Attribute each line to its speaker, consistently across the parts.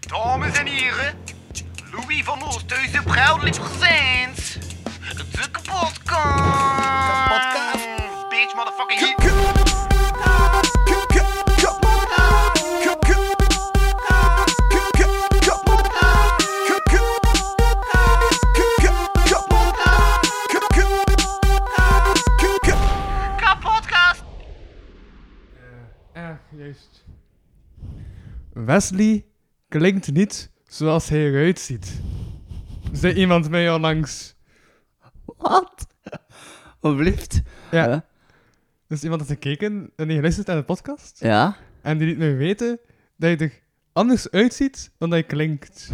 Speaker 1: Dames en heren, Louis van Oosthuizen, proudly presents de kapotkast.
Speaker 2: Kapotkast.
Speaker 1: Bitch, motherfucking
Speaker 2: K-
Speaker 1: hit.
Speaker 2: k- k- k- kapotkast. K- k- k- k- kapotkast. K- k- k- k- kapotkast. K- k- k- k-
Speaker 1: Kapotkast.
Speaker 3: Ja, juist. Wesley klinkt niet zoals hij eruit ziet. Zei iemand mij onlangs.
Speaker 4: Wat? Alblieft.
Speaker 3: Ja.
Speaker 4: Ja.
Speaker 3: Dus iemand had gekeken en die geluisterd aan de podcast.
Speaker 4: Ja.
Speaker 3: En die liet mij weten dat je er anders uitziet dan dat je klinkt.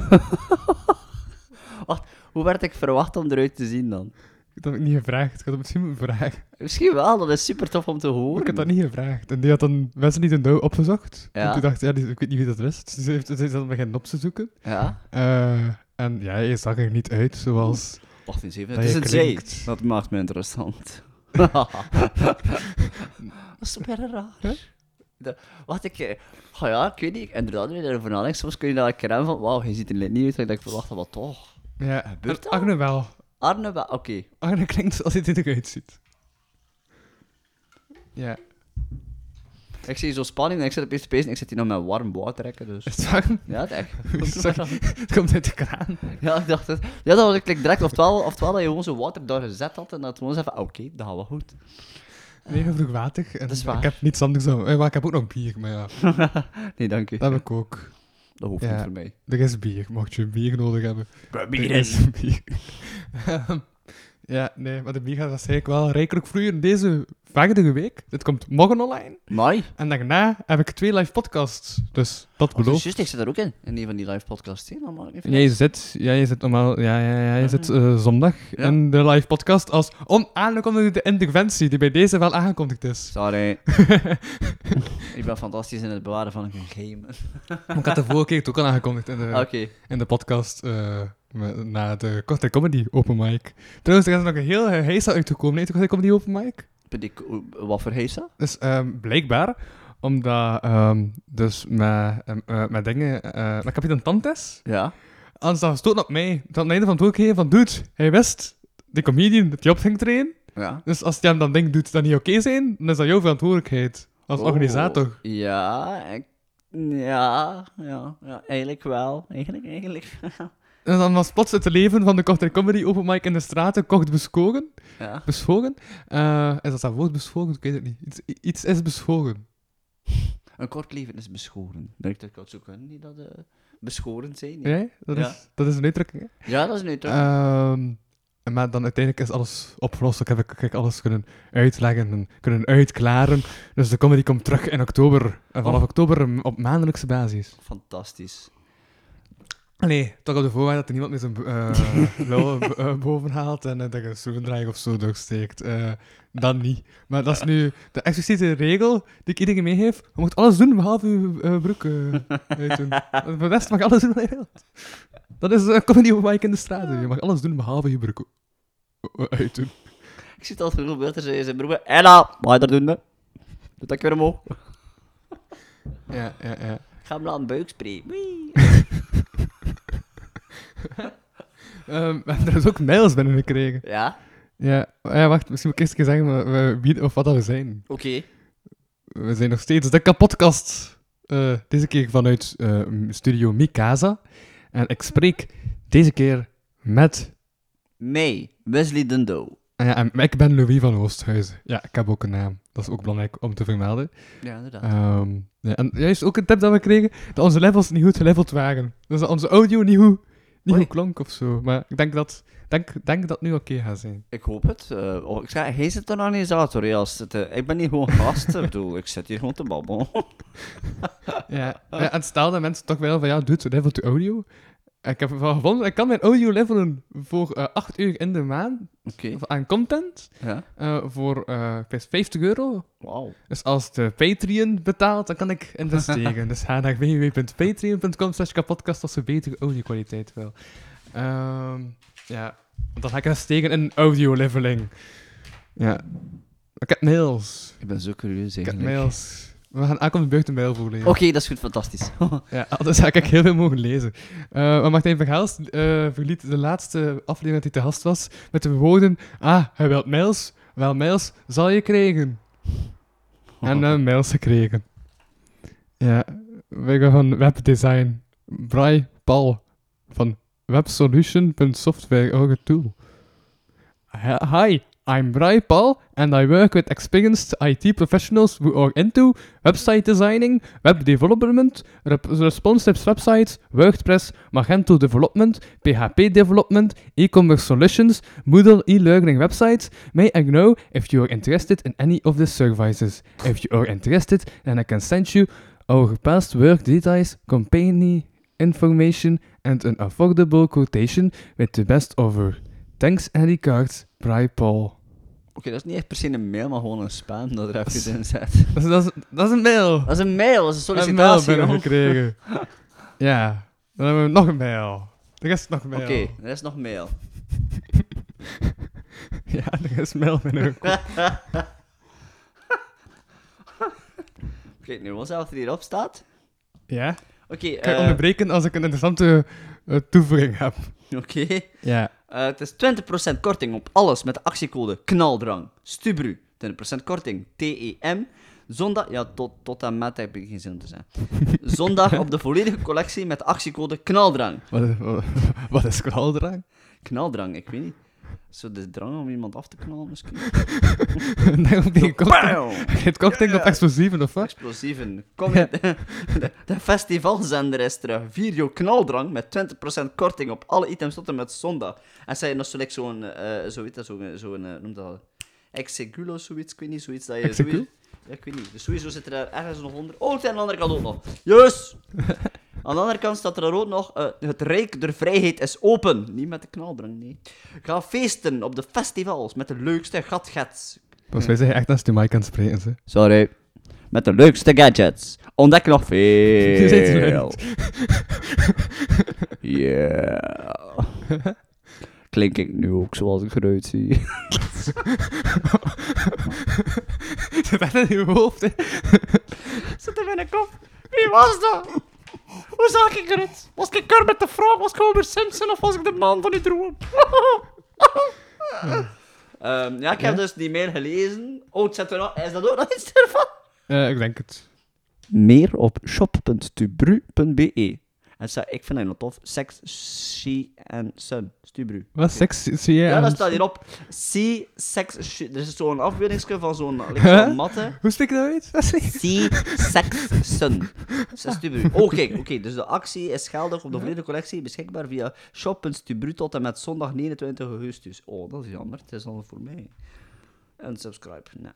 Speaker 4: Wacht, hoe werd ik verwacht om eruit te zien dan?
Speaker 3: Dat heb ik niet gevraagd. Ik had het misschien moeten vragen.
Speaker 4: Misschien wel, dat is super tof om te
Speaker 3: Maar
Speaker 4: horen.
Speaker 3: ik had dat niet gevraagd. En die had dan Wesley de Douw opgezocht.
Speaker 4: Ja.
Speaker 3: En toen dacht ik, ja, die- ik weet niet wie dat wist. Dus ze heeft ze is dan beginnen op te zoeken.
Speaker 4: Ja.
Speaker 3: Eh, en ja, je zag er niet uit zoals...
Speaker 4: Wacht eens even,
Speaker 3: Dat
Speaker 4: het is
Speaker 3: je
Speaker 4: een zee.
Speaker 3: klinkt.
Speaker 4: Dat maakt me interessant. dat is super raar. Dat- Wat ik... eh, Oh ja, ik weet niet, inderdaad, nu je erover nadenkt, soms kun je daar een keer aan van, wauw, je ziet er net niet uit, en ik verwacht dat wel toch.
Speaker 3: Ja,
Speaker 4: Gebeurt dat?
Speaker 3: Agne wel.
Speaker 4: Arne, wel- oké.
Speaker 3: Arne Oh, klinkt zoals hij dit eruit ziet. Ja.
Speaker 4: Ik zie zo spanning en ik zit op eerste pees en ik zit hier nog met warm water trekken, dus...
Speaker 3: Is het warm?
Speaker 4: Ja, het echt.
Speaker 3: Sorry, het komt uit de kraan.
Speaker 4: Ja, ik dacht het. Ja, dat was ik like, direct. Oftewel, oftewel dat je gewoon zo water daar gezet had en dat het gewoon zei van, ah, oké, dat gaat wel goed.
Speaker 3: Nee, ik vroeg water. En
Speaker 4: Dat is waar.
Speaker 3: Ik heb niets anders dan... eh, maar ik heb ook nog bier, maar ja.
Speaker 4: Nee, dank u.
Speaker 3: Dat heb ik ook.
Speaker 4: Dat hoeft
Speaker 3: Ja.
Speaker 4: niet voor mij.
Speaker 3: Er is bier, mocht je bier nodig hebben.
Speaker 4: Bier
Speaker 3: Er is bier. Ehm, ja, nee, maar de bier gaat waarschijnlijk wel rijkelijk vloeien deze vaardige week. Dit komt morgen online.
Speaker 4: Mai.
Speaker 3: En daarna heb ik twee live podcasts. Dus dat
Speaker 4: Oh,
Speaker 3: beloof
Speaker 4: juist, ik zit er ook in. In een van die live podcasts, hè? normaal. Ik
Speaker 3: Jij zit, ja, jij zit normaal, ja, ja, ja, jij zit eh, zondag
Speaker 4: Ja.
Speaker 3: in de live podcast als onaangekondigde interventie, die bij deze wel aangekondigd is.
Speaker 4: Sorry. ik ben fantastisch in het bewaren van een geheim.
Speaker 3: Maar Ik had de vorige keer het ook al aangekondigd in de,
Speaker 4: Ah, Oké.
Speaker 3: in de podcast eh, met- na de korte comedy open mic. Trouwens, er is nog een heel heisa uitgekomen, uit de korte comedy open mic.
Speaker 4: Ben ik- o- Wat voor heet dat?
Speaker 3: Dus ehm, blijkbaar, omdat ehm, dus met, ehm, eh, met dingen, eh, met kapitein Tantes,
Speaker 4: Ja.
Speaker 3: anders dan gestoten op mij, dat aan het einde van het doorgeven van, dude, hij wist, die comedian, dat hij op ging trainen.
Speaker 4: Ja.
Speaker 3: Dus als die hem dan ding doet dat niet oké zijn, dan is dat jouw verantwoordelijkheid. Als
Speaker 4: Oh.
Speaker 3: organisator.
Speaker 4: Ja, ik... Ja, ja, ja, eigenlijk wel. Eigenlijk, eigenlijk.
Speaker 3: En dan was plots het leven van de korte comedy open mic in de straten kort beschoren.
Speaker 4: ja.
Speaker 3: Beschoren? Eh, is dat dat woord beschoren? Ik weet het niet. Iets, iets is beschoren.
Speaker 4: Een kort leven is beschoren. Denk ik dat ik dat zo kan, niet dat eh beschoren zijn. Ja.
Speaker 3: Ja, dat,
Speaker 4: Ja.
Speaker 3: Is, dat is een uitdrukking. hè?
Speaker 4: ja, dat is nu toch.
Speaker 3: Ehm, en maar dan uiteindelijk is alles opgelost. Ik heb ik ik alles kunnen uitleggen en kunnen uitklaren. Dus de comedy komt terug in oktober. En vanaf
Speaker 4: Oh.
Speaker 3: oktober mm, op maandelijkse basis.
Speaker 4: Fantastisch.
Speaker 3: Nee, toch op de voorwaarde dat er niemand meer zijn eh lul b- eh, boven haalt en eh, dat je een schroevendraaier of zo doorsteekt. Eh, dan niet. Maar dat is nu de expliciete regel die ik iedereen meegeef. Je moet alles doen behalve je eh, broek eh, uitdoen. Voor de rest mag je alles doen wat je wilt. Dat is een comedy op Mike in de straat. Je mag alles doen behalve je broek eh, uitdoen.
Speaker 4: Ik zie het al veel beter zijn zijn broer. Ella, wat je daar doen? hè? Doe dat weer omhoog.
Speaker 3: Ja, ja, ja.
Speaker 4: Ik ga hem laten buik spreken. Wee.
Speaker 3: Ehm, we hebben er dus ook mails binnengekregen.
Speaker 4: Ja,
Speaker 3: Ja, ja, wacht. Misschien moet ik eerst een keer zeggen maar, we- wie of wat dat we zijn.
Speaker 4: oké.
Speaker 3: We zijn nog steeds de kapotkast. Eh, deze keer vanuit eh, m- studio Mikasa. En ik spreek deze keer met...
Speaker 4: May, Wesley Dundo.
Speaker 3: Ah ja, en ik ben Louis van Oosthuizen. Ja, ik heb ook een naam. Dat is ook belangrijk om te vermelden.
Speaker 4: Ja, inderdaad.
Speaker 3: Ehm, ja, en juist ook een tip dat we kregen, dat onze levels niet goed geleveld waren. Dus dat onze audio niet goed, niet
Speaker 4: Oei.
Speaker 3: goed klonk of zo. Maar ik denk dat, denk, denk dat het nu oké gaat zijn.
Speaker 4: Ik hoop het. Eh, oh, ik zei, hij zit een organisator. hè, als het, eh, ik ben hier gewoon gast. ik bedoel, ik zit hier gewoon te babbelen.
Speaker 3: Ja, ja, en stel dat mensen toch wel van ja, doet level to audio. Ik heb ervan gevonden, ik kan mijn audio levelen voor eh 8 uur in de maand
Speaker 4: Oké.
Speaker 3: aan content
Speaker 4: Ja.
Speaker 3: eh, voor eh, ik weet, 50 euro.
Speaker 4: Wauw.
Speaker 3: Dus als de Patreon betaalt, dan kan ik investeren. dus ga naar www.patreon.com slash kapodcast als je betere audio-kwaliteit wil. Ehm, ja, want dan ga ik investeren in audio-leveling. Ja. Ik heb mails.
Speaker 4: Ik ben zo curieus
Speaker 3: Ik heb
Speaker 4: eigenlijk.
Speaker 3: mails. We gaan aankomend buitenbijl voorlezen.
Speaker 4: Oké, dat is goed, fantastisch.
Speaker 3: Ja, anders had ik heel veel mogen lezen. Eh, maar Martijn van Gaals eh, verliet de laatste aflevering dat hij te gast was met de woorden... Ah, hij wilt mails. Wel, mails zal je krijgen. En dan mails gekregen. Ja, we gaan van webdesign. Brian Paul van websolution.software ook tool. Hi, hi, I'm Brian Paul and I work with experienced IT professionals who are into website designing, web development, rep- responsive websites, WordPress, Magento development, PHP development, e-commerce solutions, Moodle e-learning websites. May I know if you are interested in any of the services? If you are interested, then I can send you our past work details, company information, and an affordable quotation with the best offer. Thanks and regards, Bry Paul.
Speaker 4: Oké, dat is niet echt per se een mail, maar gewoon een spam dat er even in zit.
Speaker 3: Dat is, dat is, dat is een mail.
Speaker 4: Dat is een mail, dat is een
Speaker 3: een mail
Speaker 4: sollicitatie. joh.
Speaker 3: binnengekregen. ja, dan hebben we nog een mail. De rest nog een mail.
Speaker 4: Oké, er is nog mail.
Speaker 3: Ja, de rest mail binnengekomen.
Speaker 4: Kijk nu wel zelf wat er hierop staat.
Speaker 3: ja?
Speaker 4: Oké,
Speaker 3: Kan ik
Speaker 4: eh,
Speaker 3: onderbreken als ik een interessante eh, toevoeging heb?
Speaker 4: oké.
Speaker 3: Ja.
Speaker 4: Eh, het is 20% korting op alles met de actiecode KNALDRANG. STUBRU. 20% korting. TEM. Zondag... Ja, tot, tot en met heb ik geen zin om te zijn. Zondag op de volledige collectie met de actiecode KNALDRANG.
Speaker 3: Wat, is- wat, wat is knaldrang?
Speaker 4: Knaldrang, ik weet niet. Zo de drang om iemand af te knallen misschien.
Speaker 3: Daarom ben je cocktail-
Speaker 4: Bam!
Speaker 3: Het cocktail op explosieven, of wat?
Speaker 4: Explosieven. Kom in. De, de festivalzender is terug. Video knaldrang met 20% korting op alle items tot en met zondag. En zij nog slechts zo'n, eh zo weet dat, zo'n, zo'n, eh, noem dat al. Exegulo, zoiets, ik weet niet, zoiets dat je...
Speaker 3: Exegul?
Speaker 4: sowieso- Ja, ik weet niet. Dus sowieso zit er daar ergens nog onder. Oh, het is aan de andere kant ook nog. Yes! Aan de andere kant staat er ook nog, eh, het Rijk der Vrijheid is open. Niet met de knaldrang, nee. Ga feesten op de festivals met de leukste gatgets.
Speaker 3: Volgens mij zeg je echt als de mic aan het spreken, ze.
Speaker 4: Sorry. Met de leukste gadgets. Ontdek nog veel. yeah. Klink ik nu ook zoals ik eruit zie?
Speaker 3: Zit echt in je hoofd, hè?
Speaker 5: Zit er in mijn kop. Wie was dat? Hoe zag ik eruit? Was ik Kermit de Frog? Was ik Homer Simpson? Of was ik de man van die droom?
Speaker 4: Ehm, ja, ik heb dus die mail gelezen. Oh, het zit er nog... Is dat ook nog iets ervan?
Speaker 3: Eh, ik denk het.
Speaker 4: Meer op shop.tubru.be En sta, ik vind dat nog tof. Sex, she en sun. Stubru.
Speaker 3: Wat, seks? Zie jij
Speaker 4: Ja,
Speaker 3: aan-
Speaker 4: dat staat hierop. See, sex, she. Er is zo'n afbeeldingsje van zo'n like, zo'n matte.
Speaker 3: Hoe spreek je dat uit? Wat zeg je?
Speaker 4: Sea Sex Sun. Stubru. Oh, kijk, oké. dus de actie is geldig op de volledige collectie. Beschikbaar via shop.stubru tot en met zondag 29 augustus. Oh, dat is jammer. Het is al voor mij. En subscribe. Nee.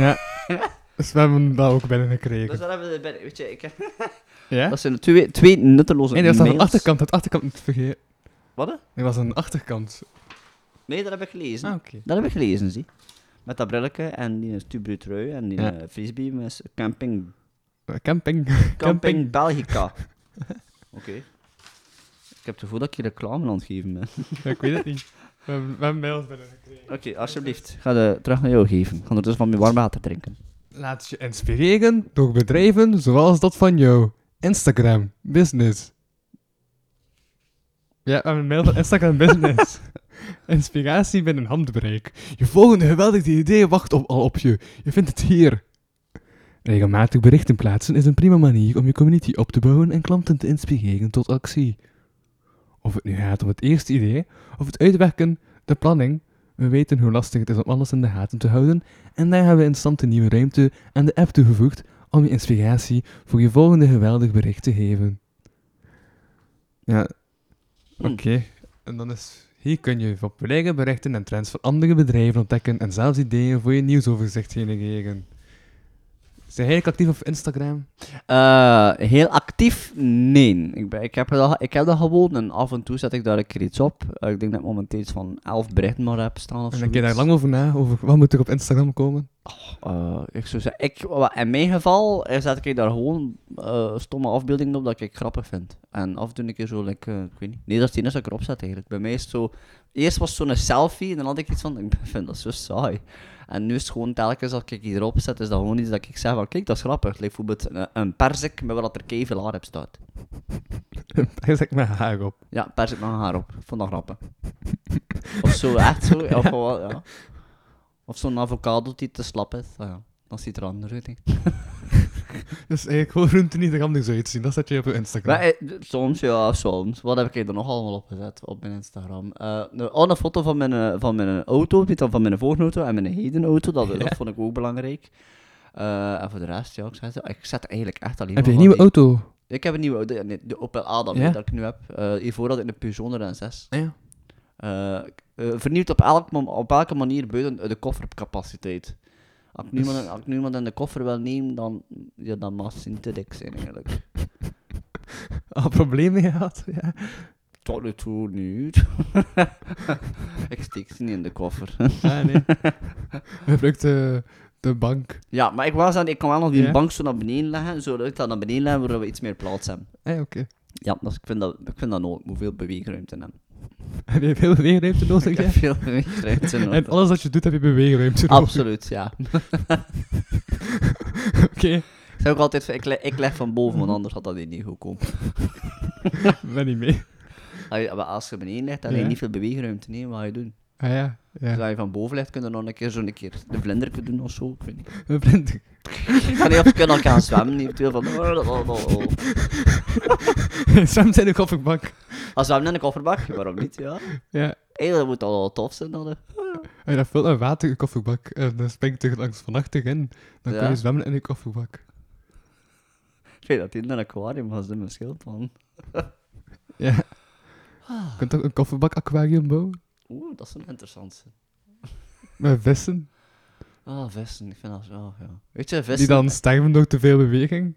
Speaker 3: Ja. Dus we hebben dat ook
Speaker 4: Dus
Speaker 3: binnengekregen.
Speaker 4: daar hebben we... bij- Weet je, ik heb...
Speaker 3: Ja?
Speaker 4: Dat zijn twee, twee nutteloze
Speaker 3: En dat was aan de
Speaker 4: mails.
Speaker 3: achterkant, het achterkant niet vergeten.
Speaker 4: Wat? hè?
Speaker 3: Dat was aan de achterkant.
Speaker 4: Nee, dat heb ik gelezen.
Speaker 3: Ah, oké.
Speaker 4: Dat heb ik gelezen, zie. Met dat brilletje en die Stubru trui en die
Speaker 3: Ja.
Speaker 4: eh, frisbee met camping...
Speaker 3: Eh, Camping.
Speaker 4: Camping Belgica. Oké. Ik heb het gevoel dat ik je reclame aan het geven ben.
Speaker 3: Ja, ik weet het niet. We hebben, we hebben mails binnengekregen.
Speaker 4: Oké, alsjeblieft. Ik ga de terug naar jou geven. Ik ga ondertussen van mijn warm water drinken.
Speaker 3: Laat je inspireren door bedrijven zoals dat van jou. Instagram Business. Ja, we hebben een mail van Instagram Business. Inspiratie binnen handbereik. Je volgende geweldige idee wacht op, al op je. Je vindt het hier. Regelmatig berichten plaatsen is een prima manier om je community op te bouwen en klanten te inspireren tot actie. Of het nu gaat om het eerste idee, of het uitwerken, de planning. We weten hoe lastig het is om alles in de gaten te houden en daar hebben we instant een nieuwe ruimte aan de app toegevoegd om je inspiratie voor je volgende geweldig bericht te geven. Ja, oké. En dan is... Hier kun je populaire berichten en trends van andere bedrijven ontdekken en zelfs ideeën voor je nieuwsoverzicht genereren. Zijn jij eigenlijk actief op Instagram?
Speaker 4: Eh, heel actief? Nee. Ik, ben, ik, heb dat, ik heb dat gewoon en af en toe zet ik daar een keer iets op. Eh, ik denk dat ik momenteel iets van 11 berichten maar heb staan of
Speaker 3: En
Speaker 4: zo.
Speaker 3: denk je daar lang over na, over wat moet er op Instagram komen?
Speaker 4: ik zou zeggen, ik, wa- in mijn geval eh, zet ik daar gewoon eh, stomme afbeeldingen op dat ik grappig vind. En af en toe een keer zo, like, eh, ik weet niet. Nee, dat is het enige dat ik erop zet eigenlijk. Bij mij is het zo... Eerst was het zo'n selfie en dan had ik iets van, ik vind dat zo saai. En nu is het gewoon telkens dat ik hierop zet, is dat gewoon iets dat ik zeg van, kijk, dat is grappig. Like, bijvoorbeeld een, een perzik met wat er keiveel haar op staat.
Speaker 3: Hij zegt mijn haar op.
Speaker 4: Ja, perzik met haar op. Ik vond dat grappig. of zo, echt zo. Ja, of, gewoon, ja. of zo'n avocado die te slap is. Ah ja, dan ziet er anders uit, denk ik.
Speaker 3: Dus eigenlijk gewoon groenten niet, dan kan ik zo uitzien. Dat zet je op je Instagram.
Speaker 4: Maar, eh, d- soms, ja, soms. Wat heb ik er nog allemaal op gezet op mijn Instagram? Eh, nou, oh, een foto van mijn, eh, van mijn auto, weet dan van mijn vorige auto en mijn heden auto. Dat, dat vond ik ook belangrijk. Eh, en voor de rest, ja, ik zet, ik zet eigenlijk echt alleen
Speaker 3: Heb je
Speaker 4: maar
Speaker 3: een
Speaker 4: van
Speaker 3: nieuwe
Speaker 4: die-
Speaker 3: auto?
Speaker 4: Ik heb een nieuwe auto, ja, nee, de Opel Adam
Speaker 3: Ja? Ah,
Speaker 4: hè, dat ik nu heb. Eh, hiervoor had ik een Peugeot 106.
Speaker 3: Ja.
Speaker 4: Eh, ik- eh, vernieuwd op, elk, mom- op elke manier buiten de koffercapaciteit. Als ik nu
Speaker 3: Dus-
Speaker 4: iemand, als ik nu iemand in de koffer wil nemen, dan, ja, dan mag het niet te dik zijn eigenlijk.
Speaker 3: Al Ah, problemen gehad? Ja.
Speaker 4: Tot nu toe niet. ik steek ze niet in de koffer.
Speaker 3: Ah, nee. Hij gebruikt de, de bank.
Speaker 4: ja, maar ik, was aan, ik kan wel nog die
Speaker 3: Ja?
Speaker 4: bank zo naar beneden leggen, zodat ik dat naar beneden leggen, waardoor we iets meer plaats hebben.
Speaker 3: Eh, oké.
Speaker 4: Ja, dus ik vind dat, ik vind dat nodig. Ik moet veel beweegruimte hebben.
Speaker 3: Heb je veel beweegruimte nodig?
Speaker 4: Ik heb
Speaker 3: ja?
Speaker 4: veel beweegruimte
Speaker 3: En
Speaker 4: nodig.
Speaker 3: alles wat je doet, heb je beweegruimte nodig.
Speaker 4: Absoluut, ja.
Speaker 3: Oké.
Speaker 4: Ik zeg ook altijd, van, ik, le- ik leg van boven, want anders had dat hier niet goed komen.
Speaker 3: Ben niet mee.
Speaker 4: Als je- maar Als je beneden legt, dan heb je
Speaker 3: Ja.
Speaker 4: niet veel beweegruimte. Nee, wat ga je doen?
Speaker 3: Ah ja.
Speaker 4: Dus
Speaker 3: ja.
Speaker 4: als je van boven legt, kun je nog een keer zo'n keer de vlinder kunnen doen of zo. Ik weet niet.
Speaker 3: Een vriend.
Speaker 4: Ik weet niet of je kunt nog gaan zwemmen, eventueel van... oh,
Speaker 3: Sam zijn ook op een bank.
Speaker 4: Als zwemmen in een kofferbak, waarom niet, ja?
Speaker 3: Ja.
Speaker 4: Hé, dat moet al wel tof zijn dan. hè.
Speaker 3: En dat vult een water in je kofferbak. En dan springt er langs vernachtig in. Dan kun
Speaker 4: Ja.
Speaker 3: je zwemmen in je kofferbak.
Speaker 4: Ik weet dat hij in een aquarium was, in mijn schildpan.
Speaker 3: Ja. Je kunt ook een kofferbak aquarium bouwen.
Speaker 4: Oeh, dat is een interessante.
Speaker 3: Met vissen.
Speaker 4: Ah, vissen, ik vind dat zo, ja. Weet je,
Speaker 3: Die
Speaker 4: vissen...
Speaker 3: dan sterven door te veel beweging.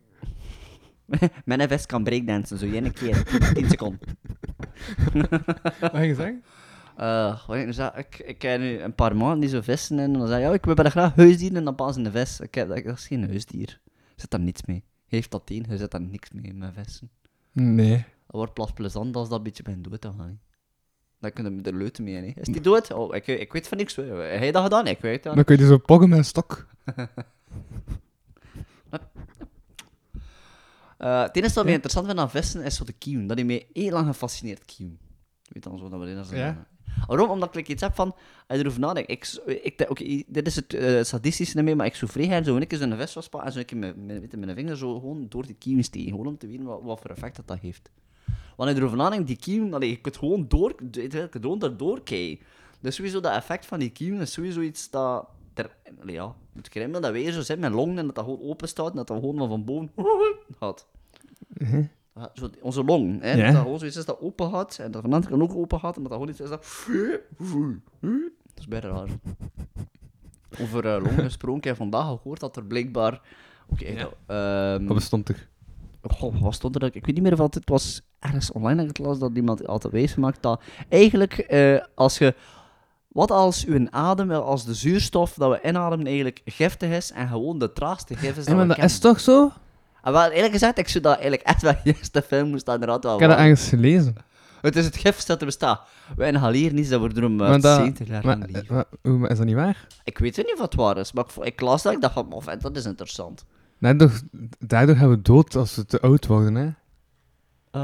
Speaker 4: Mijn vis kan breakdansen, zo één keer, 10 seconden.
Speaker 3: Wat ga je zeggen?
Speaker 4: Eh, wat ik, nu zei, ik, ik ken nu een paar maanden die zo vissen in en dan zei ik, ja, ik wil bijna graag huisdieren en dan pas een vis. Ik heb, dat dat is geen huisdier. Er zit daar niets mee. Je heeft dat tien, je zit daar niks mee met vissen.
Speaker 3: Nee.
Speaker 4: Het wordt pas plezant als dat een beetje bij dood te gaan. hè. Dan kunnen we de leuten mee, hè. Is die dood? Oh, ik, ik weet van niks. hè. Heb jij dat gedaan? Ik weet dat.
Speaker 3: Dan kun je zo poggen met een stok.
Speaker 4: Eh, het enige wat mij interessant vind aan vissen is zo de kieuwen. Dat heeft mij heel lang gefascineerd, kieuwen. Ik weet dan zo dat we in zijn.
Speaker 3: Ja.
Speaker 4: Waarom? Omdat ik iets heb van, als je erover nadenkt, ik, s- ik, denk, oké, dit is het eh, sadistische ermee, maar ik souffleer haar zo een keer zo'n vis vastpakken en zo een keer met, met, met mijn vinger zo gewoon door die kieuwen steken, gewoon om te weten wat, wat voor effect dat, dat heeft. Want als je erover nadenkt, die kieuwen, allee, je kunt gewoon door, je kunt gewoon daardoor kijken. Dus sowieso dat effect van die kieuwen is sowieso iets dat, ter, allee, ja, het krimmel dat wij zo zit met longen en dat dat gewoon open staat en dat dat gewoon maar van boven gaat. Ah, Zo, die- onze long, hè?
Speaker 3: Ja.
Speaker 4: Dat dat gewoon zoiets is dat open had en dat van de andere kant ook open had en dat dat gewoon iets is dat. Dat is bijna raar. Over eh long gesproken, ik heb vandaag gehoord dat er blijkbaar. Oké, ehm,
Speaker 3: Wat bestond er?
Speaker 4: Goh, wat stond er? dat- Ik weet niet meer of het, het was ergens online dat ik het las dat iemand altijd wees gemaakt dat eigenlijk eh, als je wat als uw adem, wel, als de zuurstof dat we inademen eigenlijk giftig is en gewoon de traagste gif is dat we kennen.
Speaker 3: toch zo?
Speaker 4: En wel, eerlijk gezegd, ik zou dat eigenlijk echt wel juist de film moest dat inderdaad wel
Speaker 3: Ik heb dat
Speaker 4: waar.
Speaker 3: ergens gelezen.
Speaker 4: Het is het gifst dat er bestaat. We inhaleren niets dat we eh, door hem
Speaker 3: Maar
Speaker 4: uit
Speaker 3: dat-
Speaker 4: zetel
Speaker 3: maar, eh,
Speaker 4: laten leven.
Speaker 3: maar- hoe- maar is dat niet waar?
Speaker 4: Ik weet niet wat het waar is, maar ik, vo- ik las dat ik dacht van, "Maar vent, dat is interessant.
Speaker 3: Daardoor, daardoor gaan we dood als we te oud worden, hè.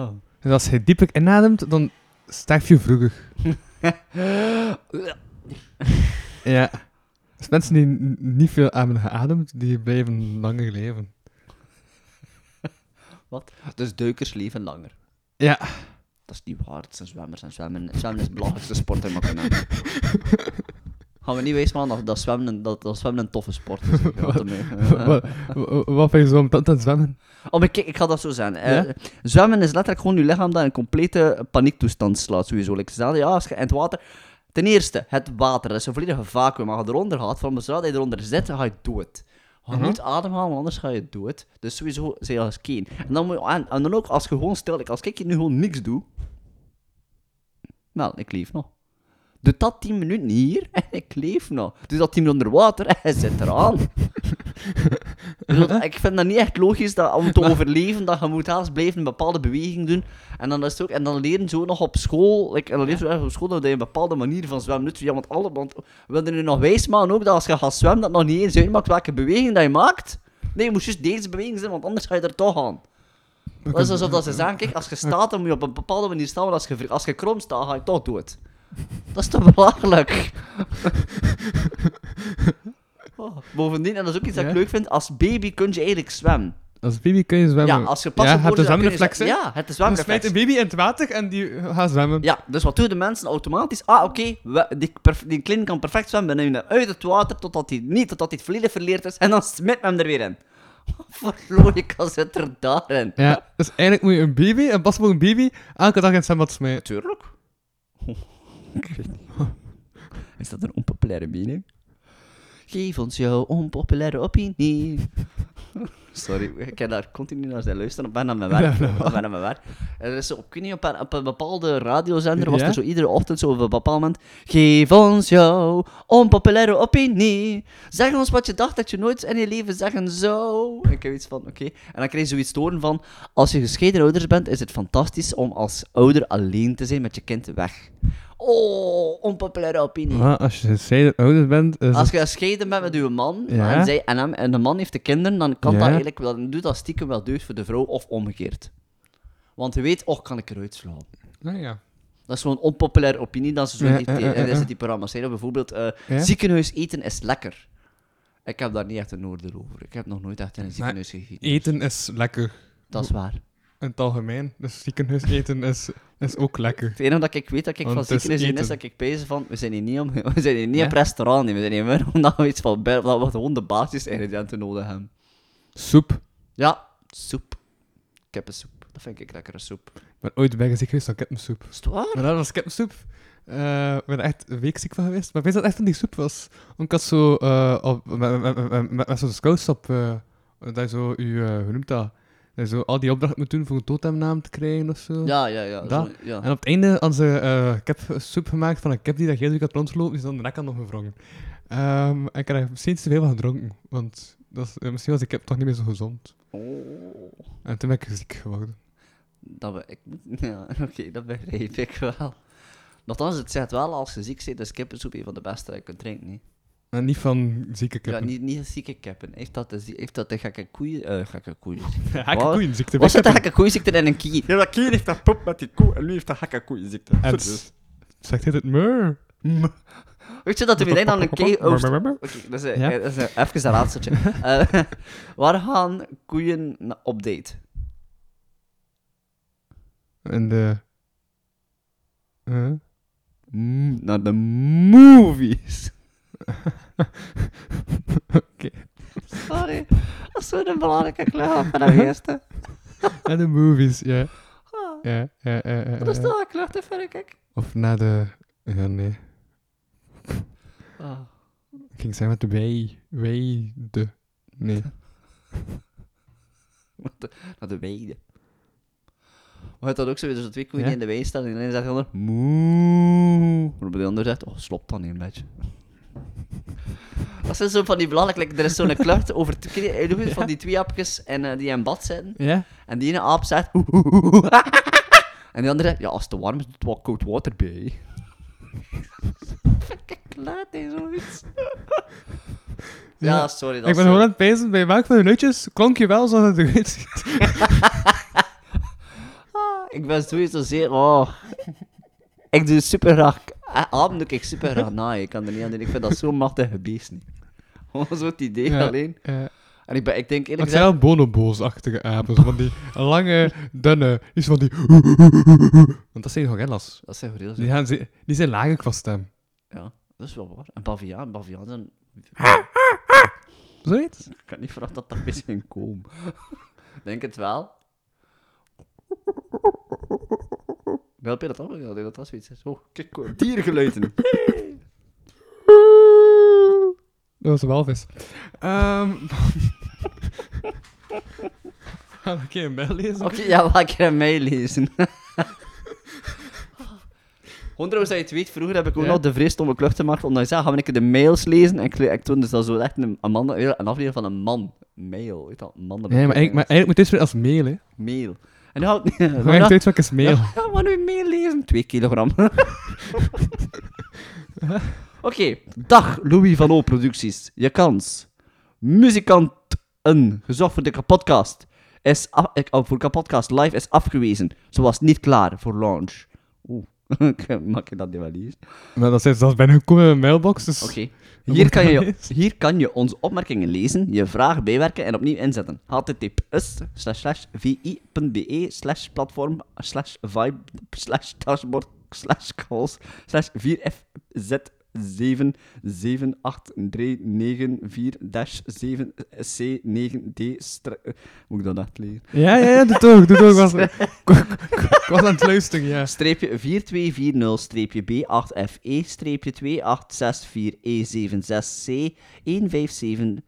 Speaker 4: Oh.
Speaker 3: Dus als je dieper inademt, dan sterf je vroeger. ja. Dus mensen die n- niet veel hebben geademd, die blijven langer leven.
Speaker 4: Wat? Dus duikers leven langer.
Speaker 3: Ja.
Speaker 4: Dat is niet waar, het zijn zwemmers en zwemmen. Zwemmen is het belangrijkste sport in Makkena. Gaan we niet wezen, man, dat, dat, zwemmen, een- dat, dat zwemmen een toffe sport is. Ik had ermee, eh,
Speaker 3: wat, wat, wat vind je zo om dat te zwemmen?
Speaker 4: Oh, maar kijk, ik ga dat zo zeggen. Eh,
Speaker 3: Ja?
Speaker 4: Zwemmen is letterlijk gewoon je lichaam dat in een complete paniektoestand slaat, sowieso. Like, stel je, ja, als je in het water... Ten eerste, het water, dat is een volledige vacuüm. Als je eronder gaat, van zodra je eronder zit, ga je dood. Je moet ademhalen, want anders ga je dood. Dus sowieso, zij als geen. En dan, moet je, en, en dan ook, als je gewoon stil... like, als ik hier nu gewoon niks doe... Wel, ik leef nog. Doe dat 10 minuten hier en ik leef nog. Doe dat 10 minuten onder water en hij zit eraan. Ik bedoel, ik vind dat niet echt logisch dat om te overleven, dat je moet haast blijven een bepaalde beweging doen. En dan, is het ook, en dan leren ze ook nog op school, like, en dan leren ze ook nog op school dat je een bepaalde manier van zwemmen doet. Ja, want alle, want wilden nu nog wijsmaken ook dat als je gaat zwemmen, dat nog niet eens uitmaakt welke beweging dat je maakt. Nee, je moet juist deze beweging zijn, want anders ga je er toch aan. Dat is alsof dat ze zeggen, kijk, als je staat, dan moet je op een bepaalde manier staan, maar als je, als je krom staat, ga je toch dood. Dat is toch belachelijk? Oh, bovendien, en dat is ook iets dat ik
Speaker 3: Ja.
Speaker 4: leuk vind, als baby kun je eigenlijk zwemmen.
Speaker 3: Als baby kun je zwemmen.
Speaker 4: Ja, als je pas
Speaker 3: ja,
Speaker 4: geboren
Speaker 3: hebt de
Speaker 4: bent, kun je
Speaker 3: zwemreflex, hè?
Speaker 4: zwemmen. Ja, het is
Speaker 3: Je smijt
Speaker 4: zwemreflex.
Speaker 3: een baby in het water en die gaat zwemmen.
Speaker 4: Ja, dus wat doen de mensen automatisch? Ah, oké, we- die, perf- die kleine kan perfect zwemmen. We nemen hem uit het water totdat hij niet, totdat hij het volledig verleerd is. En dan smit men hem er weer in. Wat voor logica zit er daarin?
Speaker 3: Ja, dus eigenlijk moet je een baby, een pasgeboren baby, elke dag in het zwembad smijten.
Speaker 4: Tuurlijk. Ik weet niet. Is dat een onpopulaire mening? Geef ons jouw onpopulaire opinie. Sorry, ik kan daar continu naar zijn luisteren. Ik ben aan mijn werk. Ik ben aan mijn werk. En Er is zo, op, ik weet niet, op, een, op een bepaalde radiozender was
Speaker 3: Ja?
Speaker 4: er zo iedere ochtend zo op een bepaald moment. Geef ons jouw onpopulaire opinie. Zeg ons wat je dacht dat je nooit in je leven zeggen zou. En ik heb iets van, oké. En dan krijg je zoiets te horen van, als je gescheiden ouders bent, is het fantastisch om als ouder alleen te zijn met je kind weg. Oh, onpopulaire opinie.
Speaker 3: Maar als je zeiden ouder bent, is
Speaker 4: Als
Speaker 3: het-
Speaker 4: je gescheiden bent met uw man
Speaker 3: Ja.
Speaker 4: en, zij, en, hem, en de man heeft de kinderen, dan kan
Speaker 3: Ja.
Speaker 4: dat eigenlijk wel, dan doet dat stiekem wel deugd voor de vrouw of omgekeerd. Want je weet, och, kan ik eruit slaan.
Speaker 3: Nou ja.
Speaker 4: Dat is zo'n onpopulaire opinie dat ze zo
Speaker 3: Ja,
Speaker 4: niet
Speaker 3: ja, ja,
Speaker 4: eh, dat
Speaker 3: ja.
Speaker 4: ze die programma's zeggen. Bijvoorbeeld, eh,
Speaker 3: Ja?
Speaker 4: ziekenhuis eten is lekker. Ik heb daar niet echt een oordeel over. Ik heb nog nooit echt in een ziekenhuis gegeten.
Speaker 3: Eten is lekker.
Speaker 4: Dat is waar.
Speaker 3: In het algemeen. Dus ziekenhuis eten is, is ook lekker.
Speaker 4: Het enige dat ik weet dat ik van
Speaker 3: Want het is
Speaker 4: ziekenhuis in is
Speaker 3: eten.
Speaker 4: dat ik bezig van, we zijn hier niet, om, we zijn hier niet
Speaker 3: Ja?
Speaker 4: op restaurant, nee. we zijn hier meer omdat we iets van, bij- omdat we gewoon de basisingrediënten nodig hebben.
Speaker 3: Soep.
Speaker 4: Ja, soep. Kippensoep. Dat vind ik lekkere soep.
Speaker 3: Ik ben ooit bij een ziekenhuis van kippensoep.
Speaker 4: Is het waar?
Speaker 3: Maar dat was kippensoep. Eh, ik ben er echt een week ziek van geweest. Maar ik weet dat het echt van die soep was. Want ik had zo... eh, op, met, met, met, met, met zo'n scousap... eh, dat je zo... Je, eh, hoe noemt dat? Dat je zo al die opdracht moet doen voor een totemnaam te krijgen of zo.
Speaker 4: Ja, ja, ja.
Speaker 3: Dat?
Speaker 4: zo- ja.
Speaker 3: En op het einde hadden ze eh kipsoep gemaakt van een kip die dat heel week had rondgelopen. Die is dan de nek aan nog gevrongen. Ehm, en ik heb er misschien iets te veel van gedronken. Want dat is, eh, misschien was die kip toch niet meer zo gezond.
Speaker 4: Oh.
Speaker 3: En toen ben ik ziek geworden.
Speaker 4: Dat we, ik, ja, oké, dat begrijp ik wel. Nochtans, het zegt wel, als je ziek bent, is kippensoep een van de beste die je kunt drinken. hè.
Speaker 3: En niet van zieke kippen.
Speaker 4: Ja, niet, niet zieke kippen. Heeft dat de, zie- heeft dat de gekke koeien... eh gekke koeien.
Speaker 3: Hakke
Speaker 4: Wat?
Speaker 3: koeienziekte. bij
Speaker 4: Was het de
Speaker 3: kippen.
Speaker 4: gekke koeienziekte en een kier?
Speaker 5: Ja, dat kier heeft dat pop met die koe en nu heeft dat gekke koeienziekte.
Speaker 3: En
Speaker 5: Zo dus.
Speaker 3: s- zegt hij het meur?
Speaker 4: Weet je dat er meteen aan een kei...
Speaker 3: Meur,
Speaker 4: Oost...
Speaker 3: meur, meur.
Speaker 4: Oké, dat is een,
Speaker 3: Ja?
Speaker 4: dat is een, even een raadseltje. Eh, waar gaan koeien na- op date?
Speaker 3: En de... Huh?
Speaker 4: Mm, naar de movies.
Speaker 3: Oké.
Speaker 4: Sorry, dat is zo'n belangrijke kleur van de eerste.
Speaker 3: Naar de movies, ja.
Speaker 4: Ah,
Speaker 3: ja, ja, ja, ja,
Speaker 4: dat is
Speaker 3: ja.
Speaker 4: toch een kleur te ver, kijk.
Speaker 3: Of naar de... Ja, nee.
Speaker 4: Ah.
Speaker 3: Ik ging zeggen met de wij. Wij de... Nee.
Speaker 4: Naar de weide. Maar het had ook zo, dus de twee koeien
Speaker 3: Ja.
Speaker 4: in de wei staan en de ene zegt de ander moe. Maar de ander zegt, oh, slop dan een beetje. Dat zijn zo van die belangrijke, like, er is zo'n klucht over te krijgen van die twee apjes en, eh, die in bad zitten.
Speaker 3: Ja?
Speaker 4: En die ene aap zegt... "Oeh, oeh, oeh, oeh." en die andere zegt... Ja, als het te warm is, doet wel koud water bij. Kijk, laat hij zoiets. Ja,
Speaker 3: Ja.
Speaker 4: sorry. Dat
Speaker 3: Ik ben
Speaker 4: is
Speaker 3: gewoon
Speaker 4: zo.
Speaker 3: aan het pezen bij welk van de luidjes klonk je wel zoals het eruit ziet.
Speaker 4: Ah, ik ben sowieso zeer... Oh. Ik doe super graag... eh, Apen doe ik super graag naaien. Ik kan er niet aan doen. Ik vind dat zo'n machtige beest. niet. Gewoon zo'n idee
Speaker 3: Ja,
Speaker 4: alleen.
Speaker 3: eh,
Speaker 4: En ik, ben, ik denk
Speaker 3: maar het
Speaker 4: eerlijk
Speaker 3: zijn
Speaker 4: gezegd...
Speaker 3: wel bonobo's-achtige apen. zo Van die lange, dunne. Die is van die... Want dat zijn gorillas.
Speaker 4: Dat zijn gorillas.
Speaker 3: Die, gaan, ze- die zijn lager qua stem.
Speaker 4: Ja, dat is wel waar. En baviaan, baviaan zijn...
Speaker 3: Zoiets?
Speaker 4: Ik kan niet verwachten dat dat is een koom. Denk het wel. Help je dat ook? Ja, dat was zoiets. is. Oh, kijk, hoor, dierengeluiden.
Speaker 3: Dat was een walvis. Ehm Ga ik
Speaker 4: Oh,
Speaker 3: een bel lezen?
Speaker 4: Oké, ja, laat ik er aan mij lezen. Gewoon trouwens dat je het weet, vroeger heb ik ook nog de vrees om een klucht te maken, omdat ik zei, gaan we een keer de mails lezen? En ik, ik toen dus dat zo echt een, een, man, een aflevering van een man. Mail, weet dat? Een man.
Speaker 3: Nee, maar eigenlijk, maar eigenlijk moet dit weer als mail, hè.
Speaker 4: Mail. En nu houdt... Hoe
Speaker 3: Gewoon echt uitspraak is mail.
Speaker 4: Ja, maar nu mail lezen. Twee kilogram. Oké, dag Louis van O Producties. Je kans. Muzikant een gezocht voor de kapotkast is af, eh, oh, voor kapotkast live is afgewezen. Ze was niet klaar voor launch. Oeh, ik maak je dat niet wel eens?
Speaker 3: Maar dat is, dat is bijna gekomen in mijn mailbox, dus...
Speaker 4: Oké.
Speaker 3: Dat
Speaker 4: Hier,
Speaker 3: moet
Speaker 4: kan je,
Speaker 3: eens.
Speaker 4: hier kan je onze opmerkingen lezen, je vragen bijwerken en opnieuw inzetten. https slash slash vi.be slash platform slash vibe slash dashboard slash calls slash 4fz 77839 dash 7 c 9 d Moet ik dat echt leren?
Speaker 3: Ja, ja, ja, doe het ook, doe het ook. Ik was, ik- ik- ik was aan het luisteren, ja.
Speaker 4: Streepje E 4240-B8FE-2864E76C15747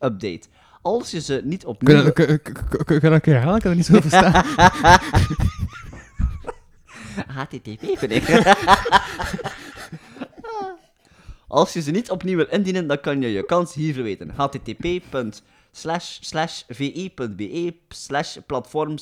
Speaker 4: update. Als je ze niet
Speaker 3: Kun je
Speaker 4: opnieuw...
Speaker 3: dat- kun- kun- kun- kun je dat een keer herhalen? Ik kan dat niet zo verstaan.
Speaker 4: HTTP ben ik. Als je ze niet opnieuw wil indienen, dan kan je je kans hier verweten. http E vi.be platform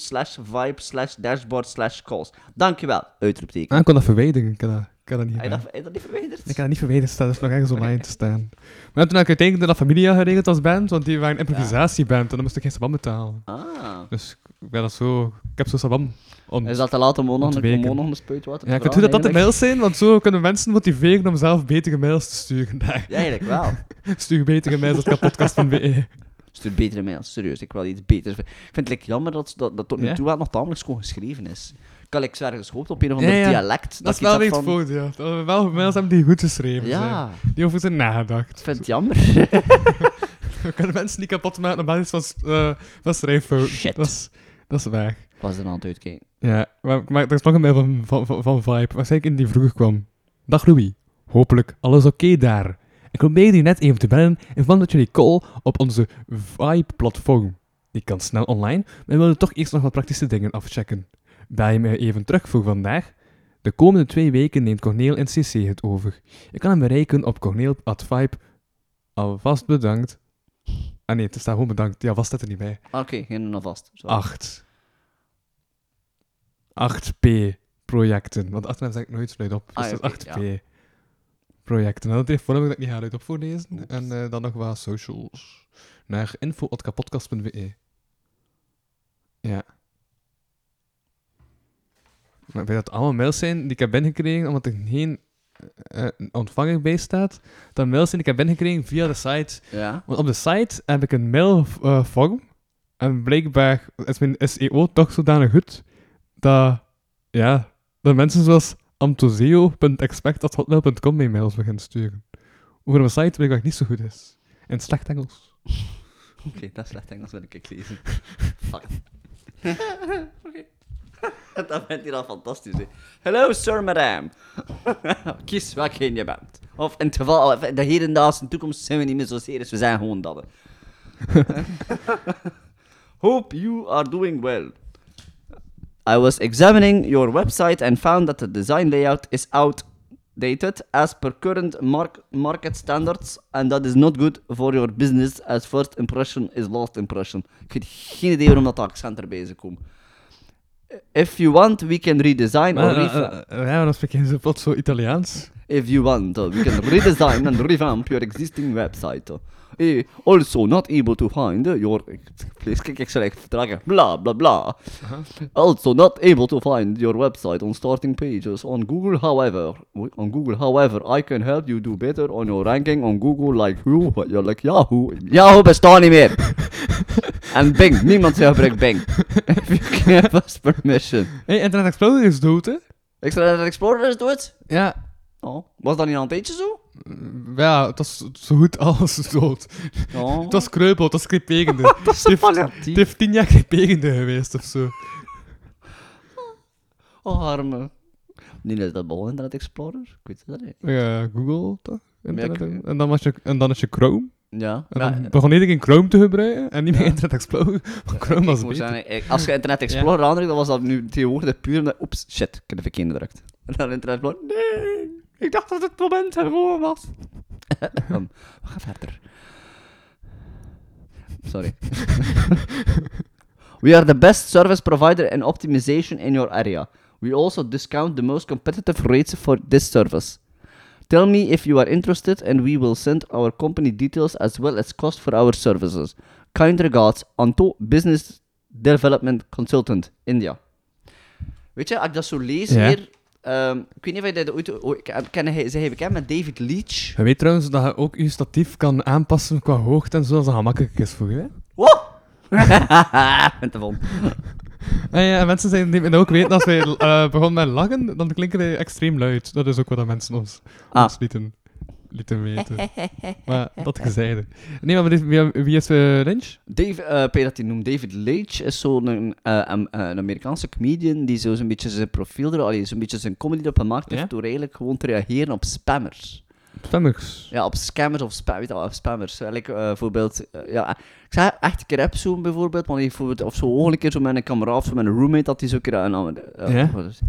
Speaker 4: vibe dashboard calls. Dankjewel. Uitroepteken.
Speaker 3: Ah, ik kon dat verwijderen, ik kan dat, ik kan dat niet
Speaker 4: Heb Ah, je
Speaker 3: herhalen.
Speaker 4: dat, heb je dat niet verwijderd?
Speaker 3: Ah, Ik kan dat niet verwijderen staan, dat is nog ergens online te staan. Maar toen had ik uiteindelijk dat Familia geregeld als band, want die waren een improvisatieband, en dan moest ik geen sabam betalen.
Speaker 4: Ah.
Speaker 3: Dus ik ben dat zo... Ik heb zo sabam om...
Speaker 4: Is dat te laat om ook nog,
Speaker 3: Ontweken.
Speaker 4: om ook nog een spuitwater te
Speaker 3: Ja, ik vind het goed dat dat de
Speaker 4: vragen,
Speaker 3: mails zijn, want zo kunnen mensen motiveren om zelf betere mails te sturen. Daar.
Speaker 4: eigenlijk? Ja, eigenlijk wel.
Speaker 3: Stuur betere mails op kapotkast.be.
Speaker 4: Stuur betere mails, serieus. Ik wil iets beters. Ik vind het like, jammer dat, dat, dat tot nu
Speaker 3: Ja?
Speaker 4: toe wel nog tamelijk schoon geschreven is. Ik had like, ergens gehoopt op een of ander
Speaker 3: Ja, ja.
Speaker 4: dialect.
Speaker 3: Dat is
Speaker 4: ik iets
Speaker 3: wel
Speaker 4: had
Speaker 3: weer het
Speaker 4: van-
Speaker 3: voordeel. Dat we wel mails hebben die goed geschreven zijn.
Speaker 4: Ja,
Speaker 3: Die over zijn nagedacht.
Speaker 4: ik vind het jammer.
Speaker 3: We kunnen mensen niet kapot maken op basis van, eh van schrijffouten.
Speaker 4: Shit.
Speaker 3: Dat is, dat is waar.
Speaker 4: was er aan het uitkijken.
Speaker 3: Ja, maar, maar er is nog een mail van, van, van, van Vibe, waarschijnlijk in die vroeger kwam. Dag Louis, hopelijk alles oké daar. Ik probeerde je net even te bellen in verband met jullie call op onze Vibe-platform. Die kan snel online, maar we wilden toch eerst nog wat praktische dingen afchecken. Bel je mij even terug voor vandaag? De komende twee weken neemt Corneel en CC het over. Je kan hem bereiken op corneel.vibe. Alvast bedankt. Ah nee, het staat gewoon bedankt. Ja, vast staat er niet bij.
Speaker 4: Ah, Oké, geen en alvast. Zo.
Speaker 3: 8. 8P projecten. Want 8 heb ik nooit luid op. Dus
Speaker 4: Ah, ja,
Speaker 3: dat is
Speaker 4: oké,
Speaker 3: 8P projecten. En dat telefoon heb ik dat ik niet ga luid op voorlezen. En eh, dan nog wat socials. Naar info.kapotkast.be. Ja. Maar ik weet dat het allemaal mails zijn die ik heb binnengekregen, omdat er geen eh, ontvanger bij staat. Dat mails zijn die ik heb binnengekregen via de site
Speaker 4: Ja.
Speaker 3: want op de site heb ik een mailvorm. en blijkbaar is mijn SEO toch zodanig goed dat, ja, dat mensen zoals amtozeo.expect.hotmail.com mijn mails beginnen sturen. Over mijn site blijkbaar niet zo goed is. In slecht Engels.
Speaker 4: Oké, dat is slecht Engels, wil ik het lezen. Fuck. Oké. dat bent hier al fantastisch, hè. Hello, sir, madam. Kies welk een je bent. Of in het geval, of de hedendaagse toekomst zijn we niet meer zo serieus, we zijn gewoon dat. hè. Hope you are doing well. I was examining your website and found that the design layout is outdated as per current mark- market standards, and that is not good for your business as first impression is last impression. Ik heb geen idee waarom dat accent erbij is gekomen. If you want, we can redesign or
Speaker 3: Maar,
Speaker 4: refra-
Speaker 3: eh, eh, ja, dan spreek je zo plots zo Italiaans.
Speaker 4: If you want, uh, we can redesign and revamp your existing website. Eh, also, not able to find uh, your. Please, kijk, ik zal echt vertragen. Bla bla bla. Also, not able to find your website on starting pages on Google, however. Wait, On Google, however, I can help you do better on your ranking on Google, like who? You're like Yahoo. Yahoo bestaat niet meer. en Bing. Niemand gebruikt Bing. If you give us permission.
Speaker 3: Hé, hey, Internet Explorer is dood, hè?
Speaker 4: Extra Explorer is dood.
Speaker 3: Ja.
Speaker 4: Oh, was dat niet al een tijdje zo?
Speaker 3: Ja, het was zo goed als dood.
Speaker 4: Oh.
Speaker 3: Het was kreupel, het was crepegende. dat is Het heeft tien jaar crepegende geweest of zo.
Speaker 4: Oh, arme. Niet dat dat begon, Internet Explorer. Ik weet het niet.
Speaker 3: Ja, Google toch? Internet-
Speaker 4: Ja, ik-
Speaker 3: en, dan was je, en dan is je Chrome.
Speaker 4: Ja.
Speaker 3: En
Speaker 4: maar-
Speaker 3: dan begon iedereen Chrome te gebruiken en niet meer
Speaker 4: Ja.
Speaker 3: Internet Explorer. Want Chrome
Speaker 4: ik
Speaker 3: was
Speaker 4: moet
Speaker 3: beter.
Speaker 4: zeggen, ik- als je Internet Explorer aandrukt, dan was dat nu tegenwoordig puur omdat... Oeps, shit, ik heb de verkeerde gedrukt. En dan in het blond.
Speaker 5: Nee, ik dacht dat het moment herboren was.
Speaker 4: Kom, we gaan verder. Sorry. we are the best service provider in optimization in your area. We also discount the most competitive rates for this service. Tell me if you are interested and we will send our company details as well as cost for our services. Kind regards, Anto, Business Development Consultant, India. Weet je, als ik dat zo lees
Speaker 3: Ja.
Speaker 4: hier... ehm, ik weet niet of je dat ooit... ooit- ken- ken hij- Zijn jij bekend met David Leach?
Speaker 3: Je weet trouwens dat je ook je statief kan aanpassen qua hoogte en zo, als dat gemakkelijk is voor je. hè?
Speaker 4: Wow! Met de vol.
Speaker 3: En, ja, en mensen zijn, die dat ook weten, als wij eh, begonnen met lachen, dan klinken wij extreem luid. Dat is ook wat dat mensen ons,
Speaker 4: Ah.
Speaker 3: ons lieten, lieten weten. maar dat gezegde. Nee, maar wie, wie- wie is eh Lynch?
Speaker 4: Dave, eh Peter dat hij noemt, David Leitch is zo'n eh, am- eh, een Amerikaanse comedian die zo zo'n beetje zijn profiel erop, allee, zo'n beetje zijn comedy erop gemaakt heeft
Speaker 3: Ja?
Speaker 4: door eigenlijk gewoon te reageren op spammers.
Speaker 3: Stemmers.
Speaker 4: Ja, op scammers of spam, weet je wel, op spammers. Eigenlijk eh, bijvoorbeeld, eh, ja, ik zag echt een keer heb zo'n bijvoorbeeld, maar die bijvoorbeeld, of zo gewoon een keer zo met een kameraad of zo met een roommate, dat hij zo een keer aan... aan- eh,
Speaker 3: Ja?
Speaker 4: wat is-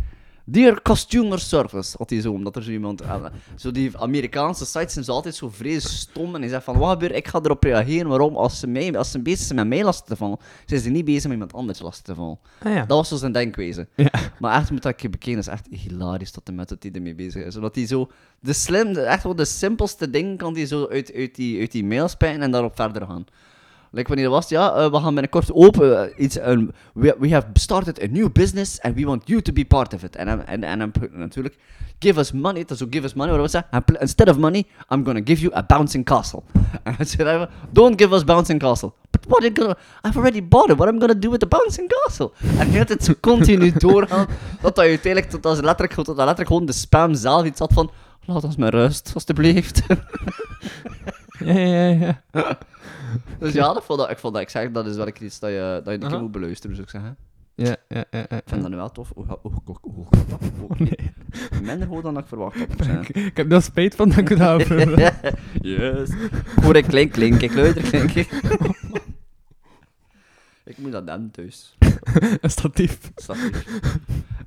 Speaker 4: Dear Customer Service, had hij zo, omdat er zo iemand... aan- zo die Amerikaanse sites zijn zo altijd zo vreselijk stom, en hij zegt van, wat gebeurt, ik ga erop reageren, waarom? Als ze, mij, als ze bezig zijn met mij lastig te vallen, zijn ze niet bezig met iemand anders lastig te vallen.
Speaker 3: Ah ja.
Speaker 4: Dat was zo zijn denkwezen.
Speaker 3: Ja.
Speaker 4: Maar echt, moet dat een keer bekijken, is echt hilarisch tot de met dat hij ermee bezig is. Omdat hij zo, de slim, de- echt wel de simpelste dingen kan hij zo uit, uit, die, uit die mail spijten en daarop verder gaan. Like wanneer dat was, ja, eh, we gaan binnenkort open eh, iets, een- we, we have started a new business and we want you to be part of it. En dan- en- en dan natuurlijk, give us money, dat is ook give us money, maar wat zeggen? "And Instead of money, I'm gonna give you a bouncing castle. En dan zei hij, don't give us bouncing castle. But what are you gonna, I've already bought it, what am I gonna do with the bouncing castle? En heel het zo continu doorgaan, dat hij uiteindelijk, dat was letterlijk, dat letterlijk gewoon de spam zelf iets had van, laat ons maar rust, alstublieft.
Speaker 3: Ja, ja, ja.
Speaker 4: Dus ja, dat vond dat, ik vond dat, ik zeg, dat is wel iets dat je, dat je een keer
Speaker 3: Aha.
Speaker 4: moet beluisteren, zou ik zeggen. Ik
Speaker 3: Ja, ja, ja, ja.
Speaker 4: vind dat nu wel tof. Oh, Oeh, oeh, oeh, oeh, oeh, oeh, oeh. oh, Minder goed dan ik verwacht had. moet ik zeggen.
Speaker 3: Ik, ik heb daar spijt van dat ik dat heb.
Speaker 4: yes. Hoor ik klink, klink, ik luider, klink. ik. ik moet dat dan thuis.
Speaker 3: Een statief.
Speaker 4: Snap je?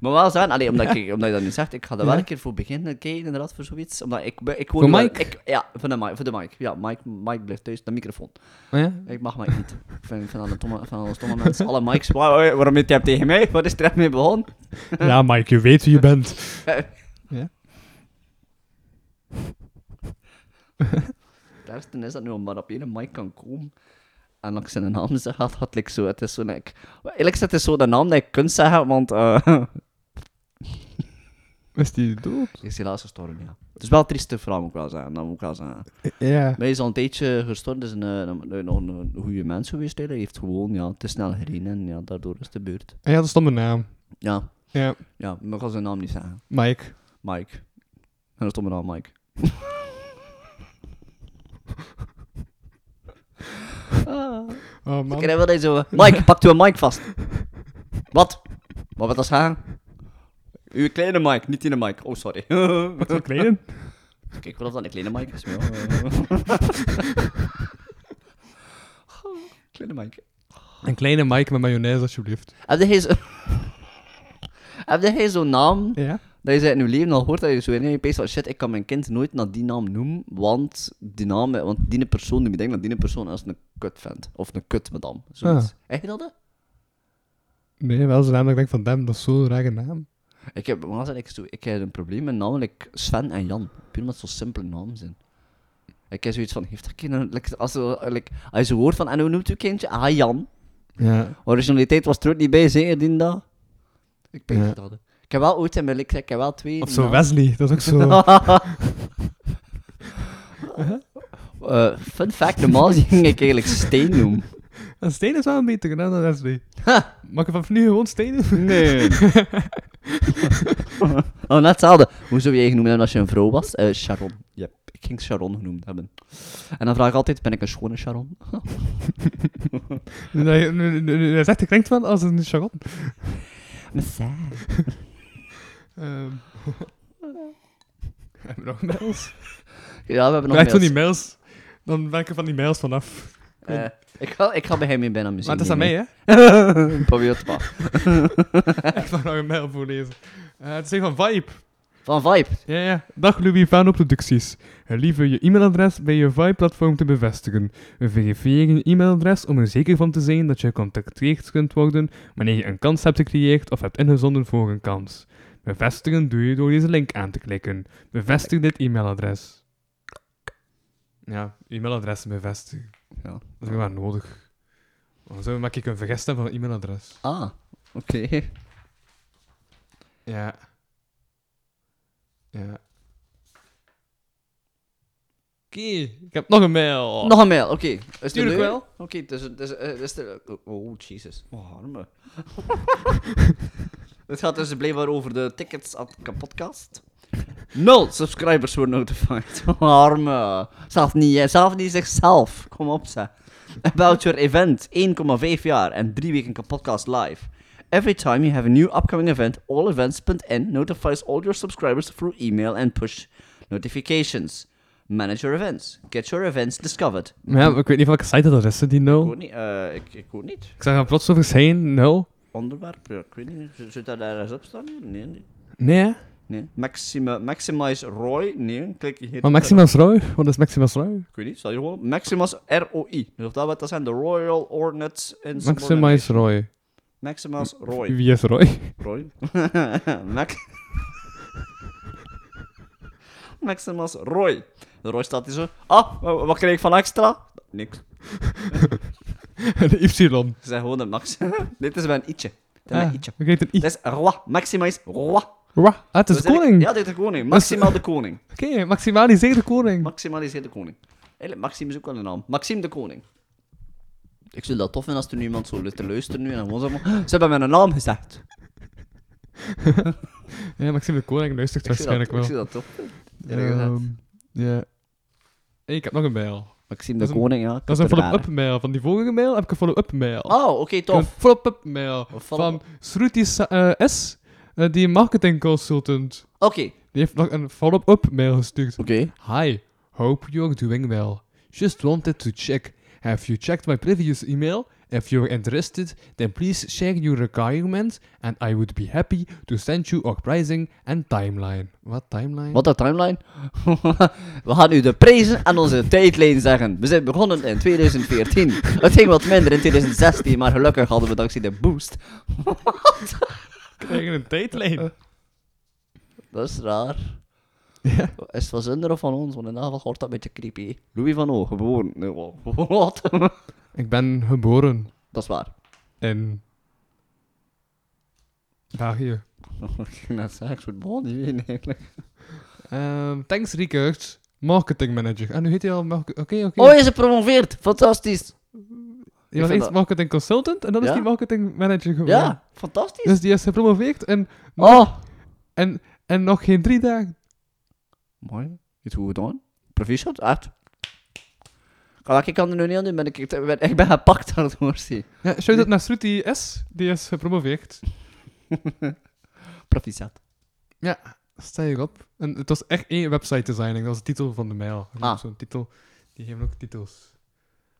Speaker 4: Maar wel zijn, allee, omdat, ik, omdat je dat nu zegt, ik ga er wel
Speaker 3: Ja.
Speaker 4: een keer voor beginnen kijken, inderdaad, voor zoiets. Omdat ik, ben- ik woon
Speaker 3: Voor
Speaker 4: nu wel-
Speaker 3: Mike?
Speaker 4: Ik, ja, voor de mic, voor de mic. Ja, Mike, Mike blijft thuis, de microfoon.
Speaker 3: Oh, ja?
Speaker 4: Ik mag mij niet. Ik vind, ik vind alle stomme, ik vind alle stomme mensen, alle mics. Waar, waar- waarom heeft hij tegen mij? Wat is er echt mee begonnen?
Speaker 3: ja, Mike, je weet wie je bent.
Speaker 4: Het ergste is dat nu maar op één mic kan komen. En als ik zijn naam zeg, had had ik zo. Het is zo dat ik, eerlijk gezegd, het is zo de naam dat ik kunt zeggen, want eh,
Speaker 3: Is die dood?
Speaker 4: die is helaas gestorven, ja. Het is wel een trieste verhaal, moet ik wel zeggen. Dat moet ik wel zeggen.
Speaker 3: Ja.
Speaker 4: Hij is al een tijdje gestorven, dus een, een, een, een, een goede mens geweest. hè. Hij heeft gewoon ja, te snel gereden en ja, daardoor is de beurt.
Speaker 3: Hij had een stomme naam.
Speaker 4: Ja,
Speaker 3: Ja,
Speaker 4: ja, maar ik kan zijn naam niet zeggen.
Speaker 3: Mike.
Speaker 4: Mike. En dat stond mijn naam Mike. Ah.
Speaker 3: Oh
Speaker 4: Ik
Speaker 3: man.
Speaker 4: krijg wel deze. Mike, pak uw mic vast. Wat? Wat was dat gaan? Uw kleine mic, niet in de mic. Oh, sorry.
Speaker 3: Zo kleden?
Speaker 4: Kijk wel of dat een kleine mic is. maar ja, eh. kleine mic.
Speaker 3: Een kleine Mike met mayonaise, alsjeblieft.
Speaker 4: Heb jij zo- Heb jij zo'n naam
Speaker 3: Ja?
Speaker 4: dat je zo in je leven al hoort dat je zo in je pees van shit, ik kan mijn kind nooit naar die naam noemen, want die naam, want die persoon die denkt dat die persoon als een kut vent of een kut madame. Zoiets.
Speaker 3: Ah.
Speaker 4: Heb je dat? hè?
Speaker 3: Nee, wel zo'n naam dat ik denk van, damn, dat is zo'n rare naam.
Speaker 4: Ik heb, maar ik, zo- ik heb een probleem met namelijk Sven en Jan. Puur omdat ze zo simpele namen zijn. Ik heb zoiets van, heeft dat kind een- like, als, ze- like, als je zo hoort van, en hoe noemt uw kindje? Ah, Jan.
Speaker 3: Ja.
Speaker 4: Originaliteit was er ook niet bij, zeker die dag. Ik ben
Speaker 3: Ja.
Speaker 4: dat. hè. Ik heb wel ooit in mijn ik heb wel twee
Speaker 3: Of zo
Speaker 4: namen.
Speaker 3: Wesley, dat is ook zo.
Speaker 4: Eh, fun fact, normaal ging ik eigenlijk Steen noemen.
Speaker 3: Een steen is wel een beter gedaan dan Wesley.
Speaker 4: Ha.
Speaker 3: Mag ik vanaf nu gewoon stenen?
Speaker 4: Nee. oh, net hetzelfde. Hoe zou jij genoemd hebben als je een vrouw was? Eh, Sharon. Yep. Ik ging Sharon genoemd hebben. En dan vraag ik altijd, ben ik een schone Sharon?
Speaker 3: Nu dat je- nu- nu- nu- nu- Hij zegt, ik klinkt wel als een charon. Ehm. Hebben we nog mails?
Speaker 4: ja, we hebben nog
Speaker 3: Krijg van die
Speaker 4: mails.
Speaker 3: mails, dan ben ik er van die mails vanaf.
Speaker 4: Eh, ik, ga, ik ga bij hem in bijna muziek
Speaker 3: Maar het is aan mij, hè?
Speaker 4: Probeer het maar.
Speaker 3: Ik mag nog een mail voorlezen. Eh, het is een van Vibe.
Speaker 4: Van Vibe.
Speaker 3: Ja, ja. Dag Louis van Producties. Liever je e-mailadres bij je VI-platform te bevestigen. Verifieer je e-mailadres om er zeker van te zijn dat je gecontacteerd kunt worden wanneer je een kans hebt gecreëerd of hebt ingezonden voor een kans. Bevestigen doe je door deze link aan te klikken. Bevestig dit e-mailadres. Ja, e-mailadressen bevestigen.
Speaker 4: Ja.
Speaker 3: Dat is wel nodig. Want zo maak ik een vergist hebben van een e-mailadres.
Speaker 4: Ah, oké.
Speaker 3: Ja. Ja. Oké, ik heb nog een mail.
Speaker 4: Nog een mail, oké. Is het
Speaker 3: Tuurlijk
Speaker 4: een
Speaker 3: wel.
Speaker 4: mail? Oké, dus, dus, eh, dus de- Oh, Jesus. Oh, arme. Het gaat dus blijkbaar over de tickets aan de podcast. Nul subscribers were notified. Oh, arme. Zelf niet, hè. zelf niet zichzelf. Kom op, zeg. About your event, 1,5 jaar en 3 weken podcast live. Every time you have a new upcoming event, allevents.n notifies all your subscribers through email and push notifications. Manage your events. Get your events discovered.
Speaker 3: Ja, maar ik weet niet welke site dat is, hè, die
Speaker 4: Ik
Speaker 3: nul.
Speaker 4: hoor niet, eh, ik, ik hoor niet.
Speaker 3: Ik zag hem plots zo verschijnen, nul.
Speaker 4: Onderwerp, ja, ik weet niet. Z- Zit dat ergens op staan? hier? Nee, nee.
Speaker 3: Nee, hè?
Speaker 4: nee. Maxima, Maximize Roy? Nee, klik hier.
Speaker 3: Maar Maximus Roy? Wat is Maximus Roy?
Speaker 4: Ik weet niet, staat hier gewoon. Maximus ROI. Dus of dat wat dat zijn? De Royal Ordnance in
Speaker 3: Maximus Roy.
Speaker 4: Maximus Roy.
Speaker 3: Wie is Roy?
Speaker 4: Roy. Max. Maximus Roy. De Roy staat hier zo. Ah, wa- wa- wat kreeg ik van extra? Niks.
Speaker 3: De Y.
Speaker 4: Ze zijn gewoon de max. Dit is mijn ietsje. Dit is mijn
Speaker 3: Ah,
Speaker 4: ietsje.
Speaker 3: ik weet een I.
Speaker 4: Dit is Roi. Maximus Roi.
Speaker 3: Wah, ah, het is
Speaker 4: Dus
Speaker 3: de
Speaker 4: eigenlijk-
Speaker 3: koning.
Speaker 4: Ja, dit is de koning. Maximaal de koning.
Speaker 3: Oké, maximaliseer de koning.
Speaker 4: Maximaliseer de koning. Eigenlijk, Maxime is ook wel een naam. Maxime de koning. Ik zou dat tof vinden als er nu iemand zo te luisteren nu en dan gewoon zeggen van, Ze hebben mijn naam gezegd.
Speaker 3: Ja, Maxime de koning luistert
Speaker 4: Ik zou dat,
Speaker 3: waarschijnlijk
Speaker 4: ik zou
Speaker 3: wel.
Speaker 4: dat tof vinden. eerlijk gezegd.
Speaker 3: Ehm, Ja. Hey, Ik heb nog een mail.
Speaker 4: Maxime de
Speaker 3: dat is een-
Speaker 4: koning, ja.
Speaker 3: Dat is een
Speaker 4: Te raar,
Speaker 3: follow-up mail. Van die vorige mail heb ik een follow-up mail.
Speaker 4: hè. Oh, oké,
Speaker 3: Een
Speaker 4: tof.
Speaker 3: follow-up mail
Speaker 4: Een
Speaker 3: van
Speaker 4: follow-up.
Speaker 3: Sruti Sa- eh, S, eh, die marketing consultant.
Speaker 4: Oké.
Speaker 3: Die heeft nog een follow-up mail gestuurd.
Speaker 4: Oké.
Speaker 3: Hi, hope you're doing well. Just wanted to check. Have you checked my previous email? If you're interested, then please share your requirements and I would be happy to send you our pricing and timeline. Wat timeline?
Speaker 4: Wat dat timeline? We gaan u de prijzen en onze tijdlijn zeggen. We zijn begonnen in 2014. Het ging wat minder in 2016, maar gelukkig hadden we dankzij de boost.
Speaker 3: Krijgen een tijdlijn.
Speaker 4: Dat is raar.
Speaker 3: Ja.
Speaker 4: Is het van Zinder of van ons? Want in dat geval wordt dat een beetje creepy. Louis van O, geboren. Nee, wa- Wat?
Speaker 3: Ik ben geboren
Speaker 4: dat is waar.
Speaker 3: in België.
Speaker 4: Ik ging net zeggen, ik zou het niet weten eigenlijk.
Speaker 3: Ehm, thanks Rikert, marketing manager. En nu heet hij al marke- Oké, oké.
Speaker 4: Oh, hij is gepromoveerd. Fantastisch.
Speaker 3: Je was
Speaker 4: vind
Speaker 3: eerst
Speaker 4: dat-
Speaker 3: marketing consultant en dan is
Speaker 4: Ja?
Speaker 3: hij marketing manager geworden.
Speaker 4: Ja, fantastisch.
Speaker 3: Dus die is gepromoveerd en,
Speaker 4: Oh.
Speaker 3: en, en nog geen drie dagen.
Speaker 4: Mooi. Je hebt goed gedaan. Proficiat, echt. Kan ik kan er nu niet aan doen, ben ik, ik ben, ik ben gepakt aan het hoorsie.
Speaker 3: Ja, Shout-out naar Sruti S, die is gepromoveerd.
Speaker 4: Proficiat.
Speaker 3: Ja, sta je op. En het was echt één website designing, dat was de titel van de mail. En
Speaker 4: Ah.
Speaker 3: ook Zo'n titel, die geven ook titels.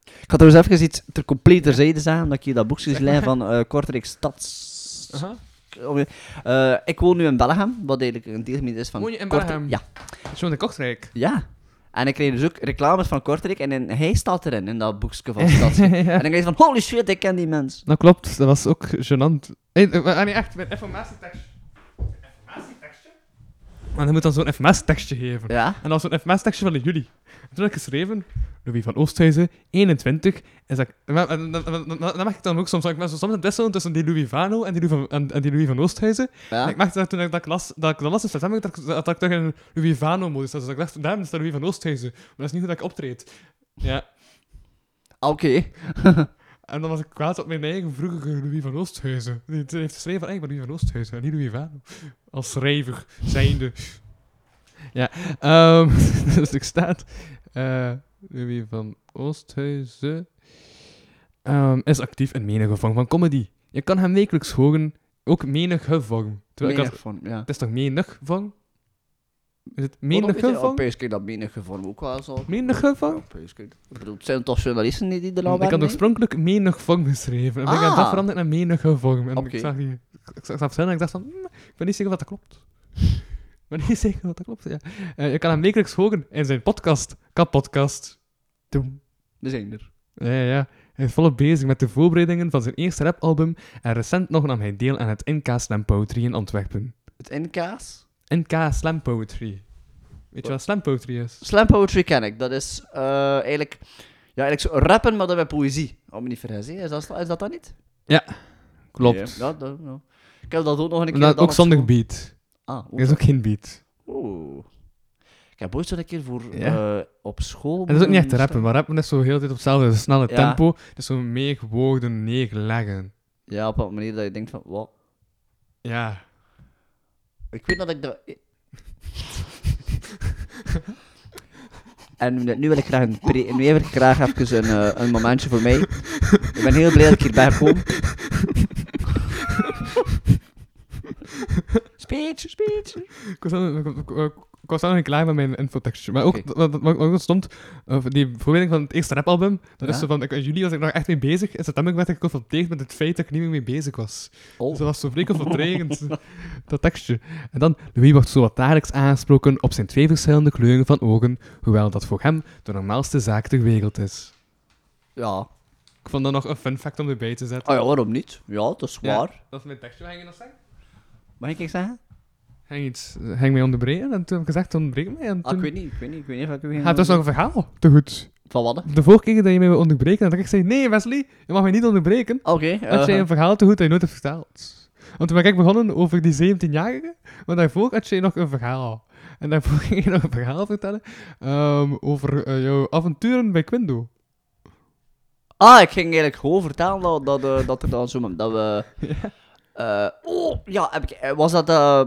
Speaker 4: Ik had trouwens even iets ter completer zijde zeggen, omdat ik hier dat boekje gelezen van eh Kortrijk Stads...
Speaker 3: Aha.
Speaker 4: Eh, ik woon nu in Belgium, wat eigenlijk een deelgemeente is van
Speaker 3: Woon je in
Speaker 4: Kortrijk.
Speaker 3: Belgium?
Speaker 4: Ja.
Speaker 3: Zo'n de Kortrijk.
Speaker 4: Ja. En ik kreeg dus ook reclames van Kortrijk en in- hij staat erin, in dat boekje van Stadsje. En ik dacht van, holy shit, ik ken die mens.
Speaker 3: Dat Nou, klopt, dat was ook gênant. Hey, eh, ah, nee, echt, mijn informatietekstje. Informatietekstje? Maar je moet dan zo'n informatietekstje geven.
Speaker 4: Ja.
Speaker 3: En dat was zo'n informatietekstje van in juli. En toen heb ik geschreven, Louis van Oosthuizen, 21. En dat, maar, en, en- en- en- en- dat mag ik dan ook soms. Ik ben zo soms het wisselen tussen die Louis Vano en die Louis van, en, en die Louis van Oosthuizen. En
Speaker 4: ja.
Speaker 3: ik merkte dat toen ik dat, ik las, dat ik dat las in september, dat ik, dat ik toch in een Louis Vano-modus zat. Dus ik dacht, daarom is dat Louis van Oosthuizen. Maar dat is niet hoe dat ik optreed. Ja.
Speaker 4: Ah, Oké.
Speaker 3: En dan was ik kwaad op mijn eigen vroegere Louis van Oosthuizen. Die die heeft geschreven van, hey, ik ben Louis van Oosthuizen en niet Louis Vano. Als schrijver, zijnde. Ja, ehm, dus ik staat... eh, Louis van Oosthuizen ehm, is actief in menige vorm van comedy. Je kan hem wekelijks horen, ook menige vorm. Terwijl ik
Speaker 4: Menig
Speaker 3: had-
Speaker 4: vorm, ja.
Speaker 3: het is toch menig vorm? Is het
Speaker 4: Menig
Speaker 3: menige vorm?
Speaker 4: Europees kijk dat menige vorm ook wel zo.
Speaker 3: Menige vorm?
Speaker 4: Europees kijk. Ik bedoel, het zijn toch journalisten die, die er nou
Speaker 3: ik had
Speaker 4: werken,
Speaker 3: oorspronkelijk menig vorm geschreven. En ik heb
Speaker 4: Ah.
Speaker 3: dat veranderd naar menige vorm. En
Speaker 4: Oké.
Speaker 3: ik zag die... Ik zag ik zag het zelf en ik dacht van... "Hmm, ik ben niet zeker of dat klopt. Maar ben niet zeker wat dat klopt. Ja. Eh, je kan hem wekelijks horen in zijn podcast, Kapotkast. Doem.
Speaker 4: We zijn er.
Speaker 3: Ja, ja, ja. Hij is volop bezig met de voorbereidingen van zijn eerste rapalbum en recent nog nam hij deel aan het NK Slam Poetry in Antwerpen.
Speaker 4: Het NK's?
Speaker 3: NK Slam Poetry. Weet je wat Slam Poetry is?
Speaker 4: Slam poetry ken ik. Dat is eh, eigenlijk, ja, eigenlijk zo rappen, maar dan met poëzie. Om me niet vergissen. Is dat is dat, dat niet?
Speaker 3: Klopt.
Speaker 4: Ja, dat, ja. Ik heb dat ook nog een keer
Speaker 3: En dat
Speaker 4: gedaan
Speaker 3: ook
Speaker 4: op
Speaker 3: zonder
Speaker 4: school.
Speaker 3: beat.
Speaker 4: Ah, ook
Speaker 3: Er is ook geen beat.
Speaker 4: Oeh. Ik heb ooit zo'n keer voor
Speaker 3: Ja.
Speaker 4: eh, op school.
Speaker 3: En dat is ook niet echt
Speaker 4: moeten
Speaker 3: rappen, maar rappen is zo heel de tijd op hetzelfde snelle
Speaker 4: Ja.
Speaker 3: tempo. Dus zo meer woorden neerleggen.
Speaker 4: staan. Ja, op een manier dat je denkt van. Wow.
Speaker 3: Ja.
Speaker 4: Ik weet dat ik dat. En nu wil ik graag een, pre- nu wil ik graag even een, eh, een momentje voor mij. Ik ben heel blij dat ik hier ben gekomen. speech, speech.
Speaker 3: Ik was al- ik- ik- ik- ik was al nog niet klaar met mijn infotekstje. Maar ook,
Speaker 4: Oké.
Speaker 3: wat, wat, wat ook stond, eh, die voorbereiding van het eerste rapalbum, dat is
Speaker 4: Ja.
Speaker 3: zo van, ik, in juli was ik nog echt mee bezig. In september werd ik geconfronteerd met het feit dat ik niet meer mee bezig was. Dus
Speaker 4: Oh,
Speaker 3: dat was zo vrij confronterend, dat tekstje. En dan, Louis wordt zo wat dagelijks aangesproken op zijn twee verschillende kleuren van ogen, hoewel dat voor hem de normaalste zaak ter wereld is.
Speaker 4: ja.
Speaker 3: Ik vond dat nog een fun fact om erbij te zetten.
Speaker 4: Oh ja, waarom niet? Ja, dat is
Speaker 3: Ja.
Speaker 4: waar.
Speaker 3: Dat is mijn tekstje, hang je dat zeggen?
Speaker 4: Mag ik iets zeggen? Ah,
Speaker 3: Hang iets, eh, hang mij onderbreken. En toen heb ik gezegd, onderbreek mij. En
Speaker 4: Ah, ik
Speaker 3: toen...
Speaker 4: weet niet, ik weet niet, ik weet niet of ik u
Speaker 3: Hij dus nog een verhaal. Te goed.
Speaker 4: Van wat? hè?
Speaker 3: De vorige keer dat je mij wil onderbreken, dat ik zei, nee Wesley, je mag mij niet onderbreken.
Speaker 4: Oké. eh,
Speaker 3: Had jij een verhaal te goed dat je nooit hebt verteld. Want toen ben ik begonnen over die 17-jarige, maar daarvoor had jij nog een verhaal. En daarvoor ging je nog een verhaal vertellen ehm, over eh, jouw avonturen bij Quindo.
Speaker 4: Ah, ik ging eigenlijk gewoon vertellen dat, dat, eh, dat er dan zo... Dat we... Eh, oh, ja, heb ik, eh, was dat... eh,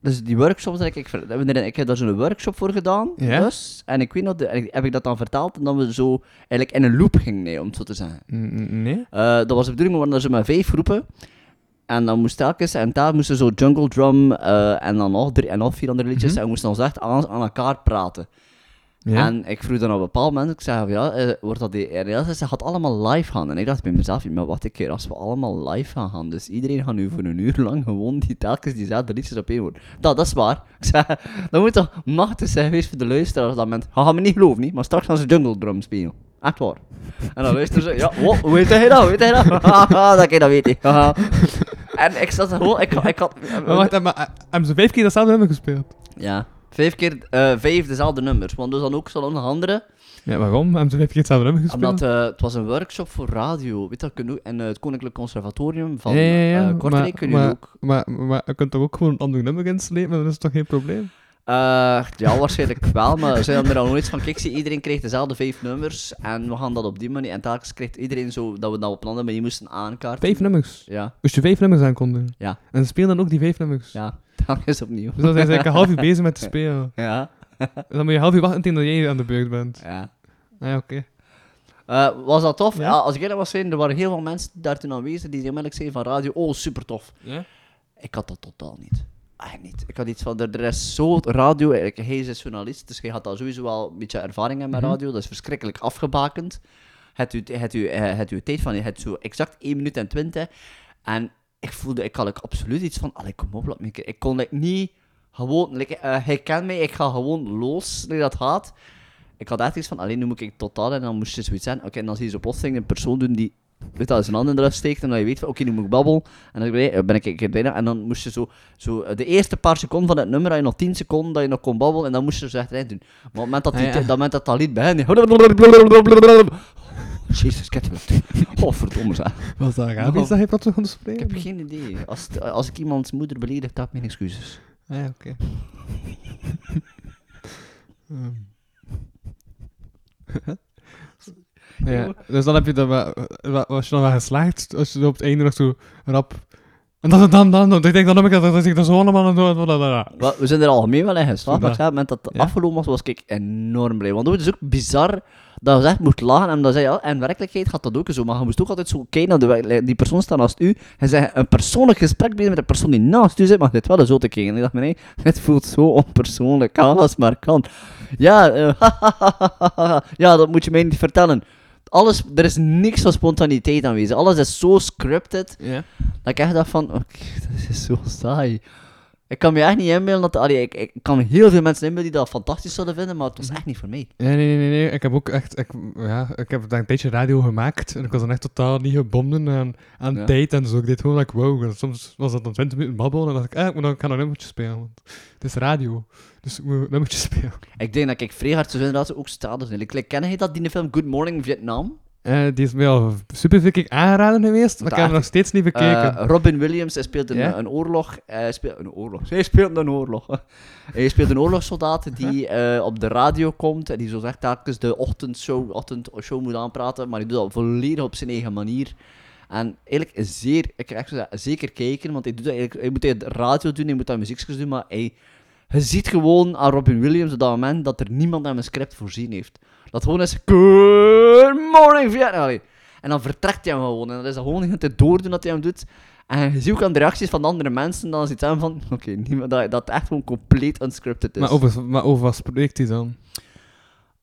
Speaker 4: dus die workshops, dat ik, ik, ver- hebben we erin- ik heb daar zo'n workshop voor gedaan,
Speaker 3: Ja.
Speaker 4: dus. En ik weet nog, de- en ik- heb ik dat dan verteld en dat we zo eigenlijk in een loop gingen, nee, om het zo te zeggen.
Speaker 3: Nee?
Speaker 4: Eh, dat was de bedoeling, we waren daar zo met vijf groepen. En dan moest telkens, en daar moesten zo jungle drum eh, en dan nog drie en nog vier andere liedjes. En we moesten ons echt aan, aan elkaar praten.
Speaker 3: Ja.
Speaker 4: En ik vroeg dan op een bepaald moment, ik zei, van, ja, eh, wordt dat die RLS? Ze gaat allemaal live gaan. En ik dacht bij mezelf, maar wat een keer als we allemaal live gaan gaan. Dus iedereen gaat nu voor een uur lang gewoon die telkens diezelfde liedjes op één worden. Dat, dat is waar. Ik zei, dat moet toch machtig zijn geweest voor de luisteraars op dat moment. Ga gaan me niet geloven, niet? Maar straks gaan ze jungle drum spelen. Echt waar. En dan luisteren ze, ja, wow, hoe weet hij dat? Weet hij dat? Haha, dat kan dat weet ik. Haha. en ik zat gewoon, ik, ik had...
Speaker 3: Maar wacht, eh, maar, eh, hebben ze vijf keer datzelfde nummer gespeeld?
Speaker 4: Ja, vijf keer, eh, vijf dezelfde nummers. Want dus dan ook zo'n andere...
Speaker 3: Ja, waarom? Hebben ze vijf keer hetzelfde nummer gespeeld?
Speaker 4: Omdat eh, het was een workshop voor radio. Weet dat, kun je ook- en eh, het Koninklijk Conservatorium van
Speaker 3: Ja,
Speaker 4: eh
Speaker 3: ja, ja,
Speaker 4: Kortrijk
Speaker 3: maar-
Speaker 4: kun je
Speaker 3: maar-
Speaker 4: ook.
Speaker 3: Maar, maar je kunt toch ook gewoon een ander nummer inslepen, dat is toch geen probleem?
Speaker 4: Eh, ja, waarschijnlijk wel, maar ze hadden er al nooit van. Kijk, zie, iedereen kreeg dezelfde vijf nummers en we gaan dat op die manier. En telkens kreeg iedereen zo dat we dat op een andere manier moesten aankaarten.
Speaker 3: Vijf nummers.
Speaker 4: Ja,
Speaker 3: Als je vijf nummers aankondigen.
Speaker 4: Ja.
Speaker 3: En speel dan ook die vijf nummers.
Speaker 4: ja, telkens opnieuw.
Speaker 3: Dus dan zijn ze eigenlijk een half uur bezig met te spelen.
Speaker 4: Ja,
Speaker 3: En dan moet je een half uur wachten tegen dat jij aan de beurt bent.
Speaker 4: ja.
Speaker 3: Ah, ja, oké.
Speaker 4: Eh, was dat tof?
Speaker 3: Ja.
Speaker 4: Ja. als ik eerlijk was zijn, er waren heel veel mensen daar toen aanwezig die onmiddellijk zeiden van radio, oh super tof.
Speaker 3: Ja?
Speaker 4: Ik had dat totaal niet. Echt niet. Ik had iets van, er er is zo radio, eigenlijk, hij is journalist, dus hij had daar sowieso wel een beetje ervaring in met radio, dat is verschrikkelijk afgebakend. Het u, het u, eh, het uw tijd van, het zo exact 1 minuut en 20. En ik voelde, ik had like, absoluut iets van, allee, kom op, laat me een keer. Ik kon like, niet gewoon, like, eh, hij kent mij, ik ga gewoon los, nee, dat gaat. Ik had echt iets van, alleen nu moet ik totaal en dan moest je zoiets zijn. Oké, en dan zie je zo plotseling een persoon doen die, weet dat, zijn handen eruit steekt en dan je weet van, oké, nu moet ik babbelen. En dan ben ik- ben ik een keer bijna, en dan moest je zo, zo, eh, de eerste paar seconden van het nummer had je nog 10 seconden dat je nog kon babbelen en dan moest je zo echt doen. Maar op het moment dat, die,
Speaker 3: Ah, ja.
Speaker 4: dat, moment dat dat lied begint, Oh, Jezus, kettenlucht. Oh, verdomme zeg.
Speaker 3: Was dat Arabisch dat hij plots kon
Speaker 4: Ik
Speaker 3: spreken?
Speaker 4: heb geen idee. Als, het- als ik iemands moeder beledigd heb, mijn excuses.
Speaker 3: Ah, ja, oké. Ehm. ja, dus dan heb je dat... wa- wa- Was je dan wel geslaagd? Als je op het einde nog zo rap... En dan, dan, dan, dan, ik denk dan, dan, dan, dan, dan, dan, zo allemaal dan, dan, dan, dan.
Speaker 4: Wel, we zijn er algemeen wel in geslaagd, maar
Speaker 3: Vandaar.
Speaker 4: op het moment dat het
Speaker 3: Ja.
Speaker 4: afgelopen was, was ik enorm blij. Want het is ook bizar dat je echt moet lachen. En dat zei, ja, in werkelijkheid gaat dat ook zo. Maar je moest ook altijd zo kijken naar de wer- die persoon staan naast u. En zijn een persoonlijk gesprek bezig met de persoon die naast u zit, maar dit wel zo te kijken. En ik dacht, nee, dit voelt zo onpersoonlijk aan als maar kan. Ja, eh, ja, dat moet je mij niet vertellen. Alles, er is niks van spontaniteit aanwezig. Alles is zo scripted.
Speaker 3: Ja.
Speaker 4: Dat ik echt dacht van, oké, dat is zo saai. Ik kan me echt niet inbeelden dat... Allee, ik, ik kan heel veel mensen inbeelden die dat fantastisch zouden vinden, maar het was echt niet voor mij.
Speaker 3: Nee, nee, nee, nee. Ik heb ook echt... Ik, ja, ik heb daar een tijdje radio gemaakt. En ik was dan echt totaal niet gebonden aan, aan
Speaker 4: Ja.
Speaker 3: tijd en zo. Ik deed gewoon like, wow. Soms was dat dan 20 minuten babbelen. En dan dacht ik, eh, ik moet nog- ik ga nog een nummertje spelen. Want het is radio. Dus ik moet een nummertje spelen.
Speaker 4: Ik denk dat ik vrij hard zou zijn dat ze ook straten zijn. Like, ken je dat, die film Good Morning Vietnam?
Speaker 3: Eh, die is mij al super veel keer aangeraden geweest. Maar ik heb hem nog steeds niet bekeken.
Speaker 4: Eh, Robin Williams hij speelt een,
Speaker 3: Ja?
Speaker 4: een oorlog. Hij speelt een oorlog. Hij speelt een oorlog. hij speelt een oorlogssoldaat die eh, op de radio komt en die zo zegt telkens de ochtendshow, ochtendshow moet aanpraten, maar hij doet dat volledig op zijn eigen manier. En eigenlijk is zeer, ik zou zeggen, zeker kijken, want hij, doet dat eigenlijk, hij moet hij de radio doen, hij moet dat muziekjes doen, maar hij, je ziet gewoon aan Robin Williams op dat moment dat er niemand hem een script voorzien heeft. Dat gewoon is, good morning Vietnam. Allee. En dan vertrekt hij hem gewoon. En dan is dat gewoon het doordoen dat hij hem doet. En je ziet ook aan de reacties van de andere mensen, dan zit hem van, oké, niemand dat, dat echt gewoon compleet unscripted is.
Speaker 3: Maar, over, maar over wat spreekt hij dan?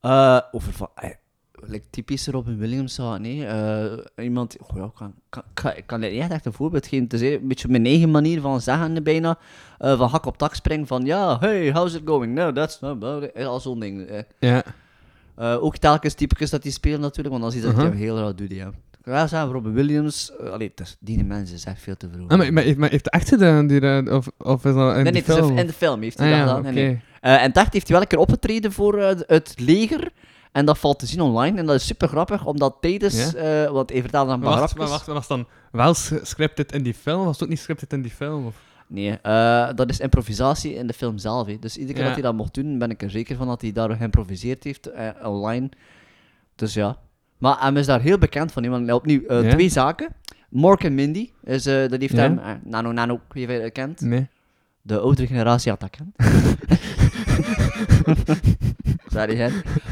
Speaker 4: Eh, over van, eh, like typische Robin Williams zou nee, eh, iemand, oh ja, ik kan, kan, kan, ik kan dit niet echt een voorbeeld geven, het is een beetje mijn eigen manier van zeggen bijna, eh, van hak op tak springen, van ja, hey, how's it going? No, that's not about it, Eh, al zo'n ding. eh.
Speaker 3: Ja. Ah,
Speaker 4: Eh, ook telkens typicus dat die spelen natuurlijk, want dan zie je dat hij
Speaker 3: Uh-huh.
Speaker 4: heel raar doet, ja. Ik wil wel zeggen, Robin Williams, eh, allee, het is- die mensen is echt veel te vroeg.
Speaker 3: Ah, maar, maar, heeft- maar heeft hij echt gedaan? Die, eh, of, of is dat in
Speaker 4: Nee,
Speaker 3: die
Speaker 4: nee, het is
Speaker 3: film?
Speaker 4: in de film heeft
Speaker 3: Ah
Speaker 4: hij
Speaker 3: ja,
Speaker 4: dat gedaan. nee, nee.
Speaker 3: oké.
Speaker 4: Eh, en daar heeft hij wel een keer opgetreden voor eh, het leger. En dat valt te zien online. En dat is super grappig, omdat tijdens... eh, want even vertelde dan een
Speaker 3: Maar
Speaker 4: paar
Speaker 3: wacht,
Speaker 4: grapjes.
Speaker 3: maar wacht, was dan wel s- scripted in die film? Was het ook niet scripted in die film? Of?
Speaker 4: Nee, eh, dat is improvisatie in de film zelf. hè. Dus iedere keer
Speaker 3: Ja.
Speaker 4: dat hij dat mocht doen, ben ik er zeker van dat hij daar geïmproviseerd heeft eh, online. Dus ja. Maar hem is daar heel bekend van. hè, want opnieuw, eh,
Speaker 3: Ja.
Speaker 4: twee zaken. Mork en Mindy, is, eh, dat heeft
Speaker 3: Ja.
Speaker 4: hem... eh, Nano Nano, ik weet niet of je dat kent.
Speaker 3: Nee.
Speaker 4: De oudere generatie had dat kent. Sorry, hè.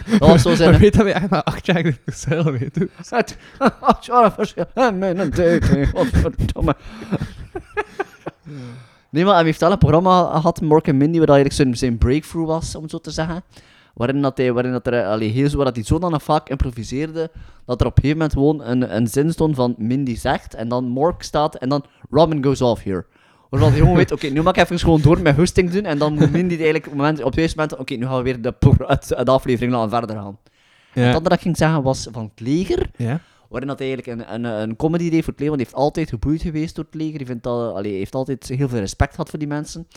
Speaker 4: Dat was eh, zo zijn...
Speaker 3: Ik weet dat we echt maar acht jaar in de cel weten.
Speaker 4: Het als je alle verschil- en mijn een dating, godverdomme. Nee, maar hij heeft al een programma gehad, Mork en Mindy, waar dat eigenlijk zijn, zijn breakthrough was, om het zo te zeggen. Waarin dat hij, waarin dat er, eh, allee, heel, zo- waar dat hij zo dan vaak improviseerde, dat er op een gegeven moment gewoon een, een zin stond van Mindy zegt, en dan Mork staat, en dan Robin goes off here. Waarvan hij gewoon weet, oké, nu mag ik even gewoon door met hosting doen, en dan moet Mindy het eigenlijk op het moment- op het juiste moment, oké, nu gaan we weer de, pro- de aflevering laten verder gaan.
Speaker 3: Ja.
Speaker 4: Het andere dat ik ging zeggen was van het leger,
Speaker 3: ja.
Speaker 4: waarin dat hij eigenlijk een, een, een comedy deed voor het leger, want hij heeft altijd geboeid geweest door het leger. Hij, vindt dat, allee, hij heeft altijd heel veel respect gehad voor die mensen.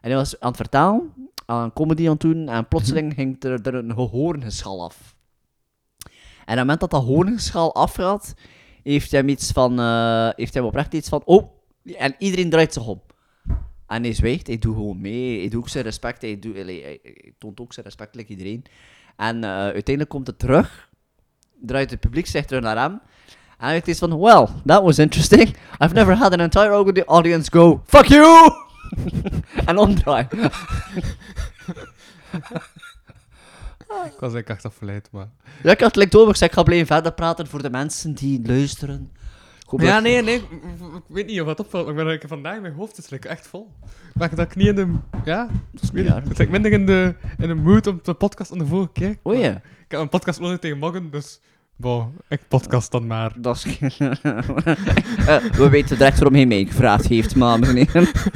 Speaker 4: En hij was aan het vertalen, aan een comedy aan het doen, en plotseling ging er, er een gehoorngeschal af. En op het moment dat dat hoorngeschal afgaat, heeft hij hem iets van, eh, heeft hij hem oprecht iets van, oh, en iedereen draait zich om. En hij zwijgt, hij doet gewoon mee, hij doet ook zijn respect, hij, doet, allee, hij, hij toont ook zijn respect like iedereen. En eh, uiteindelijk komt het terug, draait het publiek zich terug naar hem. En hij is van, well, that was interesting. I've never had an entire audi- audience go, fuck you! en omdraaien.
Speaker 3: Ik was eigenlijk echt afgeleid, maar...
Speaker 4: Ja, ik had het like, doorgezegd, ik ga blijven verder praten voor de mensen die luisteren. Ik hoop
Speaker 3: Ja,
Speaker 4: dat-
Speaker 3: nee, nee. Ik ik weet niet of dat opvalt, maar ik ben eigenlijk vandaag... Mijn hoofd is like, echt vol. Maar dat ik niet in de... Ja?
Speaker 4: Dat is
Speaker 3: Ik weet
Speaker 4: niet
Speaker 3: niet. Ik ben minder in de, in de mood om te podcast dan de vorige keer.
Speaker 4: O Oh ja,
Speaker 3: Ik heb een podcast nodig tegen morgen, dus... Wow, ik podcast dan maar.
Speaker 4: dat is... Eh, we weten direct waarom hij mij gevraagd heeft, maar meneer.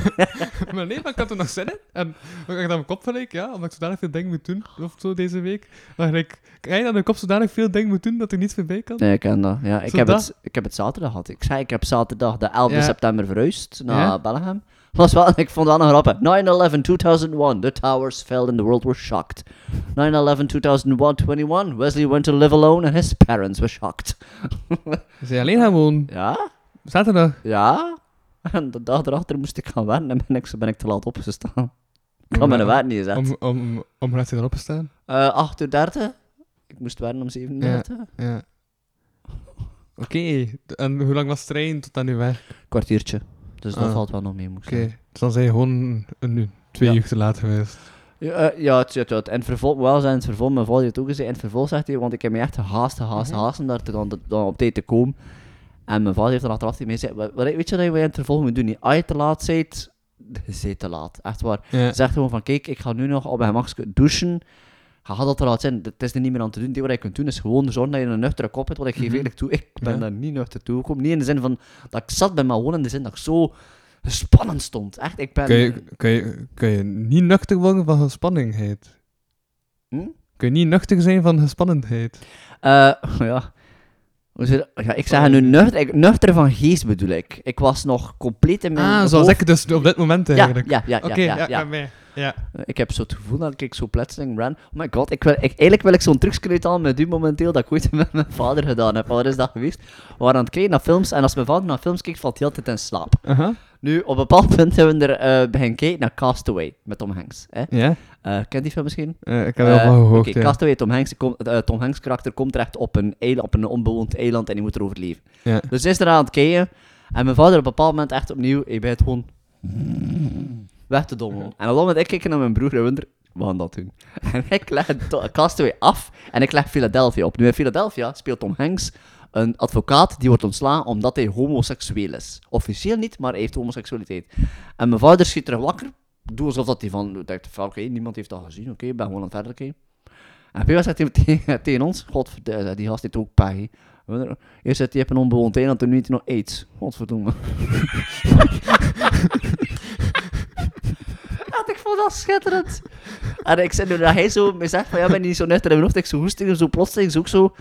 Speaker 3: Maar nee, maar ik had er nog zin in. En ik had aan mijn kop gelijk, ja, omdat ik zodanig veel dingen moet doen, of zo, deze week. Maar ik krijg aan mijn kop zodanig veel dingen moet doen dat er niets meer bij kan.
Speaker 4: Nee, ik ken dat. Ja, ik, heb
Speaker 3: Zodat-
Speaker 4: het, ik heb het zaterdag gehad. Ik zei, ik heb zaterdag de 11
Speaker 3: Ja.
Speaker 4: september verhuisd naar
Speaker 3: Ja.
Speaker 4: Belgium. Was wel, ik vond het wel een grappig. 9-11, 2001, the towers fell and the world was shocked. 9-11, 2001, 21, Wesley went to live alone and his parents were shocked.
Speaker 3: Ze zijn alleen gewoon
Speaker 4: Ja?
Speaker 3: zaterdag.
Speaker 4: Ja? En de dag erachter moest ik gaan werken en ben ik, ben ik te laat opgestaan. Ik had mijn werk niet gezet.
Speaker 3: Om, om, om laat je erop te staan.
Speaker 4: Eh, 8 uur 30. Ik moest werken om 7 uur
Speaker 3: Ja.
Speaker 4: 30.
Speaker 3: Ja. Oké, d- en hoe lang was de trein tot aan nu weg?
Speaker 4: Kwartiertje. Dus dat
Speaker 3: Ah.
Speaker 4: valt wel nog mee, moet ik
Speaker 3: Oké,
Speaker 4: zeggen.
Speaker 3: dus dan zijn je gewoon een, een- twee
Speaker 4: Ja.
Speaker 3: uur te laat geweest.
Speaker 4: Ja, eh, ja, het, het, het. En vervolg, wel zijn het vervolg, mijn vader heeft ook gezegd, in het vervolg zegt hij, want ik heb me echt gehaast, gehaast,
Speaker 3: Mhm.
Speaker 4: gehaast om daar te, dan, dan op tijd te komen. En mijn vader heeft dan achteraf tegen mij gezegd, "Wa- wat- weet je wat je in het vervolg moet doen? niet? Als je te laat bent, je bent te laat, echt waar.
Speaker 3: Ja.
Speaker 4: Zeg gewoon van, kijk, ik ga nu nog op mijn gemakske douchen, ga dat te laat zijn, het is er niet meer aan te doen. Het enige wat je kunt doen is gewoon zorgen dat je een nuchtere kop hebt, want ik geef eerlijk toe, ik ben
Speaker 3: Mhm. Ja.
Speaker 4: daar niet nuchter toe gekomen. Niet in de zin van dat ik zat bij mijn wonen, in de zin dat ik zo spannend stond. Echt, ik ben...
Speaker 3: Kun je, kun, je, kun je niet nuchter worden van gespannenheid?
Speaker 4: Hm?
Speaker 3: Kun je niet nuchter zijn van gespannenheid?
Speaker 4: Eh, ja. Hoe zit- ja, ik zeg nu nuchter, ik- nuchter van geest bedoel ik. Ik was nog compleet in mijn
Speaker 3: Ah, zoals
Speaker 4: hoofd-
Speaker 3: ik dus op dit moment
Speaker 4: Ja, ja,
Speaker 3: eigenlijk.
Speaker 4: ja, ja,
Speaker 3: Oké,
Speaker 4: ja, ja.
Speaker 3: bij mij. Ja.
Speaker 4: Ik heb zo het gevoel dat ik zo plotseling ran. Oh my god, ik wil, ik, eigenlijk wil ik zo'n trucje uithalen met u momenteel dat ik ooit met mijn vader gedaan heb. Wat is dat geweest? We waren aan het kijken naar films en als mijn vader naar films kijkt, valt hij altijd in slaap.
Speaker 3: Aha.
Speaker 4: Nu, op een bepaald punt hebben we er eh beginnen kijken naar Castaway met Tom Hanks. Hè?
Speaker 3: Ja?
Speaker 4: Eh, kent die film misschien?
Speaker 3: Eh, ik heb er al van
Speaker 4: Eh,
Speaker 3: gehoord,
Speaker 4: Oké,
Speaker 3: ja.
Speaker 4: Castaway, Tom Hanks, kom- eh, Tom Hanks karakter komt terecht op een, eiland, op een onbewoond eiland en die moet er overleven.
Speaker 3: Ja.
Speaker 4: Dus hij is eraan aan het kijken en mijn vader op een bepaald moment echt opnieuw, hij begint gewoon weg te dommelen. En op dat moment, ik kijk naar mijn broer en wonder, we gaan dat doen. En ik leg to- Castaway af en ik leg Philadelphia op. Nu in Philadelphia speelt Tom Hanks een advocaat die wordt ontslagen omdat hij homoseksueel is. Officieel niet, maar hij heeft homoseksualiteit. En mijn vader schiet er wakker. Doe alsof dat hij van... denkt van, oké, niemand heeft dat gezien. Oké, ik ben gewoon aan het verder kijken. En Pia zegt tegen- tegen, tegen ons... Godverdomme, die gast heeft ook pijn. Eerst zegt hij, je hebt een onbewoond eiland en nu heeft hij nog aids. Godverdomme. Ja, ik vond dat schitterend. En ik zei nu dat hij zo me zegt van ja, ben je niet zo net in mijn hoofd. Ik zo hoesting en zo plotseling zo ook zo.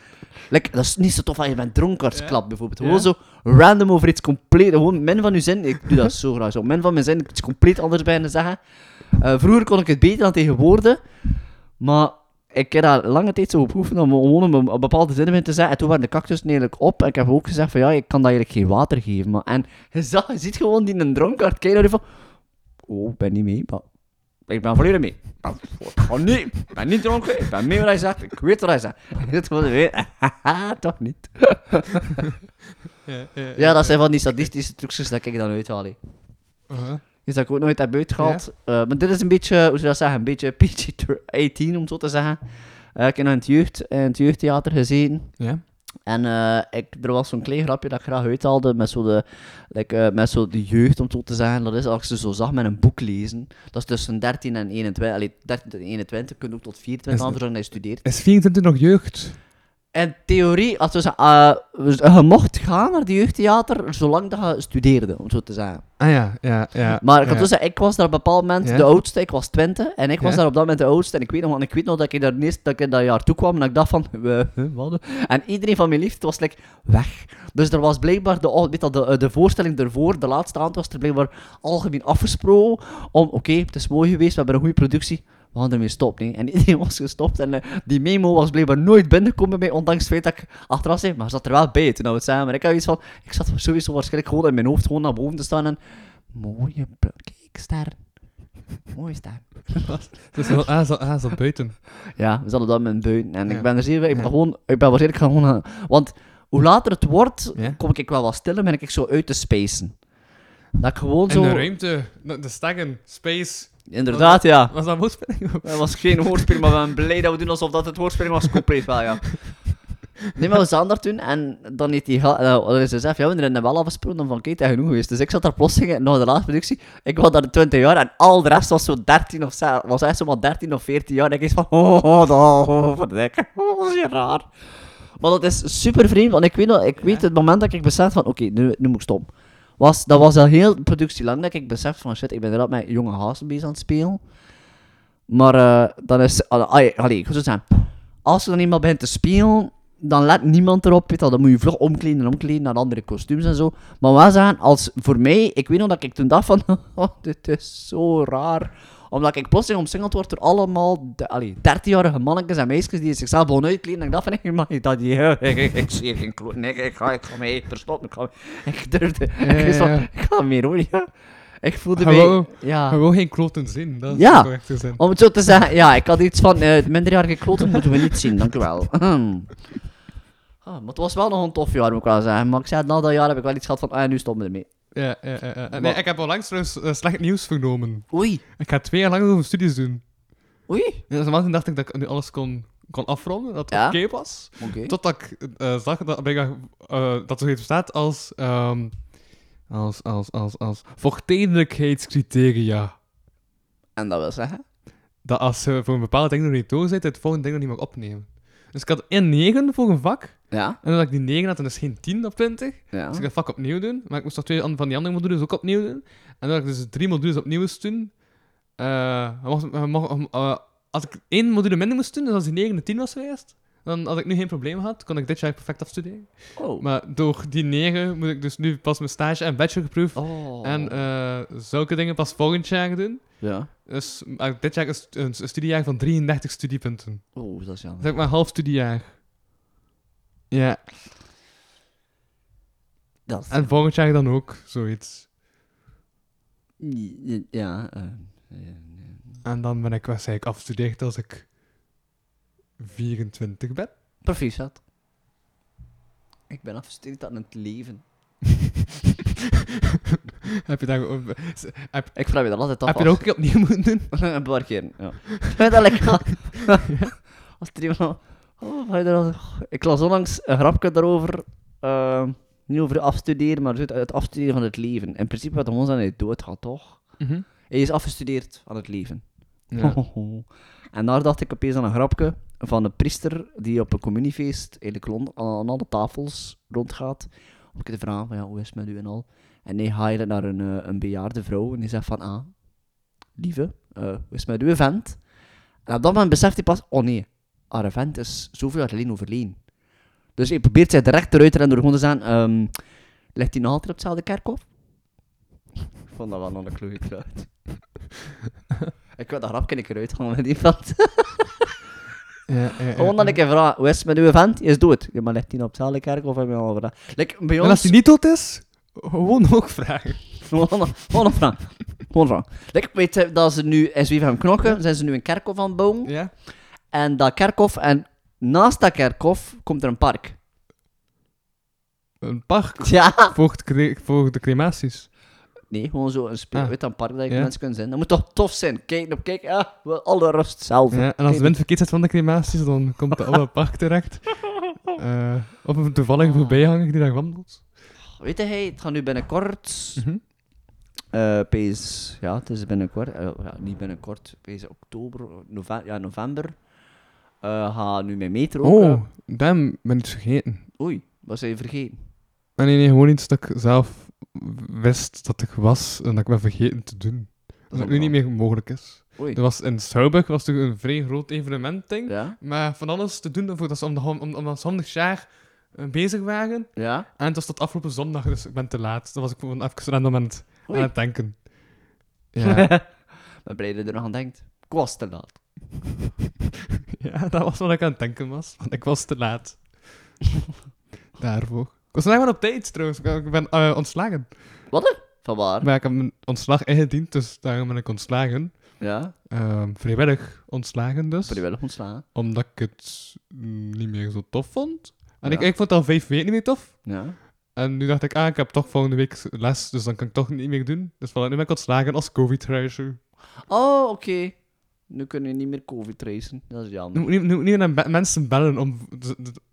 Speaker 4: Like, dat is niet zo tof als je bent dronkartsklap bijvoorbeeld. Gewoon
Speaker 3: Ja.
Speaker 4: zo random over iets compleet. Gewoon min van je zin. Ik doe dat zo graag zo. Min van mijn zin. Iets compleet anders bijna zeggen. Eh, vroeger kon ik het beter dan tegenwoordig. Maar ik heb daar lange tijd zo op geoefend om gewoon een, een bepaalde zin in te zeggen. En toen waren de cactussen eigenlijk op. En ik heb ook gezegd van ja, ik kan dat eigenlijk geen water geven. Maar, en je, zag, je ziet gewoon die in een dronkart kijken en die van... Oh, ik ben niet mee, maar... Ik ben volledig mee. Ik ben- Ik ga niet. Ik ben niet dronken. Ik ben mee wat hij zegt. Ik weet wat hij zegt. En dit was weer... Haha, toch niet.
Speaker 3: Ja, ja,
Speaker 4: Ja, dat zijn van die sadistische trucjes dat ik dan uithaal. hè.
Speaker 3: Aha.
Speaker 4: Dus dat ik ook nooit heb uitgehaald. Eh, maar dit is een beetje, hoe zou je dat zeggen, een beetje PG-18 om het zo te zeggen. Eh, ik heb nog in het, jeugd, in het jeugdtheater gezien.
Speaker 3: Ja?
Speaker 4: En eh, ik, er was zo'n klein grapje dat ik graag uithaalde met zo de, like, eh, met zo de jeugd, om het zo te zeggen. Dat is als ik ze zo zag met een boek lezen. Dat is tussen 13 en 21. Allee, 13 tot 21, kun je ook tot 24
Speaker 3: Is-
Speaker 4: anders dan je studeert.
Speaker 3: Is 24 nog jeugd?
Speaker 4: In theorie, als we, ze- eh, we- je mocht gaan naar de jeugdtheater zolang dat je studeerde, om het zo te zeggen.
Speaker 3: Ah ja, ja, ja.
Speaker 4: Maar ik,
Speaker 3: ja.
Speaker 4: had dus, ik was daar op een bepaald moment
Speaker 3: Ja.
Speaker 4: de oudste, ik was 20 en ik was
Speaker 3: Ja.
Speaker 4: daar op dat moment de oudste. En ik weet nog, want ik weet nog dat ik daar eerst dat ik dat jaar toe kwam en dat ik dacht van, we, we hadden. En iedereen van mijn liefde was like, weg. Dus er was blijkbaar de, al- weet dat, de, eh, de voorstelling ervoor, de laatste avond was er blijkbaar algemeen afgesproken om, oké, het is mooi geweest, we hebben een goede productie. We gaan ermee stoppen. Nee. En iedereen was gestopt. En eh, die memo was blijkbaar nooit binnengekomen bij mij. Ondanks het feit dat ik achteraf zei. Maar ze zat er wel bij toen we het samen. En ik had iets van. Ik zat sowieso waarschijnlijk gewoon in mijn hoofd gewoon naar boven te staan. En Mooie bl- Kijk, ster. Mooie ster.
Speaker 3: Dus hij zat- hij zat- hij zat buiten.
Speaker 4: Ja, we zaten dan met een buiten. En
Speaker 3: Ja.
Speaker 4: ik ben er zeer... Ik ben,
Speaker 3: Ja.
Speaker 4: gewoon, ik ben waarschijnlijk gewoon... gaan- Want hoe later het wordt,
Speaker 3: Ja.
Speaker 4: kom ik wel wat stiller, ben ik zo uit te spacen. Dat ik gewoon
Speaker 3: In
Speaker 4: zo...
Speaker 3: de ruimte, de de sterren, space.
Speaker 4: Inderdaad, ja.
Speaker 3: Was dat woordspeling?
Speaker 4: Dat was geen woordspel, maar we zijn blij dat we doen alsof dat het woordspel was. Compleet wel, ja. Nee, maar we zaten daar toen en dan heeft die ga- eh, dan is ze zelf, ja, we hebben er wel afgesproken dan van, kijk, dat is genoeg geweest. Dus ik zat daar plotseling, na de laatste productie, ik was daar 20 jaar en al de rest was zo 13 of zo- was echt zomaar 13 of 14 jaar. En ik is van, oh, oh, oh, oh, verdikke, oh, dat is hier raar. Maar dat is super vreemd, want ik weet, nog, ik weet het moment dat ik besef van, oké, nu, nu moet ik stoppen. Was, dat was al heel productie lang dat ik besef van, shit, ik ben inderdaad met jonge hazen bezig aan het spelen. Maar eh, dan is... al- ai- Allee, ik ga zo zeggen. Als je dan eenmaal begint te spelen, dan let niemand erop. Weet je wel. dan moet je vlug omkleden en omkleden naar andere kostuums en zo. Maar wel zeggen, als voor mij... Ik weet nog dat ik toen dacht van... "Oh, dit is zo raar. Omdat ik plotseling omsingeld word door allemaal... de- Allee, 13-jarige mannetjes en meisjes die zichzelf gewoon uitkleden. En ik dacht van... Ik mag niet dat die... Ik, ik, ik zie geen kloot. Nee, ik ga, ik ga mee. Verstop me. Ik, ga mee." ik durfde... ik, wist
Speaker 3: ja,
Speaker 4: van,
Speaker 3: ja.
Speaker 4: ik ga meer hoor, ja. Ik voelde
Speaker 3: Hallo?
Speaker 4: mij... Ja.
Speaker 3: Gewoon geen kloten zin. Dat is
Speaker 4: Ja.
Speaker 3: de correcte zin.
Speaker 4: Om het zo te zeggen, ja, ik had iets van eh minderjarige kloten moeten we niet zien, dank u wel. Ahem. ah, maar het was wel nog een tof jaar, moet ik wel zeggen. Maar ik zei, na dat jaar heb ik wel iets gehad van, ah, nu stoppen we ermee.
Speaker 3: Ja, ja, ja, ja. Nee,
Speaker 4: Wat-
Speaker 3: ik heb onlangs trouwens eh, slecht nieuws vernomen.
Speaker 4: Oei,
Speaker 3: Ik ga twee jaar lang over studies doen.
Speaker 4: oei.
Speaker 3: Ja, dus normaal gezien dacht ik dat ik nu alles kon, kon afronden, dat het
Speaker 4: Ja.
Speaker 3: oké was.
Speaker 4: Oké.
Speaker 3: Totdat ik eh, zag dat, blijkbaar, eh, dat er iets bestaat als, ehm als, als, als, als vochtedelijkheidscriteria.
Speaker 4: En dat wil zeggen?
Speaker 3: Dat als je voor een bepaald ding nog niet door zit, het volgende ding nog niet mag opnemen. Dus ik had een 9 voor een vak.
Speaker 4: Ja,
Speaker 3: En omdat ik die 9 had, en dus geen 10 op 20.
Speaker 4: ja.
Speaker 3: Dus ik dat vak opnieuw doen. Maar ik moest nog twee an- van die andere modules ook opnieuw doen. En dat ik dus drie modules opnieuw moest doen. eh, mocht- eh, mocht- eh, eh, als ik één module minder moest doen, dus als die 9 en 10 was geweest, dan had ik nu geen probleem gehad. Kon ik dit jaar perfect afstuderen.
Speaker 4: Oh.
Speaker 3: Maar door die 9 moet ik dus nu pas mijn stage en bachelor geproefd.
Speaker 4: oh.
Speaker 3: En eh, zulke dingen pas volgend jaar doen.
Speaker 4: ja.
Speaker 3: Dus eh, dit jaar is een, een studiejaar van 33 studiepunten.
Speaker 4: Oh, dat is jammer.
Speaker 3: Zeg maar een half studiejaar. Ja,
Speaker 4: Dat.
Speaker 3: en volgend jaar dan ook zoiets.
Speaker 4: Ja. eh, eh,
Speaker 3: En dan ben ik waarschijnlijk afgestudeerd als ik 24 ben.
Speaker 4: Precies dat. Ik ben afgestudeerd aan het leven.
Speaker 3: heb je daar ook- heb,
Speaker 4: Ik vraag me dat altijd af.
Speaker 3: heb je dat ook een keer opnieuw moeten doen?
Speaker 4: als- Een paar keer, ja. Vind je dat lekker? Als er iemand... Oh, vind je dat- oh, Ik las onlangs een grapje daarover. ehm, niet over afstuderen, maar het het afstuderen van het leven. In principe wat ons aan het dood gaat, toch? Hij is afgestudeerd aan het leven.
Speaker 3: Ja.
Speaker 4: En daar dacht ik opeens aan een grapje van een priester die op een communiefeest eigenlijk rond, aan alle tafels rondgaat. Om te vragen van ja, hoe is het met u en al. En hij gaat naar een, eh, een bejaarde vrouw en die zegt van ah, lieve, eh, hoe is het met uw vent? En op dat moment beseft hij pas, oh nee, haar vent is zoveel jaar geleden overleden. Dus hij probeert zich direct eruit te rennen door gewoon te zeggen, ehm ligt hij nog altijd op hetzelfde kerkhof? Ik vond dat wel nog een kloeie truit. ik wil dat grapje een keer uitgaan met die vent.
Speaker 3: Ja, ja, ja.
Speaker 4: Gewoon dat ik een vraag, hoe is het met uw vent? Hij is dood. Ja, maar ligt hij op hetzelfde kerk of hebben we al gedaan? Like, bij
Speaker 3: En als
Speaker 4: ons...
Speaker 3: die niet dood is, gewoon ook vragen.
Speaker 4: Gewoon een- gewoon een vraag. Gewoon een vraag. Like, weet je, dat ze nu in Zwievenham knokken, zijn ze nu een kerkhof aan het bouwen.
Speaker 3: Ja?
Speaker 4: En dat kerkhof, en naast dat kerkhof komt er een park.
Speaker 3: Een park
Speaker 4: Ja.
Speaker 3: voor, het cre- voor de crematies.
Speaker 4: Nee, gewoon zo een speel,
Speaker 3: Ah.
Speaker 4: weet je, een park dat je
Speaker 3: Ja.
Speaker 4: mensen kunnen zijn. Dat moet toch tof zijn? Kijk op kijk, ah, wel alle rust zelf.
Speaker 3: Ja, en als de
Speaker 4: Kijk,
Speaker 3: wind verkeerd zit van de crematies, dan komt de alle park terecht. Eh, of een toevallige
Speaker 4: Ah.
Speaker 3: voorbijganger die daar wandelt.
Speaker 4: Weet je, hey, het gaat nu binnenkort...
Speaker 3: Mhm.
Speaker 4: eh pees, ja, het is binnenkort, eh, ja, niet binnenkort, pees oktober, november, ja, november. Eh, ga nu mijn meter ook.
Speaker 3: Oh, damn, ben iets vergeten.
Speaker 4: eh, oei, wat zijn je vergeten?
Speaker 3: Ah, nee, nee, gewoon iets dat ik zelf wist dat ik was en dat ik ben vergeten te doen. Dat het
Speaker 4: ook
Speaker 3: nu niet
Speaker 4: wel.
Speaker 3: meer mogelijk is.
Speaker 4: Oei.
Speaker 3: Er was in Schouwburg was er een vrij groot evenement, ding.
Speaker 4: Ja?
Speaker 3: Maar van alles te doen, omdat ze om, de hon- om, om, om 100 jaar eh, bezig waren.
Speaker 4: Ja?
Speaker 3: En het was tot afgelopen zondag, dus ik ben te laat. Dat was ik gewoon even random aan het, aan
Speaker 4: Oei.
Speaker 3: het denken. Ja.
Speaker 4: ben blij dat je er nog aan denkt. Ik was te laat.
Speaker 3: ja, dat was wat ik aan het denken was, want ik was te laat. Daarvoor. Ik was nog maar op tijd, trouwens. Ik- Ik ben eh, ontslagen.
Speaker 4: Van waar?
Speaker 3: Maar ik heb mijn ontslag ingediend, dus daarom ben ik ontslagen.
Speaker 4: Ja?
Speaker 3: Ehm, vrijwillig ontslagen dus.
Speaker 4: Vrijwillig ontslaan.
Speaker 3: Omdat ik het mm, niet meer zo tof vond. En ik,
Speaker 4: Ja.
Speaker 3: ik vond het al vijf weken niet meer tof.
Speaker 4: Ja?
Speaker 3: En nu dacht ik, ah, ik heb toch volgende week les, dus dan kan ik toch niet meer doen. Dus voilà, nu ben ik ontslagen als covid-trasher.
Speaker 4: Oh, oké. Nu kunnen we niet meer COVID tracen. Dat is
Speaker 3: Nu
Speaker 4: jammer.
Speaker 3: moet nu- nu moet niet naar be- mensen bellen om,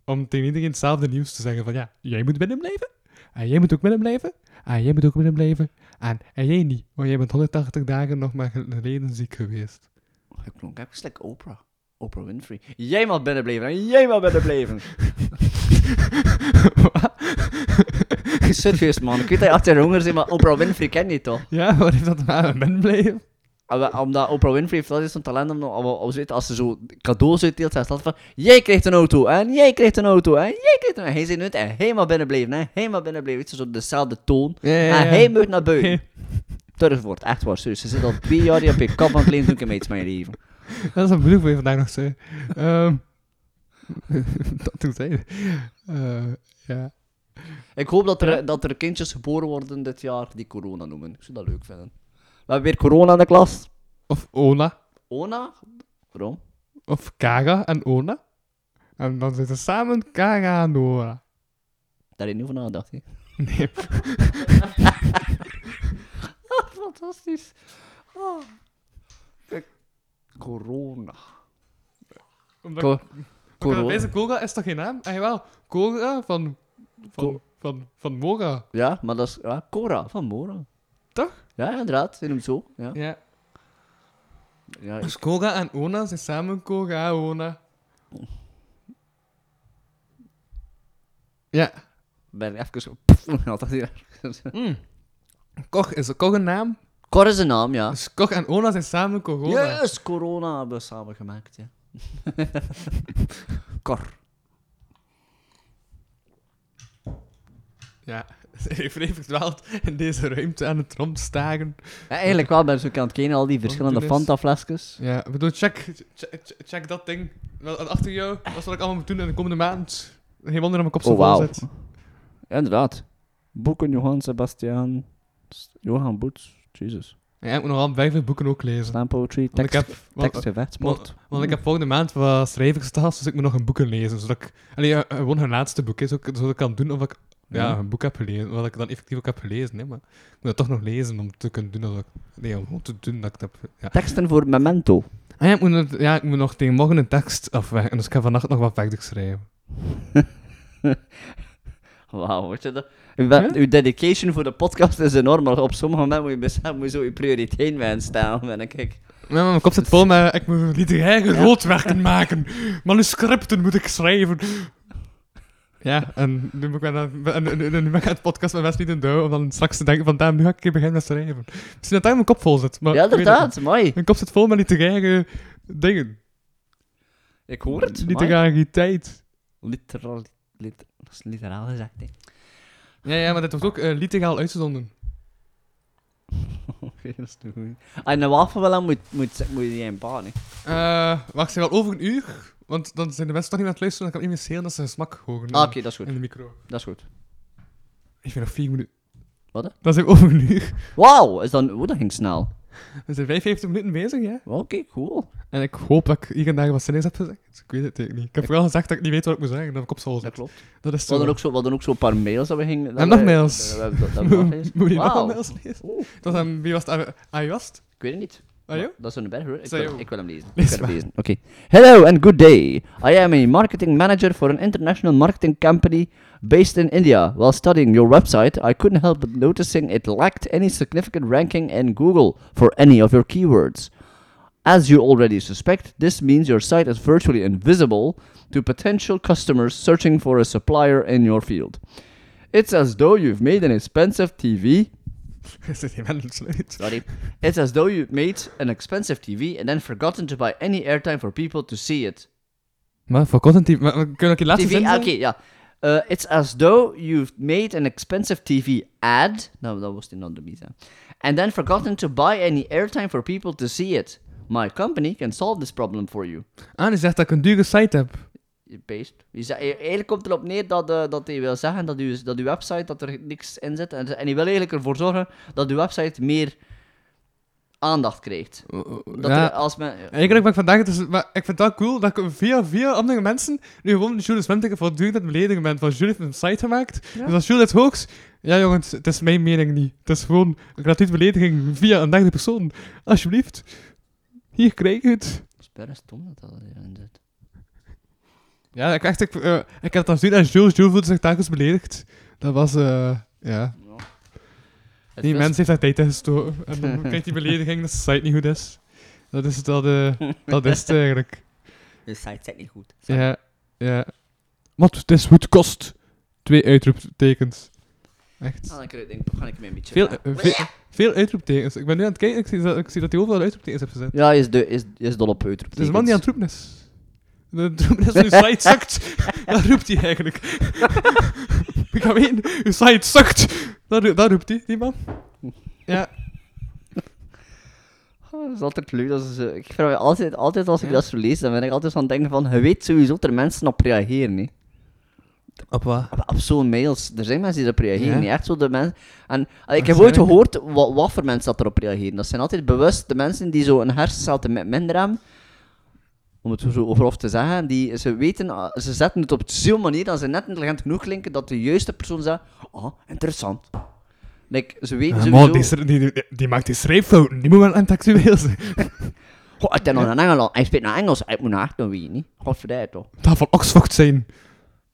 Speaker 3: om tegen iedereen hetzelfde nieuws te zeggen van ja, jij moet binnen blijven. En jij moet ook binnen blijven. En jij moet ook binnen blijven. En, en jij niet, want jij bent 180 dagen nog maar geleden ziek geweest.
Speaker 4: Je klonk even like Oprah. Oprah Winfrey. Jij mag binnenbleven en jij mag binnenbleven. Serieus, man. Ik weet dat je achter honger zit, maar Oprah Winfrey ken je toch?
Speaker 3: ja, wat heeft dat te maken met binnen blijven?
Speaker 4: Ah, wel, Omdat Oprah Winfrey heeft altijd zo'n talent om, om, om- om- als ze zo cadeaus uitdeelt, zegt ze altijd van, jij krijgt een auto, en jij krijgt een auto, en jij krijgt een... En hij zit nooit, en helemaal binnenbleven, hè. Helemaal binnenbleven. Het is zo dezelfde toon.
Speaker 3: Ja, ja,
Speaker 4: En
Speaker 3: ja.
Speaker 4: hij moet naar buiten.
Speaker 3: Ja.
Speaker 4: Turfwoord, echt waar, serieus. Ze zit al twee jaar hier op je kap aan het leven, doe ik hem iets met je leven.
Speaker 3: Dat is een bedoel je vandaag nog zei. Ehm, dat doet hij. Eh, ja.
Speaker 4: Ik hoop dat er, dat er kindjes geboren worden dit jaar die corona noemen. Ik zou dat leuk vinden. We hebben weer corona in de klas.
Speaker 3: Of Ona.
Speaker 4: Ona? Waarom?
Speaker 3: Of Kaga en Ona. En dan zitten samen Kaga en Ona.
Speaker 4: Daar heb je niet over nagedacht, hè?
Speaker 3: Nee.
Speaker 4: Fantastisch. Ah. Kijk, Corona.
Speaker 3: Omdat
Speaker 4: Co-
Speaker 3: Corona.
Speaker 4: corona.
Speaker 3: Deze Koga is toch geen naam? Ah, jawel. Koga van... Van,
Speaker 4: Co-
Speaker 3: van, van Moga.
Speaker 4: Ja, maar dat is ja, Cora van Mora.
Speaker 3: Toch?
Speaker 4: Ja, ja, inderdaad. Je noemt zo. Ja.
Speaker 3: Ja.
Speaker 4: Ja, ik-
Speaker 3: Dus Koga en Ona zijn samen Koga en Ona. Ja.
Speaker 4: Ben ik even zo... Pff, altijd hier.
Speaker 3: Koch is Koch een naam.
Speaker 4: Cor is een naam, ja.
Speaker 3: Dus Koch en Ona zijn samen Corona.
Speaker 4: Yes, corona hebben we samen gemaakt, ja. Cor.
Speaker 3: Ja. Ik vreef verdwaald in deze ruimte aan het rondstagen.
Speaker 4: Ja, eigenlijk wel, ben ik zo aan het kijken, al die verschillende
Speaker 3: toen is-
Speaker 4: Fanta-flesjes.
Speaker 3: Ja, ik bedoel, check, check, check- check dat ding. Wel, Achter jou, dat is wat ik allemaal moet doen in de komende maand. Geen wonder dat mijn kop zo
Speaker 4: Oh,
Speaker 3: vol
Speaker 4: wauw.
Speaker 3: zit.
Speaker 4: Inderdaad. Boeken Johan Sebastian, S- Johan Boets, Jesus.
Speaker 3: Ja, ik moet nog wel vijf vijf boeken ook lezen.
Speaker 4: Slam poetry,
Speaker 3: Want ik
Speaker 4: Nou, tekst,
Speaker 3: heb, want,
Speaker 4: tekst, gevecht, sport.
Speaker 3: want, want ik heb volgende maand wat schrijverstas, dus ik moet nog een boeken lezen. Zodat ik, allee, ja, eh, gewoon hun laatste boek is, zodat ik kan doen of ik ja,
Speaker 4: Ja.
Speaker 3: een boek heb gelezen. Wat ik dan effectief ook heb gelezen, hè, maar ik moet dat toch nog lezen om te kunnen doen. Als ik, nee, om gewoon te doen dat ik het heb. Ja.
Speaker 4: Teksten voor Memento.
Speaker 3: Ah ja, ik moet, nog- ja, ik moet nog tegen morgen een tekst afwerken, dus ik ga vannacht nog wat verder schrijven.
Speaker 4: Wauw, weet je dat? Uw, wa- uw dedication voor de podcast is enorm, maar op sommige momenten moet je bestaan, moet je zo je prioriteiten bij stellen. En dan kijk,
Speaker 3: Ja, maar mijn kop zit vol met... Ik moet literaire roodwerken maken. Manuscripten moet ik schrijven. Ja, en nu moet ik mij dan- en- en- en- en nu ben ik aan het podcast met Wes niet in douw, om dan straks te denken van, damn, nu ga ik een keer beginnen met schrijven. Misschien dat daar mijn kop vol zit. Maar
Speaker 4: ja,
Speaker 3: ik weet het niet.
Speaker 4: inderdaad, mooi.
Speaker 3: Mijn kop zit vol met literaire dingen.
Speaker 4: Ik hoor het. mooi.
Speaker 3: Literariteit.
Speaker 4: Literaal, liter, dat is literaal gezegd, hè.
Speaker 3: Ja, ja, maar dit wordt ook eh, literaal uitgezonden.
Speaker 4: Oké, dat is te goed. Ah, En een wafel wel aan moet, moet, moet je die in baan, hè. Ah,
Speaker 3: Eh, wacht, zijn we al over een uur? Want dan zijn de mensen toch niet aan het luisteren, dan kan ik niet meer schelen dat ze hun smak horen
Speaker 4: Ah, oké, dat is
Speaker 3: in
Speaker 4: goed.
Speaker 3: de micro.
Speaker 4: Dat is goed.
Speaker 3: Ik vind nog vier minuten.
Speaker 4: Wat, hè?
Speaker 3: Dat zijn we over een uur.
Speaker 4: Wauw, is dan... Oeh, dat ging snel.
Speaker 3: We zijn 55 minuten bezig, ja.
Speaker 4: Oké, cool.
Speaker 3: En ik hoop dat ik hier en daar wat zinnigs heb gezegd. Dus ik weet het eigenlijk niet. Ik heb vooral gezegd dat ik niet weet wat ik moet zeggen. Dat mijn kop zo
Speaker 4: Dat
Speaker 3: zit.
Speaker 4: klopt.
Speaker 3: Dat is
Speaker 4: We hadden
Speaker 3: zo.
Speaker 4: ook zo, we hadden ook zo een paar mails dat we gingen... dat
Speaker 3: En nog
Speaker 4: we-
Speaker 3: mails.
Speaker 4: dat we- dat we- dat we nog eens-
Speaker 3: Moet je nog
Speaker 4: Wauw.
Speaker 3: wel mails lezen?
Speaker 4: Oeh,
Speaker 3: Dat was aan wie was het? Aan Jast?
Speaker 4: Ik weet het niet.
Speaker 3: Aan jou?
Speaker 4: Dat is een berg, hoor. Ik
Speaker 3: Zij
Speaker 4: wil,
Speaker 3: ook.
Speaker 4: ik wil hem lezen.
Speaker 3: Lees
Speaker 4: ik wil
Speaker 3: maar.
Speaker 4: hem lezen. Oké. Hello and good day. I am a marketing manager for an international marketing company based in India. While studying your website, I couldn't help but noticing it lacked any significant ranking in Google for any of your keywords. As you already suspect, this means your site is virtually invisible to potential customers searching for a supplier in your field. It's as though you've made an expensive TV
Speaker 3: Is dit geen mens uit?
Speaker 4: Sorry. It's as though you made an expensive TV and then forgotten to buy any airtime for people to see it.
Speaker 3: Maar voor content die... maar- maar Kunnen we ook je laatste
Speaker 4: TV,
Speaker 3: zin
Speaker 4: ah, oké,
Speaker 3: zeggen?
Speaker 4: ja. Uh, it's as though you've made an expensive TV ad. No, that was not the visa. And then forgotten to buy any airtime for people to see it. My company can solve this problem for you.
Speaker 3: Ah, die zegt dat ik een dure site heb.
Speaker 4: Based. Je zei- Eigenlijk komt erop neer dat, eh, dat hij wil zeggen dat uw, dat uw website dat er niks in zit. En, en hij wil eigenlijk ervoor zorgen dat uw website meer aandacht krijgt. Dat
Speaker 3: ja.
Speaker 4: er, als men,
Speaker 3: Eigenlijk ben ik vandaag... Dus, maar ik vind het wel cool dat ik via, via andere mensen nu gewoon Jules Wemteke voortdurend aan het beledigen ben. Van Jules heeft een site gemaakt. Dus als Jules het hoogst... Ja jongens, het is mijn mening niet. Het is gewoon een gratuite belediging via een derde persoon. Alsjeblieft. Hier, krijg je het.
Speaker 4: Het is bijna stom dat dat erin zit.
Speaker 3: Ja, ik, echt, ik, eh, ik heb dat gezien en Jules, Jules voelde zich telkens beledigd. Dat was... eh, ja.
Speaker 4: Het
Speaker 3: Die
Speaker 4: is-
Speaker 3: mens heeft daar tijd in gestoken. En dan krijgt die belediging dat zijn site niet goed is. Dat is, dat, eh, dat is het eigenlijk.
Speaker 4: De site zit niet goed.
Speaker 3: Ja, ja. Wat het is goed kost. Twee uitroeptekens. Echt.
Speaker 4: Ah, dan kan ik denk, dan ga ik me een beetje...
Speaker 3: Veel, eh, ve- veel uitroeptekens. Ik ben nu aan het kijken, ik zie dat, ik zie dat hij overal uitroeptekens heeft gezet.
Speaker 4: Ja, hij is, de, is, is dol op
Speaker 3: Het is een man die aan
Speaker 4: uitroeptekens.
Speaker 3: het roepen is. De roepen is, uw site zakt. Dat roept hij eigenlijk. Ik ga weten, uw site zakt. Dat, roe- dat roept hij, die man. Ja.
Speaker 4: Ah, Dat is altijd leuk. Dat is, eh, ik vraag me altijd, altijd als ik
Speaker 3: Ja.
Speaker 4: dat zo lees, dan ben ik altijd aan het denken van, je weet sowieso dat er mensen op reageren, hè.
Speaker 3: Op wat?
Speaker 4: Op, op zo'n mails. Er zijn mensen die erop reageren,
Speaker 3: Ja.
Speaker 4: niet echt zo de mensen... En ah, ik
Speaker 3: Dat
Speaker 4: heb ooit
Speaker 3: zijn-
Speaker 4: gehoord wat, wat voor mensen dat erop reageren. Dat zijn altijd bewust de mensen die zo een hersencel te mi- minder hebben. Om het zo grof te zeggen, die, ze weten, ah, ze zetten het op zo'n manier dat ze net intelligent genoeg klinken dat de juiste persoon zegt, ah, interessant. Like, ze weten sowieso...
Speaker 3: man, die, schri- die, die, die maakt die schrijffouten. Die moet wel intellectueel zijn.
Speaker 4: Goh, ik ben nog in Engeland. Hij spreekt naar Engels. Ik moet naar Achtung weten, niet? Godverdijd, toch.
Speaker 3: Dat van Oxford zijn.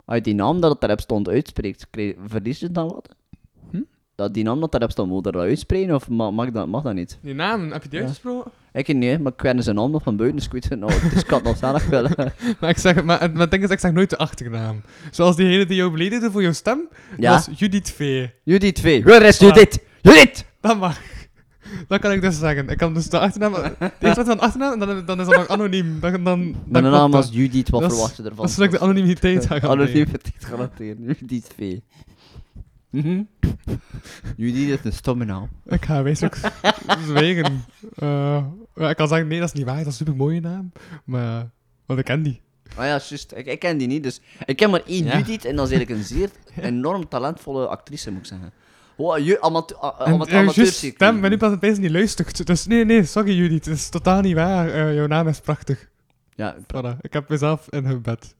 Speaker 4: Als je die naam dat het daarop stond uitspreekt, krijg- verlies je dan wat?
Speaker 3: Hm?
Speaker 4: Dat die naam dat daarop stond, moet je dat uitspreken? Of ma- mag dat, mag dat niet?
Speaker 3: Die namen, heb je die uitgesproken?
Speaker 4: Ik Ik niet, maar ik kende zijn naam nog van buiten, dus ik weet het nou, dus ik kan het nog zelf willen.
Speaker 3: Maar ik zeg, maar, maar het ding is, ik zeg nooit de achternaam. Zoals diegene die jou beledigde voor jouw stem,
Speaker 4: Ja.
Speaker 3: dat was Judith Vee.
Speaker 4: Judith 2, waar is Judith? Judith!
Speaker 3: Dat mag. Dat kan ik dus zeggen. Ik kan dus de achternaam... De eerste letter van de achternaam, en dan, dan is dat nog anoniem. Dan, dan, dan
Speaker 4: Mijn
Speaker 3: klopt
Speaker 4: naam
Speaker 3: dat.
Speaker 4: was Judith, wat
Speaker 3: Dat is-
Speaker 4: verwacht je ervan?
Speaker 3: Dat is zodat ik de anonimiteit ga gaan
Speaker 4: Anoniem
Speaker 3: nemen.
Speaker 4: vertikt garanteren, Judith Mhm. 2. Judith is een stomme naam.
Speaker 3: Ik ga wezenlijk zwegen. Eh, ja, ik kan zeggen, nee, dat is niet waar. Dat is een supermooie naam. Maar... Want ik ken die.
Speaker 4: Maar ja, juist, ik, ik ken die niet, dus ik ken maar één
Speaker 3: Ja.
Speaker 4: Judith en dat is eigenlijk een zeer enorm talentvolle actrice, moet ik zeggen. Wow, ju, amateur,
Speaker 3: En
Speaker 4: amateur,
Speaker 3: eh, juist,
Speaker 4: amateurcircuit.
Speaker 3: stem, ben nu pas opeens niet luistert. Dus nee, nee, sorry Judith. Het is totaal niet waar. Eh, jouw naam is prachtig.
Speaker 4: Ja, oké.
Speaker 3: Voilà. Ik heb mezelf in hun bed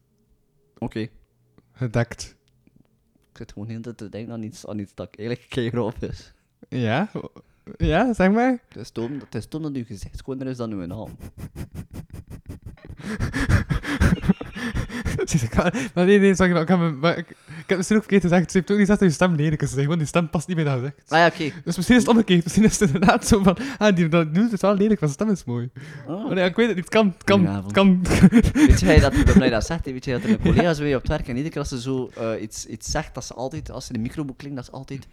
Speaker 3: gedekt.
Speaker 4: Ik zit gewoon heel de tijd te denken aan iets, aan iets dat ik eigenlijk keer op is.
Speaker 3: Ja? Ja, zeg maar.
Speaker 4: Het is dom, het is dom dat uw gezicht schoner is dan uw naam.
Speaker 3: Zit ik al- maar nee, nee, sorry. maar Ik heb, me- maar ik, ik heb misschien ook verkeerd gezegd. Ze heeft ook niet gezegd dat je stem lelijk is. zeg, Want die stem past niet bij dat gezicht.
Speaker 4: Ah ja, oké.
Speaker 3: Dus misschien is het omgekeerd. Misschien is het inderdaad zo van... Ah, die dat doet het wel lelijk, maar zijn stem is mooi.
Speaker 4: Ah.
Speaker 3: Maar Oh, nee, ik weet het niet. Het kan, het kan, het kan.
Speaker 4: Weet jij dat, dat mij dat zegt? hè? Weet jij dat er een collega's bij je op het werk en iedere keer als ze zo eh, iets, iets zegt, dat ze altijd, als ze in de microboek klinkt, dat ze altijd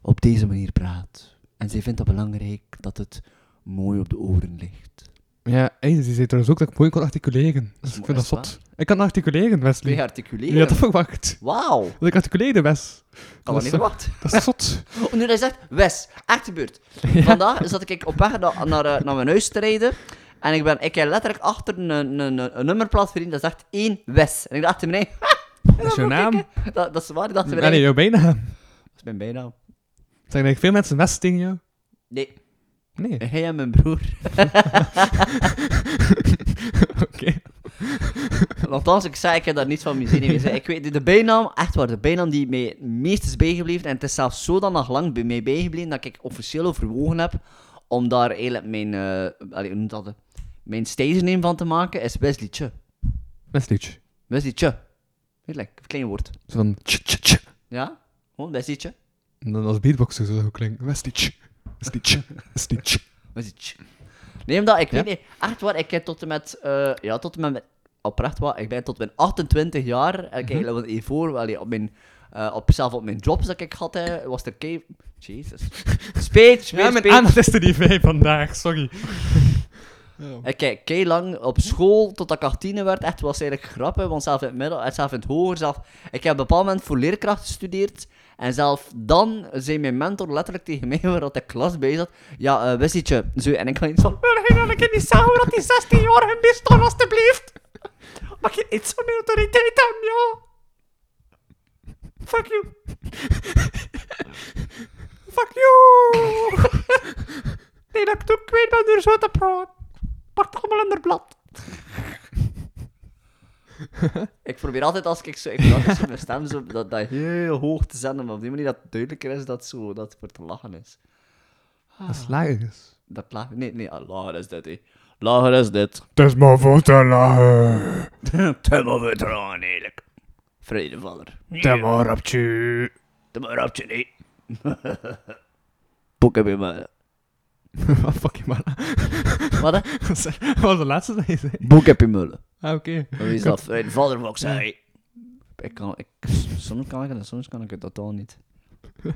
Speaker 4: op deze manier praat. En zij vindt het belangrijk dat het mooi op de oren ligt.
Speaker 3: Ja, hey, ze zei trouwens ook dat ik mooi kon articuleren. Dus ik
Speaker 4: mooi,
Speaker 3: vind dat
Speaker 4: is het
Speaker 3: zot. Ik kan articuleren, Wesley.
Speaker 4: Twee
Speaker 3: Ja,
Speaker 4: articuleren.
Speaker 3: je had dat verwacht.
Speaker 4: Wauw, ik
Speaker 3: Dat ik articuleerde, Wes.
Speaker 4: had
Speaker 3: dat
Speaker 4: dat
Speaker 3: is toch-
Speaker 4: niet verwacht.
Speaker 3: Dat is zot.
Speaker 4: Oh, nu dat je zegt, Wes, echt gebeurd. Vandaag zat ik op weg na- naar, eh, naar mijn huis te rijden. En ik ben ik heb letterlijk achter een, een, een, een nummerplaat verdiend dat zegt één Wes. En ik dacht tegen mij,
Speaker 3: Dat is jouw
Speaker 4: moet
Speaker 3: naam.
Speaker 4: ik, hè. dat, dat is waar, ik dacht tegen
Speaker 3: Ah,
Speaker 4: mij,
Speaker 3: nee, jouw bijnaam.
Speaker 4: dat is mijn bijnaam.
Speaker 3: Zeggen eigenlijk veel mensen Wes tegen jou?
Speaker 4: Nee,
Speaker 3: Nee.
Speaker 4: hij en mijn broer.
Speaker 3: Oké.
Speaker 4: Althans, ik zei, ik heb daar niets van mijn zin in gezegd. Ik weet de- de bijnaam, echt waar, de bijnaam die mij het meest is bijgebleven. En het is zelfs zodanig lang bij mij bijgebleven dat ik officieel overwogen heb om daar eigenlijk mijn, eh allee, hoe noemt dat, eh, mijn stage van te maken, is Wesley Tje.
Speaker 3: Wesleytje.
Speaker 4: Wesley Tje. Heerlijk, een klein woord.
Speaker 3: Zo van tje tje tje.
Speaker 4: Ja? Gewoon Wesley Tje.
Speaker 3: En dan als beatboxer zo dat klinkt. Wesleytje. Wesleytje. Wesleytje.
Speaker 4: Wesley Tje. Neem dat, ik
Speaker 3: Ja?
Speaker 4: weet niet, echt waar, ik heb tot en met, eh, ja, tot en met, mijn- oprecht waar, ik ben tot mijn 28 jaar, eh, en ik heb
Speaker 3: Mhm.
Speaker 4: eigenlijk wat hiervoor, allee, op mijn, eh, op, zelf op mijn jobs dat ik had, hè, was er kei... Jezus. Speet, speet,
Speaker 3: Ja, mijn
Speaker 4: speet.
Speaker 3: aandacht is er niet bij vandaag, sorry.
Speaker 4: Ik heb Eh, kei lang op school tot ik 18 werd. Echt was eigenlijk grappig, want zelf in het middel, en zelf in het hoger. Zelf, ik heb op een bepaald moment voor leerkracht gestudeerd. En zelf dan zei mijn mentor letterlijk tegen mij, waar dat de klas bij zat: Ja, eh Wessietje, zo. En ik had iets van:
Speaker 5: Wil je wel een keer niet zeggen hoe dat die 16 jaar hun best doen, alstublieft? Mag je iets van mijn autoriteit hebben, ja? Fuck you. Fuck you. nee, dat doe ik weet dat er zo te praten. Pak het allemaal in haar blad.
Speaker 4: Ik probeer altijd als ik zo, ik probeer altijd zo mijn stem zo, dat, dat heel hoog te zenden, maar op die manier dat het duidelijker is dat, zo, dat het voor te lachen is.
Speaker 3: Dat is dus. laagjes.
Speaker 4: Dat lachen, nee, nee, ah, lachen is dit, hé. Lachen is dit.
Speaker 3: Het is maar voor te lachen.
Speaker 4: Temmer vertrouwen, eerlijk. Vredevaller.
Speaker 3: Temmer op je.
Speaker 4: Temmer rapt je niet. Boek heb je maar.
Speaker 3: Fuck je maar.
Speaker 4: Wat hè?
Speaker 3: Wat was de laatste dat je zei?
Speaker 4: Boek heb je mullen.
Speaker 3: Ah, oké.
Speaker 4: Wie is dat? Vredevaller, wat ik zei. Ik kan, ik, soms kan ik het en soms kan ik het totaal niet.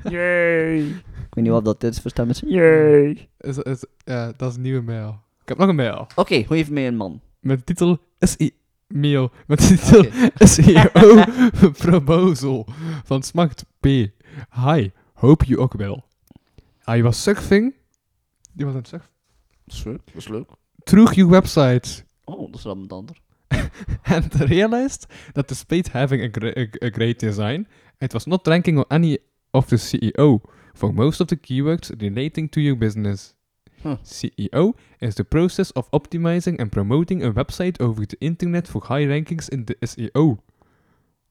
Speaker 5: Yay.
Speaker 4: Ik weet niet wat dat dit is voor stem is. Oké,
Speaker 5: Yay.
Speaker 3: Is, is, ja, dat is een nieuwe mail. Ik heb nog een mail.
Speaker 4: hoe heeft mij een man?
Speaker 3: Met de titel SI... Mail. Met de titel SEO proposal van Smakt P. Hi, hope you ook wel. Hij was surfing. Die was aan het surfen.
Speaker 4: Dat is leuk, dat is leuk.
Speaker 3: Troeg je website.
Speaker 4: Oh, dat is dan een ander.
Speaker 3: And realized that despite having a, gre- a- a great design, it was not ranking on any of the CEO for most of the keywords relating to your business.
Speaker 4: Huh.
Speaker 3: CEO is the process of optimizing and promoting a website over the internet for high rankings in the E SEO.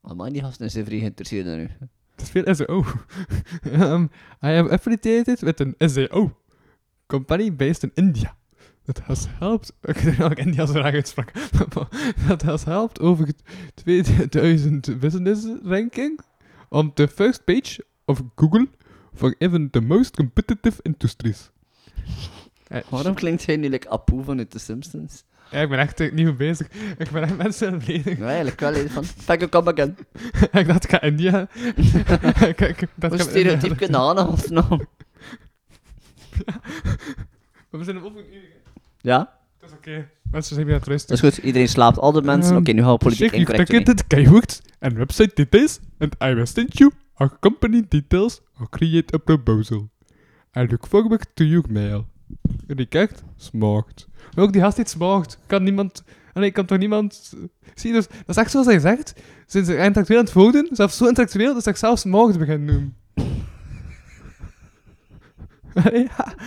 Speaker 4: Amai, Ah, die gasten zijn vrij geïnteresseerd in u.
Speaker 3: Het is veel SEO. um, I am affiliated with an SEO company based in India. That has helped... Ik weet niet of ik India zo raar uitsprak. That has helped over 2000 business ranking on the first page of Google for even the most competitive industries. Eh,
Speaker 4: Waarom klinkt hij nu like Apu vanuit The Simpsons?
Speaker 3: Ja, ik ben echt eh, niet goed bezig. Ik ben echt mensen aan het beledigen.
Speaker 4: Nou, eigenlijk wel een van. Fuck, kom back in.
Speaker 3: ik dacht, ik ga India. ik, ik, dat
Speaker 4: Hoe stereotyp kunnen aanhouden? nou?
Speaker 3: We zijn op een uur.
Speaker 4: Ja,
Speaker 3: Dat is oké. Mensen zijn weer aan het rusten.
Speaker 4: dat is goed. Iedereen slaapt. Al de mensen.
Speaker 3: Ehm,
Speaker 4: Oké, nu gaan we politiek
Speaker 3: Check your
Speaker 4: incorrect doen. hè.
Speaker 3: ticketed keywords and website details and I will send you our company details or create a proposal. I look forward to your mail. En ik echt smaakt. Maar ook die gast die het smaakt. Kan niemand... Allee, kan toch niemand... Zie je, dus, dat is echt zoals hij zegt. Sinds ze intellectueel aan het voeden, zelfs zo intellectueel, dat ze zichzelf smaakt beginnen noemen. ja.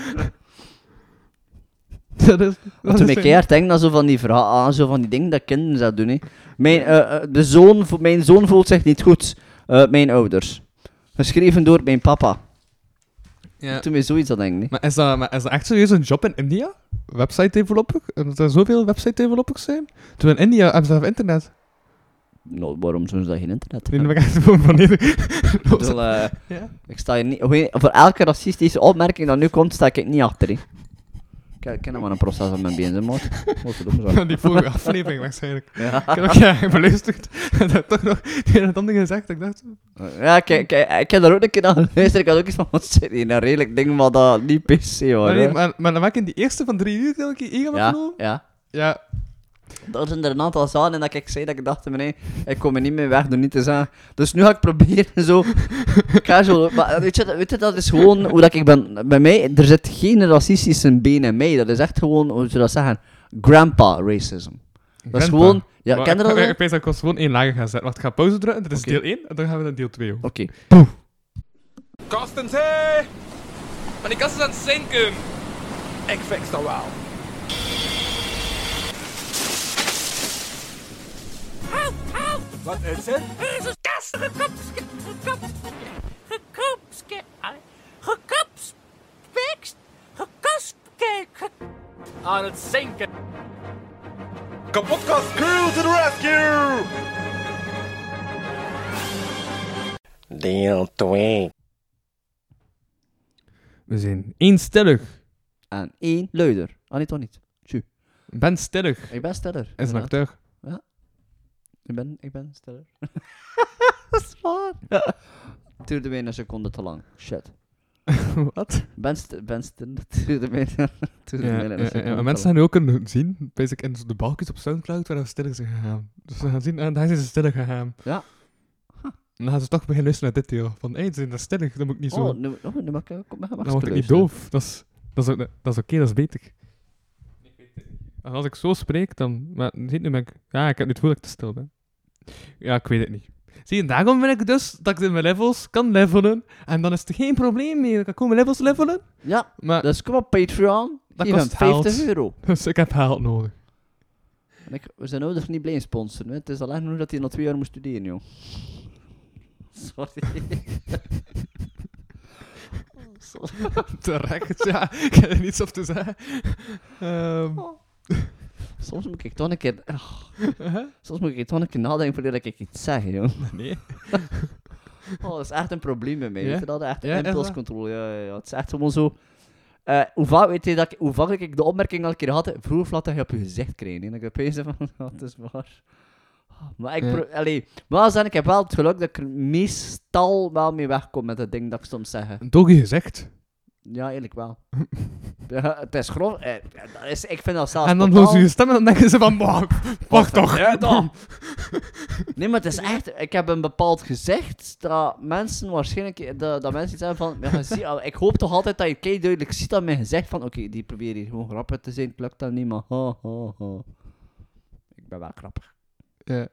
Speaker 3: Dat is...
Speaker 4: Want
Speaker 3: Dat
Speaker 4: toen
Speaker 3: is
Speaker 4: ik
Speaker 3: zijn-
Speaker 4: keer denk dan zo van die vragen aan, zo van die dingen dat kinderen zouden doen. Hè. Mijn, eh, eh, de zoon, vo- mijn zoon voelt zich niet goed. Eh, mijn ouders. Geschreven door mijn papa.
Speaker 3: Ja.
Speaker 4: Toen we zoiets aan denken. hè.
Speaker 3: Maar is, dat, maar is dat echt serieus een job in India? Website developer? Dat er zoveel website developers zijn? Toen in India hebben ze zelf internet.
Speaker 4: Nou, waarom zouden ze dat geen internet
Speaker 3: Nee,
Speaker 4: hebben?
Speaker 3: maar ik echt gewoon van nee.
Speaker 4: Ik bedoel, eh,
Speaker 3: Ja.
Speaker 4: ik sta hier niet... hoe heet- Voor elke racistische opmerking dat nu komt, sta ik er niet achter. hè. Ik ik ken hem maar een proces aan mijn benen, man. Moet ze doen, zo.
Speaker 3: Van die vorige aflevering waarschijnlijk.
Speaker 4: Ja.
Speaker 3: Ik heb ook ja, beluisterd. En dat toch nog die en het andere gezegd. Ik dacht,
Speaker 4: Ja, kijk, kijk, ik heb daar ook een keer aan geluisterd. Ik had ook iets van, wat zit hier? Een redelijk ding, maar dat niet PC, hoor.
Speaker 3: maar, nee,
Speaker 4: hè.
Speaker 3: maar, maar dan maak ik in die eerste van drie uur telkens één gaan
Speaker 4: ja,
Speaker 3: afgenomen.
Speaker 4: ja.
Speaker 3: Ja.
Speaker 4: Dat is er een aantal zaken en dat ik zei dat ik dacht, meneer, ik kom er niet meer weg door niet te zeggen. Dus nu ga ik proberen zo casual. Maar weet je, weet je, dat is gewoon hoe dat ik ben. Bij mij, er zit geen racistische been in mij. Dat is echt gewoon, hoe zou je dat zeggen, grandpa racism. Dat is
Speaker 3: Grandpa.
Speaker 4: gewoon... Ja,
Speaker 3: Maar
Speaker 4: ken je
Speaker 3: ik-
Speaker 4: dat
Speaker 3: Ik,
Speaker 4: wel?
Speaker 3: ik weet dat ik was gewoon één lager gaan zetten. Wacht, ik ga pauze drukken. Dit is
Speaker 4: Oké.
Speaker 3: deel 1 en dan gaan we naar deel 2 over.
Speaker 4: Oké.
Speaker 6: Kastens, hé! Maar die kast is aan het zinken! Ik fix dat wel. Wat is het?
Speaker 7: is een kast gekopske, gekopske, gekopske, gekopspekst, gekopske,
Speaker 6: Aan het zinken!
Speaker 2: Kapotkast crew to the rescue!
Speaker 8: Deel 2.
Speaker 3: We zijn eenstellig.
Speaker 4: En één luider. Ah, nee, toch niet. Tju.
Speaker 3: Ben stellig.
Speaker 4: Ik ben steller.
Speaker 3: Is een
Speaker 4: inderdaad.
Speaker 3: acteur.
Speaker 4: Ik ben, ik ben steller. dat is waar. Het duurde weer een seconde te lang. Shit.
Speaker 3: Wat?
Speaker 4: Ben, st- ben Stiller, het duurde mij het duurde
Speaker 3: Ja,
Speaker 4: mij
Speaker 3: ja,
Speaker 4: een
Speaker 3: ja,
Speaker 4: seconde
Speaker 3: ja,
Speaker 4: te
Speaker 3: maar mensen
Speaker 4: lang.
Speaker 3: gaan nu ook kunnen zien, basic, in de balkjes op Soundcloud, waar we stil zijn gegaan. Dus we gaan zien, en daar zijn ze stil gegaan.
Speaker 4: Ja.
Speaker 3: En dan gaan ze toch beginnen luisteren naar dit deel. Van, hé, ze zijn daar stil, dan moet ik niet zo...
Speaker 4: Oh, nu, oh, nu mag ik, kom, mag
Speaker 3: dan word ik niet doof. Dat is, dat is, ook- dat is oké, dat is beter. En als ik zo spreek, dan... Maar, zie, nu ben ik... Ja, ik heb nu het gevoel dat ik te stil ben. Ja, ik weet het niet. Zie je, daarom ben ik dus dat ik in mijn levels kan levelen. En dan is het geen probleem meer. Ik kan gewoon mijn levels levelen.
Speaker 4: Ja,
Speaker 3: Maar,
Speaker 4: dus kom op Patreon.
Speaker 3: Dat
Speaker 4: Dat geef hem
Speaker 3: kost geld.
Speaker 4: 50 euro.
Speaker 3: dus ik heb haalt nodig.
Speaker 4: En ik, we zijn ouders niet blij in sponsoren. hè. Het is alleen nu dat hij nog twee jaar moest studeren, joh. Sorry. Oh, sorry.
Speaker 3: Terecht, ja. Ik heb er niets op te zeggen. Ehm,
Speaker 4: Oh. Soms moet ik toch een keer... ah,
Speaker 3: hè?
Speaker 4: soms moet ik toch een keer nadenken voordat ik iets zeg, joh.
Speaker 3: Nee.
Speaker 4: Oh, dat is echt een probleem bij mij.
Speaker 3: Ja?
Speaker 4: Weet je dat? Echt
Speaker 3: Ja, echt
Speaker 4: impulscontrole. Ja, ja, ja. Het is echt gewoon zo. eh, hoe, vaak, weet je, dat ik, hoe vaak ik de opmerking al een keer had, vroeger laat dat je op je gezicht krijgen. hè. En ik opeens zei van, "Oh, dat is waar. Ah, Maar ik,
Speaker 3: Ja.
Speaker 4: pro- allee, maar zijn, ik heb wel het geluk dat ik er meestal wel mee wegkom met het ding dat ik soms zeg.
Speaker 3: Doggy gezegd.
Speaker 4: Ja, eerlijk wel. ja, het is grof. eh, dat is, ik vind dat zelfs
Speaker 3: En dan
Speaker 4: Ah, totaal-
Speaker 3: horen ze je stem en dan denken ze van, "Bah, wacht toch.
Speaker 4: Ja, dan. Nee, maar het is echt... Ik heb een bepaald gezicht dat mensen waarschijnlijk... Dat, dat mensen zeggen van... ja, zie, ah, ik hoop toch altijd dat je kei duidelijk ziet aan mijn gezicht van... Oké, die probeert hier gewoon grappig te zijn. Het lukt dan niet, maar... Ho, ho, ho. Ik ben wel grappig.
Speaker 3: Ja.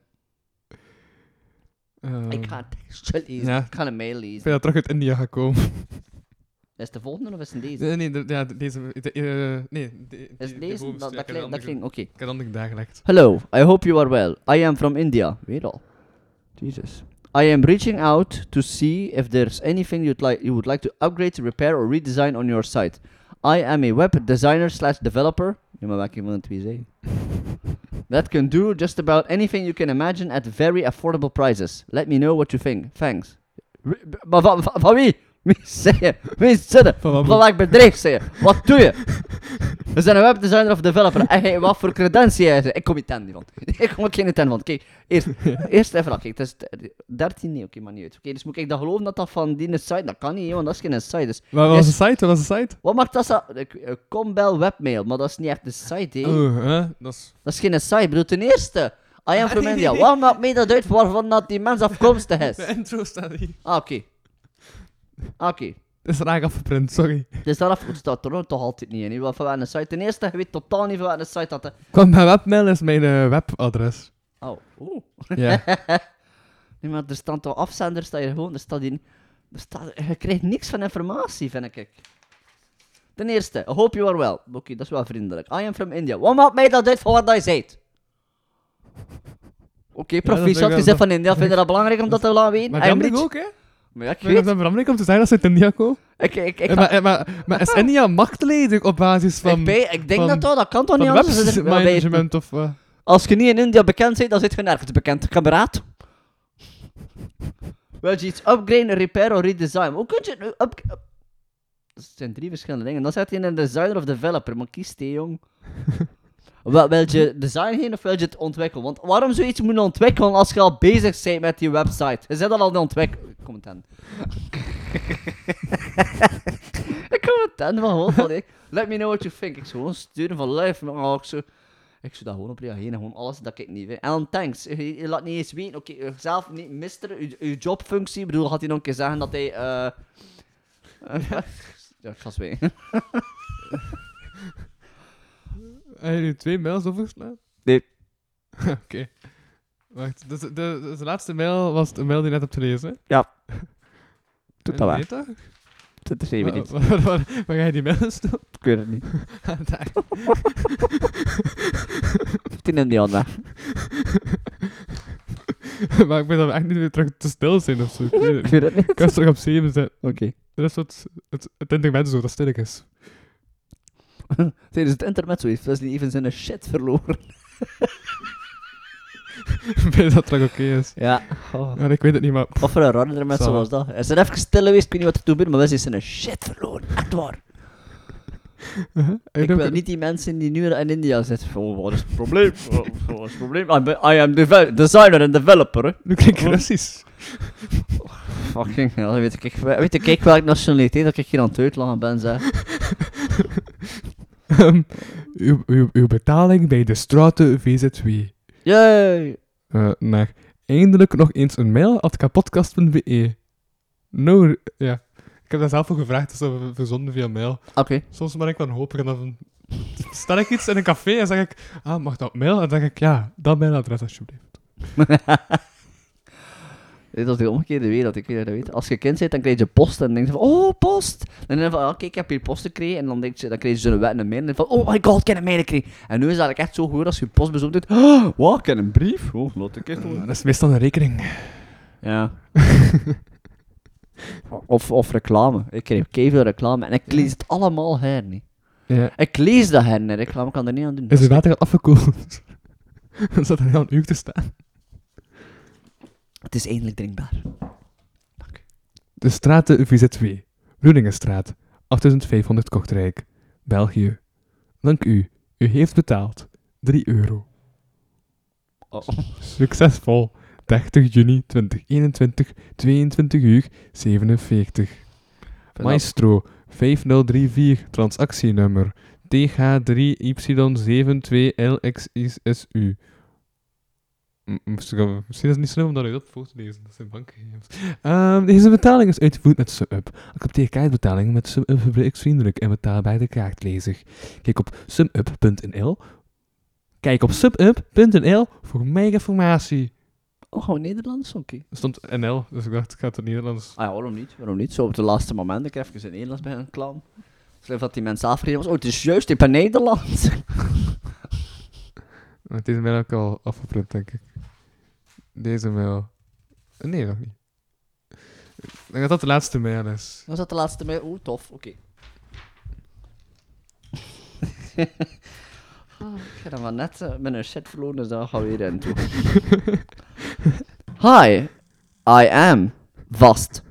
Speaker 3: Ehm,
Speaker 4: Ik ga een tekstje lezen.
Speaker 3: Ja.
Speaker 4: Ik ga een mail
Speaker 3: Ik
Speaker 4: lezen.
Speaker 3: ben dat terug uit India gekomen.
Speaker 4: Is het de volgende of is het deze?
Speaker 3: Nee, Eh, nee, de- ja, de- deze... de- eh, nee, de-
Speaker 4: Is
Speaker 3: die-
Speaker 4: het
Speaker 3: die
Speaker 4: deze?
Speaker 3: bovenste.
Speaker 4: Dat,
Speaker 3: Ja,
Speaker 4: dat,
Speaker 3: ik heb een
Speaker 4: klinkt- dat
Speaker 3: andere-
Speaker 4: klinkt... Oké.
Speaker 3: Ik heb een andere dag gelegd.
Speaker 4: Hello, I hope you are well. I am from India. Weer al. Jesus. I am reaching out to see if there's anything you'd like you would like to upgrade, repair or redesign on your site. I am a web designer slash developer. Ja, maar welke van de twee zei je? That can do just about anything you can imagine at very affordable prices. Let me know what you think. Thanks. Re- Maar van, van, van wie? Wie zeg je? Wie zit er?
Speaker 3: Van wat
Speaker 4: Van
Speaker 3: moet-
Speaker 4: welk bedrijf zeg je? Wat doe je? We zijn een webdesigner of developer. En jij, wat voor credentie jij? Ik kom niet ten die van. Ik kom ook geen ten van. Kijk, eerst, eerst even. Kijk, het is t- 13, nee, oké, maar niet uit. Oké, dus moet ik dat geloven dat dat van die site... Dat kan niet, hè, want dat is geen site. Dus
Speaker 3: Wat was
Speaker 4: eerst-
Speaker 3: de site? Wat was de site?
Speaker 4: wat maakt dat zo? Ik- eh, Combel webmail, maar dat is niet echt een site, hè.
Speaker 3: Oh, hè? Dat is...
Speaker 4: Dat is geen site. Ik bedoel, ten eerste, I am from India. Waarom maakt mij dat uit waarvan dat die mens afkomstig is?
Speaker 3: De intro staat hier.
Speaker 4: Ah, oké. Ah, Oké. Dus
Speaker 3: Het is raak afgeprint, sorry.
Speaker 4: Het is daar af- het staat er ook toch altijd niet in. hè, Wat voor een site. Ten eerste, je weet totaal niet van wat een site dat... hè.
Speaker 3: Want mijn webmail is mijn eh, webadres.
Speaker 4: Oh, oeh.
Speaker 3: Ja.
Speaker 4: Nee, maar er staan toch afzenders dat je gewoon... Er staat in... Er staat, je krijgt niks van informatie, vind ik. Ten eerste, I hope you are well. Oké, dat is wel vriendelijk. I am from India. Wat maakt mij dat uit van waar dat je zegt? Oké,
Speaker 3: vind ik
Speaker 4: proficiat,
Speaker 3: wel-
Speaker 4: je bent van India. Vind je dat belangrijk om dat te laten weten?
Speaker 3: Maar
Speaker 4: I am
Speaker 3: Jamrik
Speaker 4: rich.
Speaker 3: ook, hè?
Speaker 4: Maar ja, ik
Speaker 3: Vind je
Speaker 4: weet...
Speaker 3: dat belangrijk om te zeggen dat ze uit India komen?
Speaker 4: Ik, ik, ik, Ah.
Speaker 3: Eh, Maar, eh, maar, maar is India machtledig op basis van...
Speaker 4: ik, ben- ik denk
Speaker 3: van-
Speaker 4: dat dat, dat kan toch niet
Speaker 3: Van
Speaker 4: anders? Dat is- maar bij-
Speaker 3: webmanagement of... eh,
Speaker 4: Als je niet in India bekend bent, dan zit je nergens bekend. Kameraad. Wil je iets upgraden, repair of redesign? Hoe kun je het nu up... up- Dat zijn drie verschillende dingen. Dan zet je in een designer of developer, maar kies die, jong. Wel, wil je design heen of wil je het ontwikkelen? Want waarom zou je iets moeten ontwikkelen als je al bezig bent met die website? Je zit al aan het ontwikkelen. Kom het aan. ik kom het aan van God, ik. Let me know what you think. Ik zou gewoon sturen van live, maar oh, ik zou... Ik zou daar gewoon op reageren, gewoon alles dat ik niet weet. Alan Tanks, je, je laat niet eens weten, oké, eh, zelf niet misteren, uw- uw jobfunctie, ik bedoel, had hij nog een keer zeggen dat hij, eh... eh, ja, ik ga zwijgen.
Speaker 3: Hebben jullie twee mails overgeslagen?
Speaker 4: Nee.
Speaker 3: Oké. Wacht, dus de, de, dus de laatste mail was de mail die je net hebt gelezen, hè?
Speaker 4: Ja.
Speaker 3: Doe
Speaker 4: dat
Speaker 3: Weet dat?
Speaker 4: Dat is even
Speaker 3: Wa- wa- Waar, waar, waar ga je die mails doen?
Speaker 4: ik weet het niet.
Speaker 3: Daar.
Speaker 4: Heeft hij in die handen?
Speaker 3: maar ik ben dan echt niet meer terug te stil zijn of zo. Ik weet het
Speaker 4: Ik
Speaker 3: niet.
Speaker 4: weet het niet.
Speaker 3: Ik kan ze toch op dus, eh, 7 zetten.
Speaker 4: Oké.
Speaker 3: Dat is wat het, het internet zo, dat sterk is.
Speaker 4: Tijdens het internet zo heeft Wesley even zijn shit verloren.
Speaker 3: Ben je dat terug oké is.
Speaker 4: Ja.
Speaker 3: Maar ik weet het niet, maar...
Speaker 4: Of voor een rare mensen
Speaker 3: Zo.
Speaker 4: was dat. Hij is er even stil geweest, ik weet niet wat er toe gebeurde, maar Wesley is zijn shit verloren. Echt waar. Ik wil niet die mensen die nu in India zitten. Oh, wat is het probleem? Oh, Wat is het probleem? I'm a- I am deve- designer en developer. hè.
Speaker 3: Nu klink ik Russisch.
Speaker 4: Fucking hell, weet ik, weet ik, ik welke nationaliteit dat ik hier aan het uitlachen ben, zeg.
Speaker 3: Ehm, uw, uw, uw betaling bij de Straten VZW.
Speaker 4: Yay!
Speaker 3: Eh, naar eindelijk nog eens een mail at kapotkast.be. E. No, re- ja. Ik heb daar zelf voor gevraagd, dus dat we verzonden via mail.
Speaker 4: Oké.
Speaker 3: Soms ben ik dan hoper en dan stel ik iets in een café en zeg ik, ah, mag dat op mail? En dan denk ik, ja, dat mailadres alsjeblieft.
Speaker 4: Dit was de omgekeerde wereld, ik weet dat je dat weet. Als je kind bent, dan krijg je post en dan denk je van, oh, post! En dan denk je van, ah, oké, ik heb hier post gekregen. En dan, denk je, dan krijg je zo'n wet en een mail en dan van, oh my god, ik heb een mail gekregen. En nu is dat echt zo goed als je post bezoekt doet. Oh, wow, ik heb een brief. Oh, laat ik eens doen.
Speaker 3: Dat is meestal een rekening.
Speaker 4: Ja. of, of reclame. Ik kreeg keiveel reclame en ik lees het allemaal her niet.
Speaker 3: Ja.
Speaker 4: Ik lees dat her niet, reclame kan er niet aan doen.
Speaker 3: Is het water al afgekoeld? Dan zat er al een uur te staan.
Speaker 4: Het is eindelijk drinkbaar.
Speaker 3: De Straten VZW. Bloedingenstraat. 8500 Kortrijk. België. Dank u. U heeft betaald. 3 euro.
Speaker 4: Oh.
Speaker 3: Succesvol. 30 juni 2021, 22 uur 47. Maestro 5034, transactienummer TH3Y72LXISU. M- Misschien misschien is het niet slim om dat uit op voor te lezen, dat zijn bankgegevens. Ehm, deze betaling is uitgevoerd met SumUp. Accepteer kaartbetaling met SumUp verbruiksvriendelijk en betaal bij de kaartlezer. Kijk op sumup.nl Kijk op subup.nl voor meer informatie.
Speaker 4: Oh, gewoon Nederlands? Oké.
Speaker 3: Er stond NL, dus ik dacht, ik ga het in Nederlands.
Speaker 4: Ah ja, waarom niet? Waarom niet? Zo op het laatste moment, ik heb even in het Nederlands bij een klant. Schrijf dat die mensen afgereden was. Oh, het is juist, ik ben Nederlands.
Speaker 3: Want deze mail heb ik al afgeprint, denk ik. Deze mail. Eh, Nee, nog niet. Ik denk dat dat de laatste mail is.
Speaker 4: Was dat de laatste mail? Oeh, tof, oké. Ah, ik heb dan maar net eh, met een shit verloren, dus daar gaan we weer in toe. Hi, I am vast.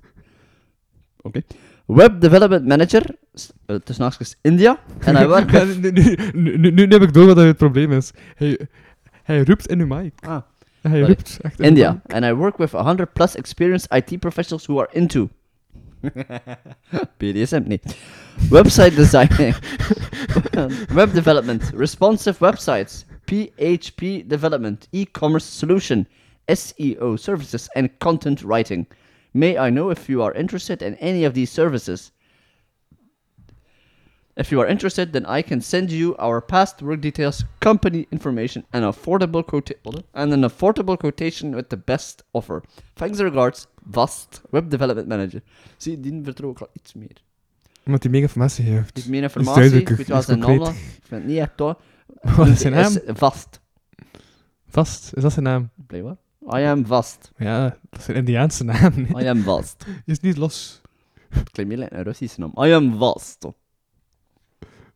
Speaker 4: Oké. Web Development Manager, s- eh, tussen haakjes India. En hij werkt bij...
Speaker 3: nu, nu, nu, nu- nu heb ik door wat het probleem is. Hij, hij roept in uw mic.
Speaker 4: Ah,
Speaker 3: Hij
Speaker 4: sorry.
Speaker 3: roept echt in uw mic.
Speaker 4: India. And I work with 100 plus experienced IT professionals who are into BDSM, nee. Website designing, web development, responsive websites, PHP development, e commerce solution, SEO services, and content writing. May I know if you are interested in any of these services? If you are interested, then I can send you our past work details, company information, and affordable quota- and an affordable quotation with the best offer. Thanks regards, Vast, Web Development Manager. Zie, die vertrouw ik al iets meer.
Speaker 3: Omdat hij meer informatie heeft.
Speaker 4: Iets meer
Speaker 3: Iets
Speaker 4: informatie, ik
Speaker 3: duidelijker,
Speaker 4: weet wel
Speaker 3: iets
Speaker 4: zijn naam nog.
Speaker 3: concreter.
Speaker 4: Ik vind het niet echt hoor.
Speaker 3: Wat is zijn naam?
Speaker 4: Is Vast.
Speaker 3: Vast, is dat zijn naam?
Speaker 4: Blijkbaar. I am Vast.
Speaker 3: Ja, dat is een Indiaanse naam.
Speaker 4: I am Vast.
Speaker 3: Is niet los.
Speaker 4: Het klinkt meer like een Russische naam. I am Vast.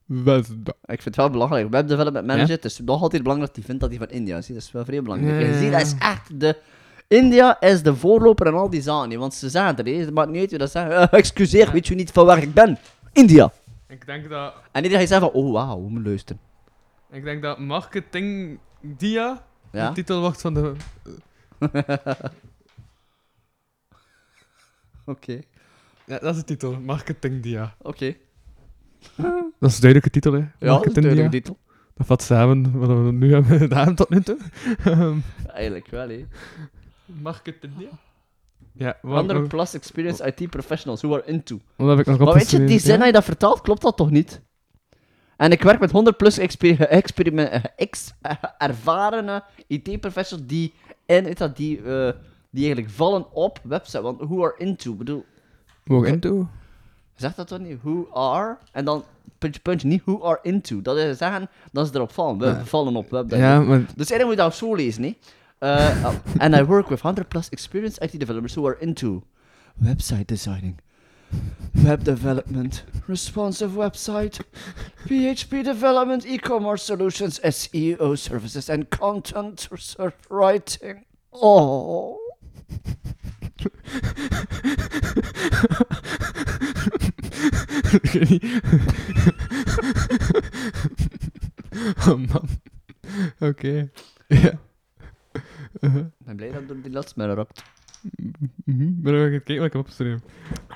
Speaker 3: Wat?
Speaker 4: Ik vind het wel belangrijk. Web Development Manager, het is nog altijd belangrijk dat hij vindt dat hij van India is. hè. Dat is wel vrij belangrijk.
Speaker 3: Ja,
Speaker 4: Je
Speaker 3: ja,
Speaker 4: ziet,
Speaker 3: ja.
Speaker 4: dat is echt de... India is de voorloper in al die zaken. hè. Want ze zeggen het, hè. het maakt niet uit wie dat zegt. Eh, excuseer, weet je niet van waar ik ben? India.
Speaker 3: Ik denk dat,
Speaker 4: En iedereen zegt van, oh wauw, we moeten luisteren.
Speaker 3: ik denk dat marketing dia
Speaker 4: Ja?
Speaker 3: de titel wordt van de...
Speaker 4: Oké.
Speaker 3: Ja, dat is de titel. Marketing dia.
Speaker 4: Oké.
Speaker 3: Dat is een duidelijke titel, hè?
Speaker 4: Ja, dat is een duidelijke
Speaker 3: dia.
Speaker 4: titel.
Speaker 3: Dat vat samen wat we nu hebben gedaan tot nu toe. Ehm,
Speaker 4: Eigenlijk wel, hè.
Speaker 3: marketing dia? Ja, want,
Speaker 4: Andere plus experience IT professionals who are into.
Speaker 3: wat heb ik nog
Speaker 4: Maar weet je, die
Speaker 3: opgeschreven?
Speaker 4: zin
Speaker 3: Ja?
Speaker 4: hij dat vertaalt, klopt dat toch niet? En ik werk met 100 plus exper experiment- eh, ex eh, ervarene IT-professionals die, en, weet dat, die, eh, die eigenlijk vallen op website. Want who are into? Ik bedoel,
Speaker 3: Mogen into?
Speaker 4: zeg dat toch niet? Who are? En dan puntje, puntje, niet who are into. Dat is zeggen dat ze erop vallen. We vallen op web.
Speaker 3: Ja, maar
Speaker 4: Dus eigenlijk moet je dat zo lezen, nee? Eh, oh, and I work with 100 plus experienced IT developers who are into website designing, web development, responsive website, PHP development, e-commerce solutions, SEO services, and content research writing. Oh.
Speaker 3: Ik weet niet. oh man. Oké. Ja.
Speaker 4: Ik ben blij dat ik die laatste maar rakt.
Speaker 3: Mhm. Ben ik aan het kijken wat ik heb opgeschreven.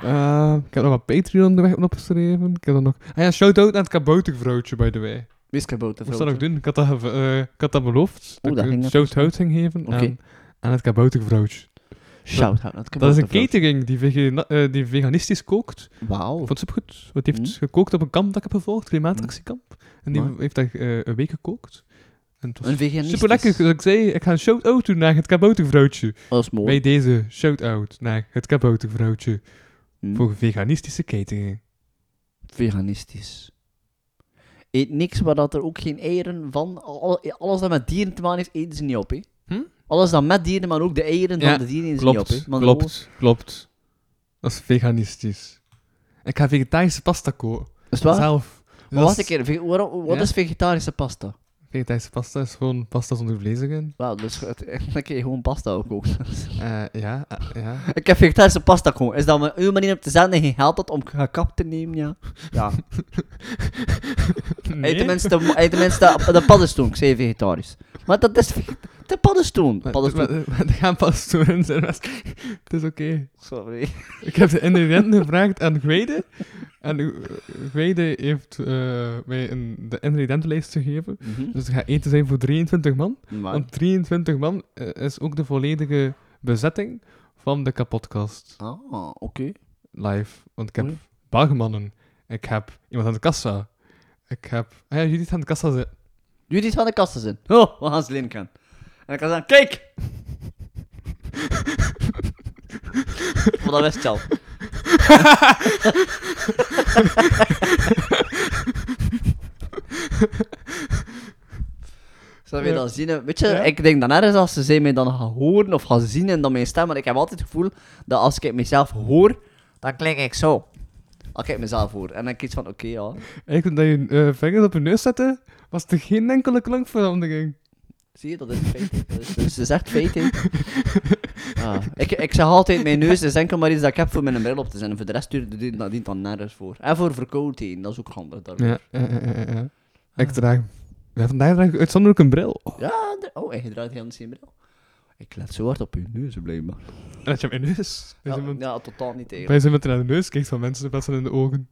Speaker 3: Eh, ik heb nog wat Patreon de weg opgeschreven. Ik heb dan nog... Ah ja, shout-out aan het kaboutervrouwtje, by the way.
Speaker 4: Wees kabouter.
Speaker 3: Wat zou dat nog doen? Ik had dat, gev- eh, ik had dat beloofd.
Speaker 4: dat
Speaker 3: dat ik
Speaker 4: ging
Speaker 3: een
Speaker 4: net
Speaker 3: shout-out ging geven
Speaker 4: Oké.
Speaker 3: aan, aan het kaboutervrouwtje.
Speaker 4: Shout-out naar het
Speaker 3: Dat is een
Speaker 4: kaboutervrouw.
Speaker 3: catering die, vege- eh, die veganistisch kookt.
Speaker 4: Wauw.
Speaker 3: Ik vond het supergoed. Want die heeft
Speaker 4: Hm.
Speaker 3: gekookt op een kamp dat ik heb gevolgd, klimaatactiekamp. En die
Speaker 4: Mooi.
Speaker 3: heeft daar eh, een week gekookt. En het was
Speaker 4: Een veganistisch.
Speaker 3: super lekker. Dus ik zei, ik ga een shout-out doen naar het kaboutervrouwtje.
Speaker 4: Dat is mooi.
Speaker 3: Bij deze shout-out naar het kaboutervrouwtje.
Speaker 4: Hm.
Speaker 3: Voor veganistische catering.
Speaker 4: veganistisch. Eet niks waar dat er ook geen eieren van. al- Alles dat met dieren te maken heeft, eten ze niet op. Hè?
Speaker 3: Hm?
Speaker 4: Alles dat met dieren, maar ook de eieren
Speaker 3: Ja,
Speaker 4: van de dieren eten ze niet op.
Speaker 3: Klopt,
Speaker 4: Hè? Maar oh. gewoon-
Speaker 3: klopt, klopt. Dat is veganistisch. Ik ga vegetarische pasta koken.
Speaker 4: Is het waar?
Speaker 3: Zelf.
Speaker 4: Maar
Speaker 3: Dat
Speaker 4: wacht
Speaker 3: is-
Speaker 4: een keer, ve- waarom- wat
Speaker 3: Ja?
Speaker 4: is vegetarische pasta?
Speaker 3: Vegetarische pasta is gewoon pasta zonder vlees erin.
Speaker 4: Wauw, dus het- dan kun je gewoon pasta ook koken.
Speaker 3: Eh, ja, eh, ja.
Speaker 4: Ik heb vegetarische pasta gewoon. Is dat mijn- uw manier om te zenden geen geld had om gekap te nemen? Ja. ja.
Speaker 3: Nee.
Speaker 4: Eet tenminste, eet tenminste de paddenstoel. Ik zei vegetarisch. Maar dat is vege- de paddenstoel.
Speaker 3: Maar-
Speaker 4: Paddenstoel.
Speaker 3: maar- maar- Er gaan paddenstoelen in zijn rest. Het is oké.
Speaker 4: Sorry.
Speaker 3: Ik heb de ingrediënten gevraagd aan Gwede. En eh, Gwede heeft eh, mij een, de ingrediëntenlijst gegeven.
Speaker 4: Mhm.
Speaker 3: Dus het gaat eten zijn voor 23 man.
Speaker 4: Maar-
Speaker 3: Want 23 man eh, is ook de volledige bezetting van de kapotkast
Speaker 4: Ah, oké.
Speaker 3: live. Want ik heb
Speaker 4: Oei.
Speaker 3: barmannen. Ik heb iemand aan de kassa. Ik heb... Ah ja, Judith aan de kassa zit.
Speaker 4: Judith van de kasten zijn. Oh, we gaan ze leren kennen. En ik kan zeggen, kijk! Maar dat wist je al. Zou je
Speaker 3: Ja.
Speaker 4: dat zien? hè? Weet je, ik denk dan ergens als ze zij mij dan gaan horen of gaan zien en dan mijn stem, maar ik heb altijd het gevoel dat als ik mezelf hoor, dan klink ik zo. Als ik mezelf hoor. En dan kies van, oké, ja.
Speaker 3: Eigenlijk dat je eh, vingers op je neus zette, was er geen enkele klankverandering.
Speaker 4: Zie je, dat is feit. hè. Dat is, dat is echt feit, hè. Ja. Ah. Ik, ik zeg altijd, mijn neus is enkel maar iets dat ik heb voor mijn bril op te zijn. En voor de rest duurt die- dat dient dan nergens voor. En voor verkoudheden, dat is ook handig. Daarvoor.
Speaker 3: Ja, ja, ja, ja, ja. Ik draag... Ja, vandaag draag ik uitzonderlijk een bril. Oh,
Speaker 4: Ja, de- oh, en je draagt helemaal geen bril. Ik let zo hard op je neus, blijkbaar.
Speaker 3: en dat je mijn neus...
Speaker 4: Ja,
Speaker 3: Ja, iemand,
Speaker 4: ja, totaal niet tegen.
Speaker 3: Bij iemand die naar de neus kijkt van mensen, best wel in de ogen.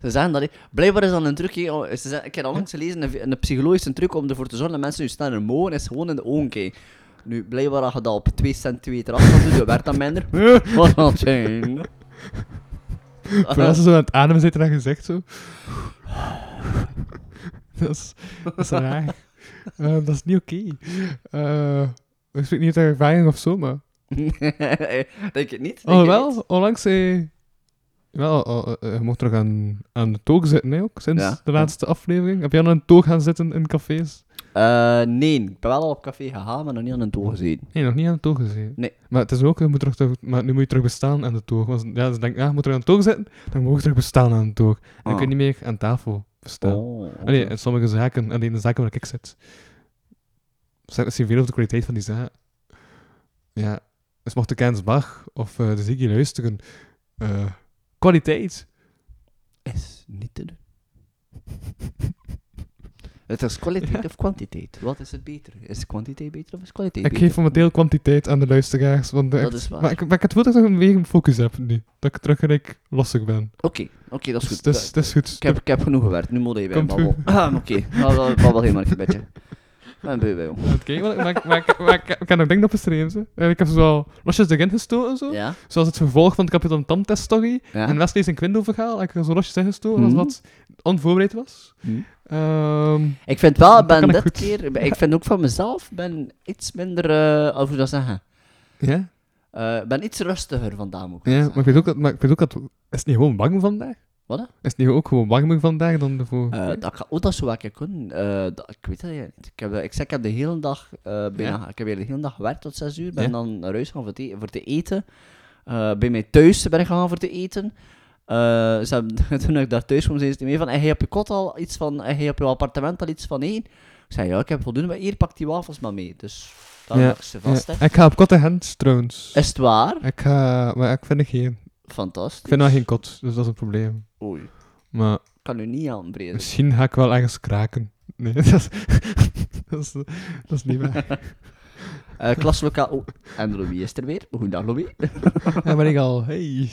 Speaker 4: Ze zeggen dat, hè. blijkbaar is dan een truc, hè. Oh, ze zeggen- ik heb al langs gelezen, een, een psychologische truc om ervoor te zorgen dat mensen nu sneller mogen, is gewoon in de ogen kijken. Nu, blijkbaar als je dat op 2 cent 2 eraf kan doen, dus dan werkt dat minder. Wat dan zijn?
Speaker 3: Vooral als ze zo aan het ademen zitten en je zegt zo... dat, is, dat is raar. Eh, dat is niet oké. Eh, ik spreek niet uit ervaring of zo, maar...
Speaker 4: Denk het niet? Denk
Speaker 3: Oh,
Speaker 4: je
Speaker 3: wel,
Speaker 4: niet?
Speaker 3: onlangs... eh, wel, oh, eh, eh, je mocht terug aan, aan de toog zitten, hè, ook, sinds
Speaker 4: Ja,
Speaker 3: de
Speaker 4: ja.
Speaker 3: laatste aflevering. Heb jij nog een toog gaan zitten in cafés?
Speaker 4: Eh, nee, ik ben wel al op café gegaan, maar nog niet aan een toon gezien.
Speaker 3: Nee, nog niet aan de toog gezeten.
Speaker 4: Nee.
Speaker 3: Maar het is ook, je moet terug, te- maar nu moet je terug bestaan aan de toog. Want ja, ze denken, ah, je moet terug aan de toog zitten, dan moet je terug bestaan aan de toog. En dan
Speaker 4: Ah.
Speaker 3: kun je niet meer aan tafel bestaan.
Speaker 4: Oh, oké.
Speaker 3: Allee, in sommige zaken, alleen in de zaken waar ik zit. Zegt het veel over de kwaliteit van die zaak. Ja, dus mocht de Kens Bach of eh, de Ziggy luisteren, eh, kwaliteit.
Speaker 4: Is niet te doen. Het is kwaliteit of kwantiteit? Wat is het beter? Is kwantiteit beter of is kwaliteit
Speaker 3: Ik
Speaker 4: beter?
Speaker 3: geef momenteel kwantiteit aan de luisteraars. Want de-
Speaker 4: Dat is waar.
Speaker 3: Maar ik, maar ik het voel dat ik een beetje een focus heb nu. Dat ik terug gelijk losser ben.
Speaker 4: Oké, oké, dat is
Speaker 3: Dus
Speaker 4: goed.
Speaker 3: dat is- dat is goed.
Speaker 4: Ik heb, ik heb genoeg gewerkt, nu moet je bij
Speaker 3: Komt
Speaker 4: babbel.
Speaker 3: goed.
Speaker 4: Ah, oké. Nou, Dat was wel helemaal een beetje. Ik ben bij bij jong.
Speaker 3: Oké, maar, maar, maar, maar, maar ik- ik heb nog dingen op bestreven. ze. En Eh, Ik heb ze wel losjes erin gestoken, zo.
Speaker 4: Ja?
Speaker 3: Zoals het vervolg van de Kapitan Tam-test-story.
Speaker 4: Ja?
Speaker 3: En Wesley's en Quindo-verhaal. heb Ik heb er zo losjes in gestoken,
Speaker 4: Mhm.
Speaker 3: als wat onvoorbereid was.
Speaker 4: Hm.
Speaker 3: Ehm,
Speaker 4: Ik vind wel, ik ben
Speaker 3: kan ik
Speaker 4: dit
Speaker 3: goed.
Speaker 4: keer, ik vind ook van mezelf, ben iets minder, eh over hoe dat zeggen.
Speaker 3: ja,
Speaker 4: Eh, Ik ben iets rustiger vandaag, moet
Speaker 3: ja,
Speaker 4: ik
Speaker 3: maar
Speaker 4: zeggen.
Speaker 3: ik weet ook dat... Maar ik weet ook dat is het niet gewoon warm vandaag?
Speaker 4: Wat, hè?
Speaker 3: Is het niet ook gewoon warmer vandaag dan de vorige?
Speaker 4: Eh, dat kan, oh, dat zou ik kunnen. Eh, dat- ik weet dat eigenlijk niet. Ik, heb, eh, ik zeg, ik heb de hele dag, eh, bijna, ik heb hier de hele dag gewerkt tot 6 uur. Ben
Speaker 3: Ja.
Speaker 4: dan naar huis gaan voor te, e- voor te eten. Eh, bij mij thuis ben ik gaan voor te eten. Eh, ze hebben, toen ik daar thuis kwam, zeiden ze mee van, en je op je kot al iets van, en je op je appartement al iets van één. Ik zei, ja, ik heb voldoende, maar hier, pak die wafels maar mee. Dus daar
Speaker 3: Ja.
Speaker 4: leg ik ze vast,
Speaker 3: Ja,
Speaker 4: hè.
Speaker 3: Ik ga op kotte hand, trouwens.
Speaker 4: Is het waar?
Speaker 3: Ik ga... Maar ik vind er geen. Ik
Speaker 4: Fantastisch.
Speaker 3: vind wel geen kot, dus dat is een probleem.
Speaker 4: Oei, ik
Speaker 3: Maar
Speaker 4: kan u niet aanbreden.
Speaker 3: misschien ga ik wel ergens kraken. Nee, dat is... dat is, dat is niet waar.
Speaker 4: Eh klaslokaal... Oh, en Louis is er weer. Goedendag, Louis.
Speaker 3: En ben ik al, hey.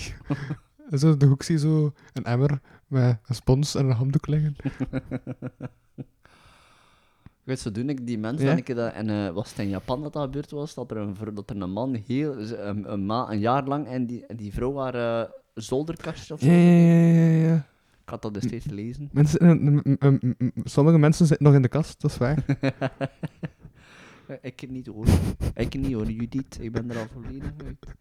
Speaker 3: En zo in de hoek zie je zo een emmer met een spons en een handdoek liggen.
Speaker 4: Ik weet, zo doen ik die mensen
Speaker 3: Ja?
Speaker 4: dat ik dat, en eh, was het in Japan dat dat gebeurd was, dat er een, vr- dat er een man heel, z- een, een, ma, een jaar lang en die, en die vrouw haar eh, zolderkastje of zo.
Speaker 3: ja, ja, ja.
Speaker 4: Ik had dat dus steeds lezen.
Speaker 3: Mensen, eh, m- m- m- m- sommige mensen zitten nog in de kast, dat is waar.
Speaker 4: Eh, Ik kan niet hoor. Ik kan niet hoor, Judith. Ik ben er al volledig uit.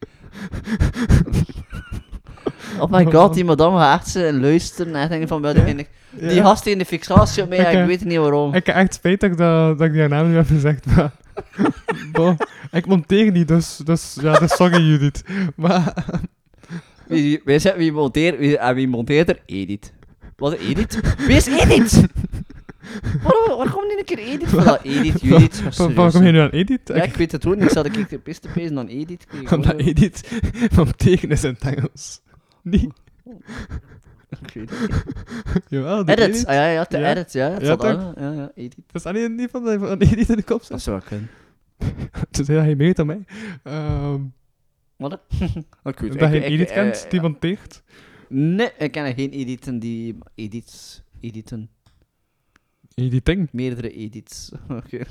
Speaker 4: oh my god, die madame gaat echt zitten luisteren en denken van, wel, die, die
Speaker 3: Ja.
Speaker 4: gast heeft een fixatie op mij,
Speaker 3: Oké.
Speaker 4: ik weet niet waarom.
Speaker 3: Ik heb echt spijt dat ik, dat, dat ik die haar naam niet heb gezegd, maar... Boh, ik monteer niet, dus, dus ja, dat is sorry Judith. Maar
Speaker 4: Wie, wie, zet- wie, monteert, wie, en wie monteert er? Edith. Wat is Edith? Wie is Edith? Waarom, waar komt niet een keer Edith vandaan? Edith, Judith, maar
Speaker 3: van-
Speaker 4: serieus.
Speaker 3: waarom kom je nu aan Edith?
Speaker 4: Ja,
Speaker 3: Ik-
Speaker 4: ik weet het ook niet. Zat ik de piste pezen dan Edith? Ik weet het
Speaker 3: Omdat
Speaker 4: ook niet.
Speaker 3: Edith monteren is in het Engels. Niet?
Speaker 4: Ik weet het niet.
Speaker 3: Jawel, die
Speaker 4: Edit.
Speaker 3: Edith.
Speaker 4: Ah, ja, ja, de
Speaker 3: Ja.
Speaker 4: edit. Ja, het
Speaker 3: Ja,
Speaker 4: zat
Speaker 3: toch?
Speaker 4: aan. Ja, ja, Edith.
Speaker 3: Dat is alleen niet van, van Edith in de kop,
Speaker 4: Dat zou wel kunnen.
Speaker 3: Het is heel erg mee aan mij. Ehm,
Speaker 4: Wat? hè? ik weet het.
Speaker 3: dat je
Speaker 4: Ik- ik-
Speaker 3: Edith
Speaker 4: eh,
Speaker 3: kent, die
Speaker 4: eh,
Speaker 3: van Teert.
Speaker 4: Nee, ik ken geen Edithen die... Ediths. Edithen.
Speaker 3: Editing.
Speaker 4: Meerdere Ediths. Oké.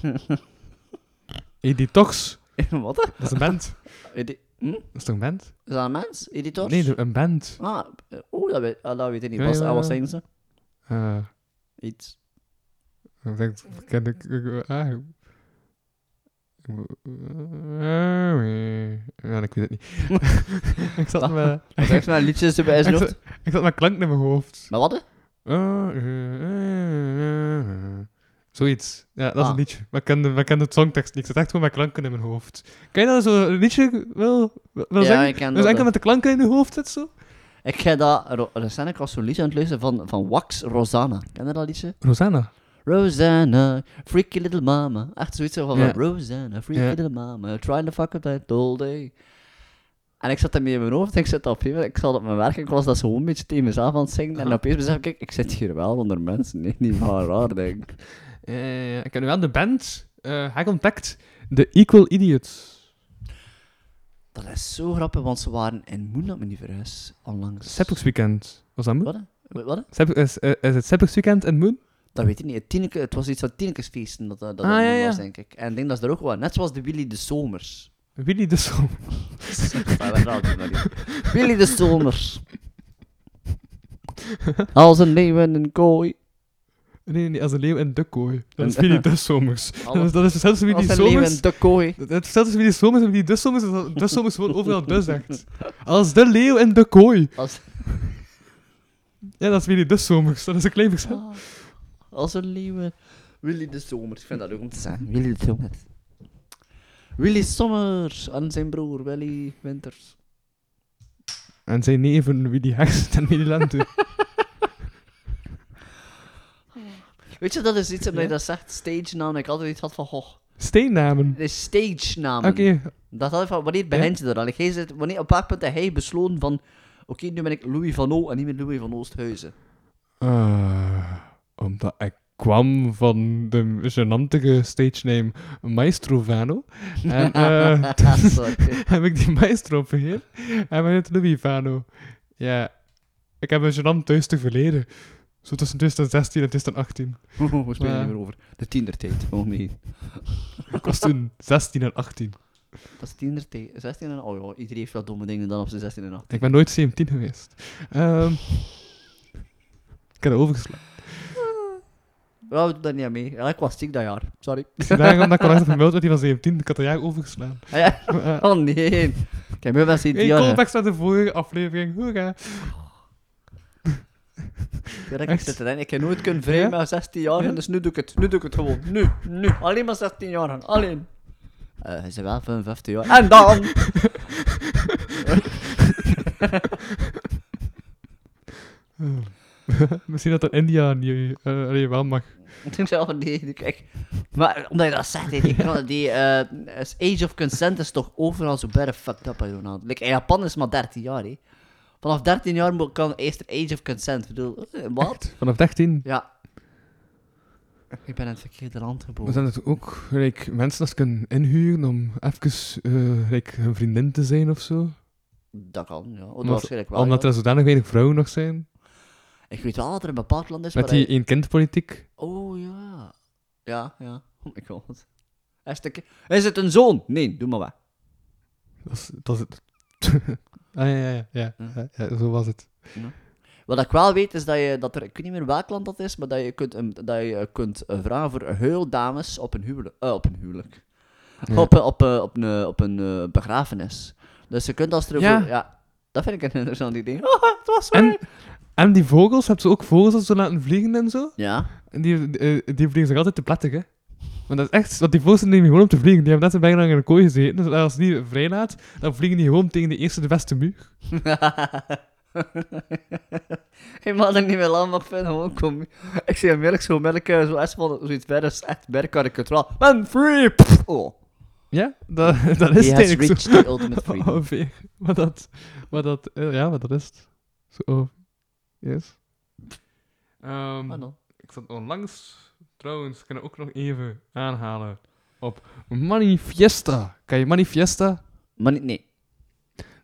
Speaker 3: Editox.
Speaker 4: Wat? hè?
Speaker 3: Dat is een band.
Speaker 4: Edi- Hm? Is
Speaker 3: Dat is toch een band?
Speaker 4: dat een mens? Editors?
Speaker 3: Nee, een band.
Speaker 4: Ah, eh, oeh, dat weet, ah, dat weet ik niet.
Speaker 3: Ja,
Speaker 4: Was,
Speaker 3: ja,
Speaker 4: ah, wat
Speaker 3: ja.
Speaker 4: zeggen ze?
Speaker 3: Eh,
Speaker 4: Iets.
Speaker 3: ik denk, ken ik... ik- ah, ik- ja, ik weet het niet. ik zat met...
Speaker 4: Wat echt maar liedjes erbij
Speaker 3: Ik
Speaker 4: zijn
Speaker 3: zat, ik zat met klank in mijn hoofd.
Speaker 4: Maar wat? hè?
Speaker 3: Eh, Zoiets. Ja, dat is
Speaker 4: Ah.
Speaker 3: een liedje. Maar ik ken, de, maar ik ken de songtekst niet. Ik zat echt gewoon met klanken in mijn hoofd. Kan je dat zo een liedje wel, wel
Speaker 4: Ja,
Speaker 3: zeggen?
Speaker 4: ik ken
Speaker 3: Dus
Speaker 4: dat.
Speaker 3: enkel met de klanken in je hoofd zit zo?
Speaker 4: Ik ga dat ro- recent ik was zo'n liedje aan het luisteren van, van Wax Rosanna. Ken je dat liedje?
Speaker 3: Rosanna.
Speaker 4: Rosanna, freaky little mama. Echt zoiets zo van,
Speaker 3: Ja.
Speaker 4: Rosanna, freaky
Speaker 3: Ja.
Speaker 4: little mama, trying to fuck up that all day. En ik zat daarmee in mijn hoofd en ik zat op een gegeven moment- ik zat op mijn werk en ik was dat zo een beetje tegen mezelf aan het zingen. En opeens besef ik, kijk, ik zit hier wel onder mensen, nee, niet van raar, denk ik.
Speaker 3: Ja, ja, ja. Eh, Ik heb nu wel de band eh hij contact, de Equal Idiots.
Speaker 4: Dat is zo grappig, want ze waren in Moon, dat me niet verhuis, onlangs.
Speaker 3: Sepulch's Weekend. Was dat Moon?
Speaker 4: Wat? hè? Wat? hè?
Speaker 3: Sep- is, eh, is het Sepulch's Weekend en Moon?
Speaker 4: Dat weet ik niet. Het, tieneke, het was iets van Tienekesfeesten dat dat, dat
Speaker 3: Ah,
Speaker 4: het
Speaker 3: ja,
Speaker 4: nu
Speaker 3: ja.
Speaker 4: was, denk ik. En ik denk dat ze er ook waren. Net zoals de Willy de Somers.
Speaker 3: Willy de Zomer.
Speaker 4: Maar wij raden het maar niet. Willy de Somers. Als een leeuw in een kooi.
Speaker 3: Nee, nee, als een leeuw in de kooi. Dat is
Speaker 4: En-
Speaker 3: Willy de Zomers. Dat is, dat is hetzelfde als Willy
Speaker 4: Als een leeuw in
Speaker 3: Zomers.
Speaker 4: de kooi.
Speaker 3: Het hetzelfde als Willy Zomers en Willy de Zomers is dat de Zomers gewoon overal de zegt. Als de leeuw in de kooi.
Speaker 4: Als,
Speaker 3: Ja, dat is Willy de Zomers. Dat is een klein verschil.
Speaker 4: als een leeuw in- Willy de Somers. Ik vind dat leuk om te zeggen. Willy de Somers. Willy Sommers en zijn broer Willy Winters.
Speaker 3: En zijn neven Willy Heks en Willy Lente.
Speaker 4: Weet je, dat is iets omdat je
Speaker 3: Ja?
Speaker 4: dat zegt. Stage naam. Ik altijd iets had van, goh,
Speaker 3: Steennamen.
Speaker 4: dit is stage naam.
Speaker 3: Oké.
Speaker 4: Dat had ik van, wanneer begint je daar? Like, hij zit, wanneer, op welk punt heeft hij besloten van... Oké, nu ben ik Louis van O en niet meer Louis van Oosthuizen.
Speaker 3: Eh, omdat ik kwam van de genantige stage name Maestro Vano. En eh,
Speaker 4: Sorry.
Speaker 3: heb ik die maestro opgegeven en ben het Louis Vano. Ja, ik heb een genant thuis te verleden. Zo tussen 2016 en 2018.
Speaker 4: We spelen
Speaker 3: Ja.
Speaker 4: niet meer over. De tienertijd. Oh nee.
Speaker 3: Ik was toen 16 en 18.
Speaker 4: Dat is tienertijd. 16 en... Oh ja, iedereen heeft wel domme dingen dan op zijn 16 en 8.
Speaker 3: Ik ben nooit 17 geweest. Ehm, ik heb het overgeslagen.
Speaker 4: Ja, we doen daar niet aan mee. Ja, ik was ziek dat jaar. Sorry.
Speaker 3: Vandaag omdat ik al achter vermeld werd, die van 17. Ik had dat jaar overgeslaan.
Speaker 4: Ah, ja.
Speaker 3: Eh,
Speaker 4: Oh nee. Ik heb heel veel zin in
Speaker 3: Hey,
Speaker 4: die jaren.
Speaker 3: callbacks naar de vorige aflevering. Hoera.
Speaker 4: Ja, dat ik
Speaker 3: Echt?
Speaker 4: zit erin. Ik heb nooit kunnen vrijen
Speaker 3: Ja?
Speaker 4: met 16 jaar,
Speaker 3: Ja?
Speaker 4: dus nu doe ik het. Nu doe ik het gewoon. Nu, nu. Alleen maar 16 jaar. Alleen. Eh, Hij is wel 55 jaar. En dan!
Speaker 3: Misschien dat dat India niet, eh, allee, wel mag.
Speaker 4: Toen zei ik, oh nee, nu kijk. Maar omdat je dat zegt, hè, die, knallen, die eh, is Age of Consent is toch overal zo better fucked up aan doen. Like, in Japan is het maar 13 jaar, hè. Vanaf 13 jaar moet- kan eerst er Age of Consent. Ik bedoel, eh, wat?
Speaker 3: Vanaf 13.
Speaker 4: Ja. Ik ben in het verkeerde land
Speaker 3: We
Speaker 4: geboren.
Speaker 3: zijn het ook like, mensen als kunnen inhuren om even eh like, hun vriendin te zijn of zo.
Speaker 4: Dat kan, ja. Oh, dat
Speaker 3: Omdat-
Speaker 4: waarschijnlijk wel.
Speaker 3: Omdat
Speaker 4: ja.
Speaker 3: er zodanig weinig vrouwen nog zijn.
Speaker 4: Ik weet wel dat er een bepaald land is
Speaker 3: Met
Speaker 4: waar
Speaker 3: die
Speaker 4: je-
Speaker 3: één kind politiek.
Speaker 4: Oh ja. Ja, ja. Oh my god. Is het, een- is het een zoon? Nee, doe maar weg.
Speaker 3: Dat is, dat is het. ah, ja, ja, ja, ja,
Speaker 4: Mm.
Speaker 3: ja, ja, Zo was het.
Speaker 4: Wat ik wel weet is dat, je, dat er, ik weet niet meer welk land dat is, maar dat je kunt, een- dat je kunt eh, vragen voor heel dames op een huwelijk. eh, op een huwelijk. Op, een- op, een- op een, op een eh, begrafenis. Dus je kunt als er.
Speaker 3: Ja.
Speaker 4: voor- ja dat vind ik een interessant idee. Oh,
Speaker 3: En, en die vogels, hebben ze ook vogels als ze laten vliegen en zo?
Speaker 4: Ja.
Speaker 3: En die, eh, die vliegen zich altijd te plattig, hè? Want dat is echt, want die vogels zijn gewoon om te vliegen. Die hebben net zo bijna in een kooi gezeten. Dus als ze die vrij laat, dan vliegen die gewoon tegen de eerste de beste muur.
Speaker 4: Je mag er niet meer lang mag vinden, gewoon kom. Ik zie hem merk zo merk eh, zo echt van zoiets verder is echt merk karikaturaal. Man free! Pff, Oh.
Speaker 3: Ja, dat, dat is
Speaker 4: He
Speaker 3: het eigenlijk
Speaker 4: has
Speaker 3: zo. Oh,
Speaker 4: reached the ultimate freedom.
Speaker 3: Ongeveer. Maar dat, maar dat, eh, ja, maar dat is het. Zo, oh, yes. Ehm,
Speaker 4: Ah, no.
Speaker 3: ik zat onlangs, trouwens, kan ik ook nog even aanhalen, op Manifesta. Kan je Manifesta?
Speaker 4: Maar niet, nee.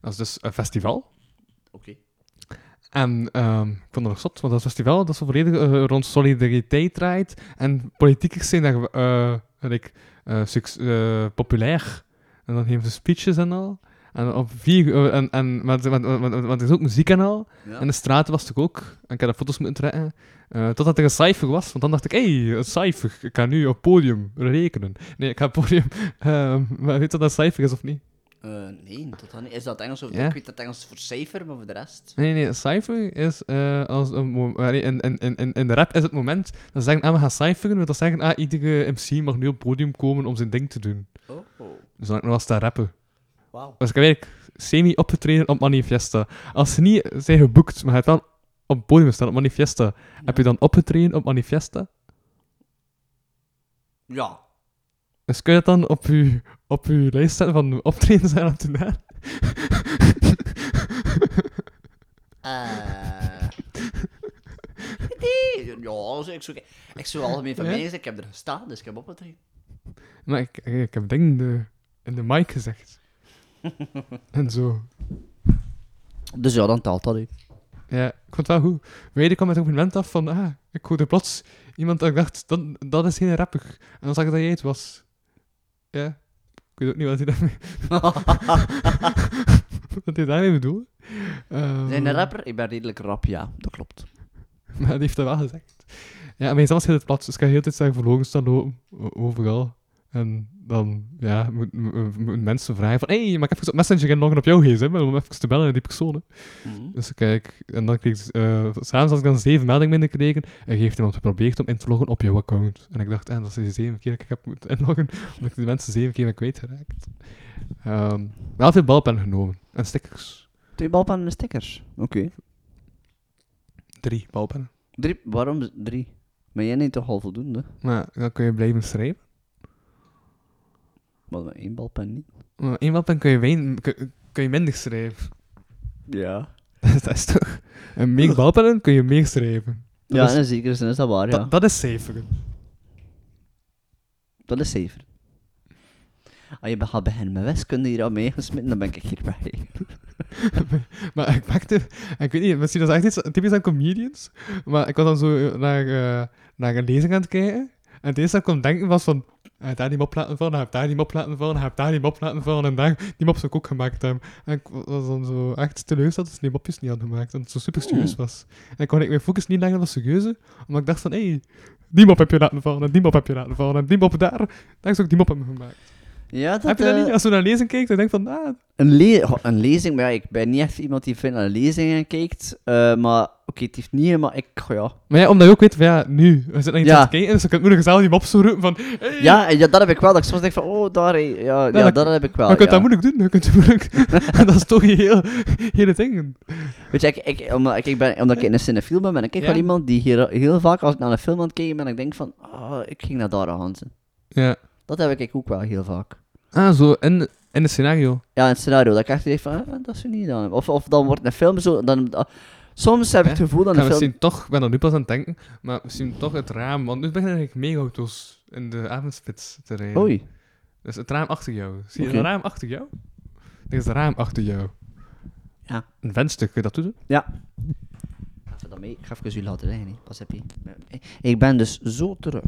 Speaker 3: Dat is dus een festival.
Speaker 4: Oké.
Speaker 3: En ehm, ik vond dat nog zot, want dat festival dat zo volledig eh, rond solidariteit draait. En politiekers zijn daar eh, like, eh, suc- eh, populair. En dan geven ze speeches en al. En op vier, eh, en, en, want, want, want, want- want er is ook muziek en al.
Speaker 4: Ja.
Speaker 3: En de straten was het ook. En ik heb daar foto's moeten trekken. Eh, totdat er een cijfer was. Want dan dacht ik, hé, hey, een cijfer. Ik kan nu op podium rekenen. Nee, ik ga op podium... ehm, maar weet je wat dat cijfer is of niet?
Speaker 4: Eh, nee, totaal niet. Is dat Engels? Of,
Speaker 3: Ja.
Speaker 4: Ik weet dat Engels voor cijfer, maar voor de rest.
Speaker 3: Nee, nee, cijfer is eh, als een mo- allee, in, in, in- in, in de rap is het moment dat ze zeggen, ah, we gaan cijferen. Want dat zeggen, ah, iedere MC mag nu op het podium komen om zijn ding te doen.
Speaker 4: Oh, oh.
Speaker 3: Dus dan heb ik nog wel staan rappen.
Speaker 4: wauw.
Speaker 3: Dus ik heb eigenlijk semi opgetreden op Manifesta. Als ze niet zijn geboekt, maar je hebt wel op het podium staan op Manifesta, heb je dan opgetreden op Manifesta?
Speaker 4: Ja.
Speaker 3: Dus kun je dat dan op je, op uw lijst zetten van optreden zijn op de naam?
Speaker 4: Eh. nee, ja, zo, ik zoek, ik zoek algemeen van
Speaker 3: Ja?
Speaker 4: mensen. Ik heb er gestaan, dus ik heb opgetreden.
Speaker 3: Maar ik, ik heb dingen in de, in de mic gezegd. en zo.
Speaker 4: Dus ja, dan telt dat, hè.
Speaker 3: Ja, ik vond het wel goed. Weide kwam met een compliment af van, ah, ik hoorde plots iemand dat ik dacht, dat, dat is geen rapper. En dan zag ik dat jij het was. Ja, ik weet ook niet wat hij daarmee, wat hij daarmee bedoelde. Ehm,
Speaker 4: Zijn een rapper? Ik ben redelijk rap, ja. Dat klopt.
Speaker 3: Maar die heeft dat wel gezegd. Ja, maar jezelf zit het plat, dus ik ga de hele tijd zeggen verloren staan lopen, o- overal. En dan, ja, moet- moet- moeten mensen vragen van, hé, hey, maar ik heb even op Messenger inloggen op jouw gsm, om even te bellen naar die persoon. hè."
Speaker 4: Mhm.
Speaker 3: Dus kijk, en dan kreeg ik, eh, s'avonds had ik dan zeven meldingen binnengekregen. En heeft iemand geprobeerd om in te loggen op jouw account. En ik dacht, eh, dat is de zeven keer dat ik heb moeten inloggen, omdat ik de mensen zeven keer ben kwijtgeraakt. Ehm wel veel balpen genomen. En stickers.
Speaker 4: Twee balpannen en stickers. Oké.
Speaker 3: Drie balpen.
Speaker 4: Drie, waarom z- drie? Maar jij neemt toch al voldoende?
Speaker 3: Maar dan kun je blijven schrijven.
Speaker 4: Maar met één balpen niet.
Speaker 3: Maar één balpen kun je, wijn, kun, kun je minder schrijven.
Speaker 4: Ja.
Speaker 3: dat is toch... En meer balpennen kun je meer schrijven. Dat
Speaker 4: ja,
Speaker 3: is-
Speaker 4: in zekere zin is dat waar, ja.
Speaker 3: Dat, dat is cijferen.
Speaker 4: Dat is zeker. Als je gaat beginnen met wiskunde hier al meegesmitten, dan ben ik hier bij.
Speaker 3: Maar ik pakte, ik weet niet, misschien is dat echt iets typisch aan comedians. Maar ik was dan zo eh, naar, eh, naar een lezing aan het kijken. En het eerste dat ik kon denken was van. Hij heeft daar die mop laten vallen, hij heeft daar die mop laten vallen, hij heeft daar die mop laten vallen en daar die mop zou ik ook gemaakt hebben. En ik was dan zo echt teleurgesteld dat ze die mopjes niet hadden gemaakt en het zo super serieus was. En ik kon ik mijn focus niet leggen op dat serieuze, omdat ik dacht van, hé, hey, die mop heb je laten vallen en die mop heb je laten vallen en die mop daar, daar is ook die mop hebben gemaakt.
Speaker 4: Ja, dat,
Speaker 3: heb je dat
Speaker 4: eh,
Speaker 3: niet? Als je naar lezing kijkt, dan denk je van, ah,
Speaker 4: Een, le- goh, een lezing, maar ja, ik ben niet echt iemand die veel naar lezingen kijkt. eh, maar oké, het heeft niet, maar ik, goh, ja.
Speaker 3: Maar ja, omdat je ook weet van ja, nu, we zitten naar iets
Speaker 4: Ja.
Speaker 3: aan het kijken, dus ik kan het moeilijk zelf niet op zo roepen van, hey,
Speaker 4: Ja, en ja, dat heb ik wel. Dat ik soms denk van, oh, daar, hé, ja, ja,
Speaker 3: dat-
Speaker 4: dat heb ik wel.
Speaker 3: maar je kunt
Speaker 4: ja.
Speaker 3: dat moeilijk doen, je kunt het moeilijk, en dat is toch je heel, hele ding.
Speaker 4: Weet je, ik, ik, omdat, ik- ik ben, omdat ik in een cinefiel ben, ben ik echt
Speaker 3: Ja.
Speaker 4: wel iemand die hier heel vaak, als ik naar een film aan het kijken ben, ik denk van, oh, ik ging naar Dara Hansen.
Speaker 3: Ja.
Speaker 4: Dat heb ik ook wel heel vaak.
Speaker 3: Ah, zo, in, in het scenario.
Speaker 4: Ja, een scenario. Dat ik echt denk van, ah, dat is er niet dan. Of, of dan wordt een film zo... Dan, ah, soms heb ik het
Speaker 3: Ja,
Speaker 4: gevoel dat
Speaker 3: Ik ga
Speaker 4: een film...
Speaker 3: misschien toch, ik ben er nu pas aan het denken, maar misschien toch het raam, want nu beginnen eigenlijk mega auto's in de avondspits te rijden.
Speaker 4: Oei.
Speaker 3: Dus het raam achter jou. Zie je
Speaker 4: Oké.
Speaker 3: het raam achter jou? Er is een raam achter jou.
Speaker 4: Ja.
Speaker 3: Een venster, kun je dat doen?
Speaker 4: Ja. Even dat mee. Ik ga even jullie laten liggen. hè. Pas heb je. Ik ben dus zo terug.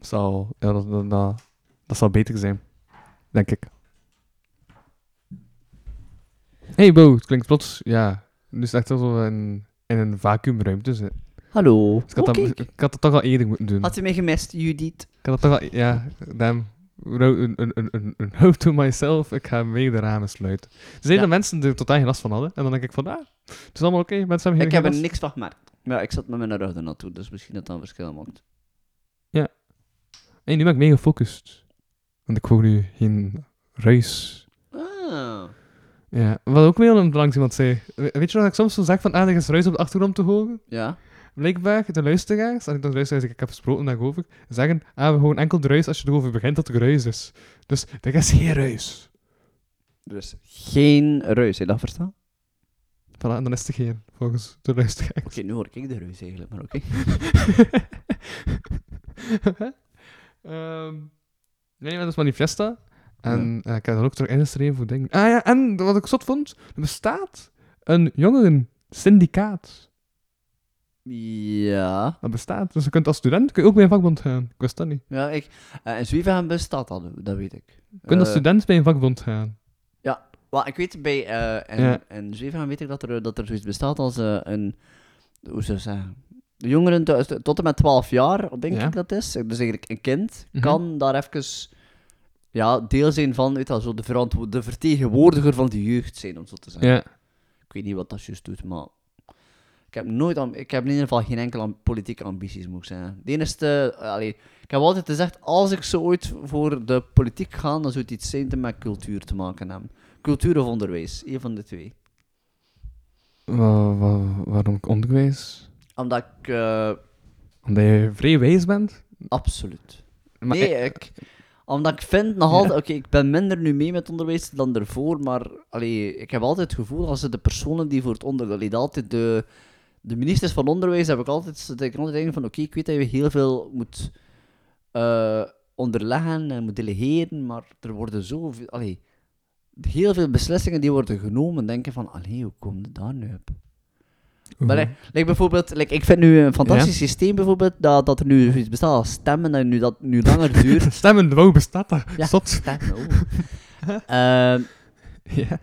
Speaker 3: Zal, ja, dat, dat, dat, dat zal beter zijn, denk ik. Hey Bo, het klinkt plots, ja. Nu is het echt alsof we in, in een vacuümruimte zitten.
Speaker 4: Hallo.
Speaker 3: Dus ik, had
Speaker 4: Oh,
Speaker 3: dat,
Speaker 4: kijk.
Speaker 3: ik had dat toch al eerder moeten doen.
Speaker 4: Had je mij gemist, Judith?
Speaker 3: Ik had dat toch al, ja, damn. Ro- Een, een, een, een, een note to myself, ik ga mee de ramen sluiten. Ze zeiden
Speaker 4: Ja.
Speaker 3: dat mensen er totaal geen last van hadden. En dan denk ik van, ah, het is allemaal oké, mensen hebben
Speaker 4: Ik
Speaker 3: geen
Speaker 4: heb er
Speaker 3: geen last.
Speaker 4: niks van gemerkt. Ja, ik zat met mijn rug er naartoe, dus misschien dat dat een verschil maakt.
Speaker 3: Hey, nu ben ik mega gefocust. Want ik hoor nu geen ruis
Speaker 4: Ah.
Speaker 3: Ja, wat ook weer om langs iemand zei. We- Weet je wat ik soms zo zeg van ah, er is ruis op de achtergrond te horen?
Speaker 4: Ja.
Speaker 3: Blijkbaar, de luisteraars, en ik dan luisteraars die ik heb gesproken daarover, zeggen ah, we horen enkel de ruis als je erover begint dat er ruis is. Dus er is geen ruis.
Speaker 4: Dus geen reus, heb je dat verstaan?
Speaker 3: Voilà, en dan is er geen, volgens de luisteraar.
Speaker 4: Oké, nu hoor ik de reus eigenlijk, maar oké.
Speaker 3: Ehm, nee, maar dat is Manifesta. En eh, ik heb dat ook terug ingeschreven voor dingen. Ah ja, en wat ik zot vond, er bestaat een jongeren-syndicaat.
Speaker 4: Ja.
Speaker 3: Dat bestaat. Dus je kunt als student kun je ook bij een vakbond gaan. Ik wist dat niet.
Speaker 4: Ja, ik... eh, in Zwievenhem bestaat dat, dat weet ik.
Speaker 3: Je kunt als
Speaker 4: Eh,
Speaker 3: student bij een vakbond gaan.
Speaker 4: Wel, ik weet bij eh en,
Speaker 3: Ja.
Speaker 4: en Zwevengaan weet ik dat er, dat er zoiets bestaat als eh, een. Hoe zou ik zeggen? De jongeren thuis- tot en met 12 jaar, denk
Speaker 3: Ja.
Speaker 4: ik dat is. Dus eigenlijk een kind
Speaker 3: Mhm.
Speaker 4: kan daar even ja, deel zijn van, weet je wel, zo de, verantwo- de vertegenwoordiger van de jeugd zijn, om zo te zeggen.
Speaker 3: Ja.
Speaker 4: Ik weet niet wat dat juist doet, maar ik heb nooit, am- ik heb in ieder geval geen enkele am- politieke ambities, moet ik zeggen. De enige, eh, allee, ik heb altijd gezegd, als ik zo ooit voor de politiek ga, dan zou het iets zijn te met cultuur te maken hebben. Cultuur of onderwijs, één van de twee.
Speaker 3: Wa- wa- waarom onderwijs?
Speaker 4: Omdat ik... eh,
Speaker 3: Omdat je vrij wijs bent?
Speaker 4: absoluut.
Speaker 3: Maar
Speaker 4: nee,
Speaker 3: ik-
Speaker 4: ik, omdat ik vind nog altijd... Oké, ik ben minder nu mee met onderwijs dan ervoor, maar allee, ik heb altijd het gevoel als ze de personen die voor het onderwijs... allee, dat altijd de, de ministers van onderwijs heb ik altijd... Dat ik altijd denk van, oké, ik weet dat je heel veel moet eh, onderleggen en moet delegeren, maar er worden zoveel... Allee, heel veel beslissingen die worden genomen, denken van, allee, hoe komt het daar nu op? Maar
Speaker 3: Mhm.
Speaker 4: like, like bijvoorbeeld, like, ik vind nu een fantastisch systeem bijvoorbeeld, dat, dat er nu iets bestaat als stemmen, en nu dat nu langer duurt.
Speaker 3: Stemmen, wauw, bestaat dat?
Speaker 4: Ja.
Speaker 3: Zot.
Speaker 4: Stemmen, oh. Ehm,
Speaker 3: Ja.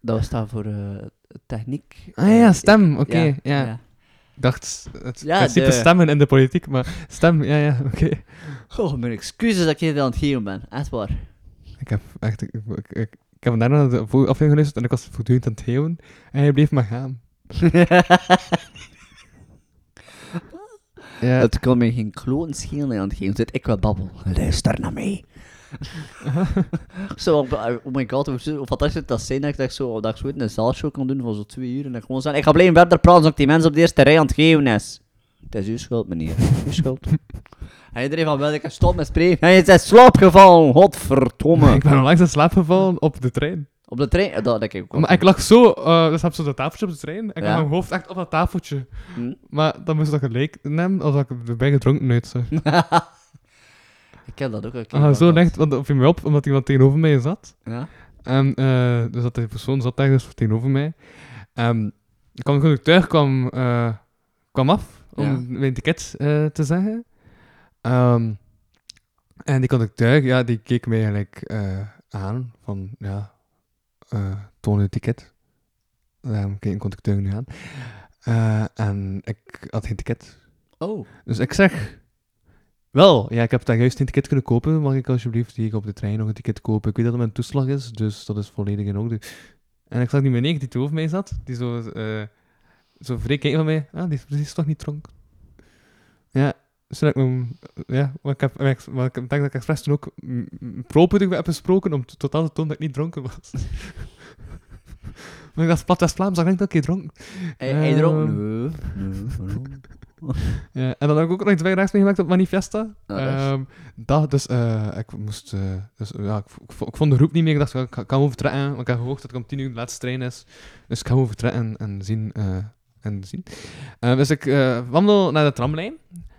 Speaker 4: dat staat voor eh, techniek.
Speaker 3: Ah ja, stem, oké.
Speaker 4: Ja,
Speaker 3: ja.
Speaker 4: ja.
Speaker 3: Ik dacht, het
Speaker 4: Ja,
Speaker 3: principe
Speaker 4: de-
Speaker 3: stemmen in de politiek, maar stem, ja, ja, oké.
Speaker 4: Goh, mijn excuses dat ik hier aan het geven ben, echt waar.
Speaker 3: Ik heb echt, ik, ik, ik, ik heb daarna de vorige aflevering geluisterd en ik was voortdurend aan het geeuwen en hij bleef maar gaan. Ja,
Speaker 4: Het kan mij geen kloten schelen aan het geven, zit ik wel babbel. Luister naar mij. zo, oh my god, hoe hoe fantastisch zou dat zijn dat ik, dat ik zo, dat ik zo in een zaalshow kan doen van zo twee uur en dat ik gewoon zeg, ik ga blijven verder praten zodat ik die mensen op de eerste rij aan het geven is. Het is uw schuld, meneer. Uw schuld. en iedereen van, wel, ik heb stop met spreken. Hij is in slaap gevallen, godverdomme.
Speaker 3: ik ben onlangs in slaap gevallen op de trein.
Speaker 4: op de trein, eh, dat denk ik ook.
Speaker 3: Maar ik lag zo, eh dus heb zo dat tafeltje op de trein en ik
Speaker 4: Ja.
Speaker 3: had mijn hoofd echt op dat tafeltje.
Speaker 4: Hm.
Speaker 3: Maar dan moest ik gelijk nemen, als ik erbij gedronken uit. Zo.
Speaker 4: Ik heb dat ook een keer
Speaker 3: Ah, zo
Speaker 4: gehad.
Speaker 3: licht, want of je mij op, omdat iemand tegenover mij zat.
Speaker 4: Ja?
Speaker 3: En, eh, dus dat die persoon zat daar dus tegenover mij. En ik kwam de conducteur kwam, eh, kwam af om
Speaker 4: Ja.
Speaker 3: mijn ticket eh, te zeggen. Ehm, en die conducteur, ja, die keek mij eigenlijk eh, aan van, ja, eh toon uw ticket. Daarom keek een conducteur nu aan. Eh, en ik had geen ticket.
Speaker 4: Oh.
Speaker 3: Dus ik zeg... Wel, ja, ik heb daar juist een ticket kunnen kopen. Mag ik alsjeblieft hier op de trein nog een ticket kopen? Ik weet dat het mijn toeslag is, dus dat is volledig in orde. En ik zag die meneer die tegenover mij zat, die zo, eh zo vreemd keek van mij. Ah, die is precies toch niet dronk. Ja, dus toen heb ik hem... Ja, maar ik, heb, maar ik, maar ik denk dat ik expres toen ook mm, mm, proper heb besproken om t- tot aan te tonen dat ik niet dronken was. maar ik dacht, plat West-Vlaams, dan denk ik dat ik hier dronken
Speaker 4: Hij, hij dronk.
Speaker 3: Ehm.
Speaker 4: Nee, nee, waarom?
Speaker 3: Ja, Eh, en dan heb ik ook nog iets bijdraags meegemaakt op Manifesta.
Speaker 4: Ah, dat is-
Speaker 3: Ehm, dat, dus eh, ik moest... eh, dus, ja, ik, vo- ik, vo- ik vond de roep niet meer. Ik dacht, ik ga- ik kan overtrekken. Want ik heb gehoord dat ik om tien uur de laatste trein is. Dus ik ga overtrekken en zien. eh, en zien. Eh, dus ik eh, wandel naar de tramlijn.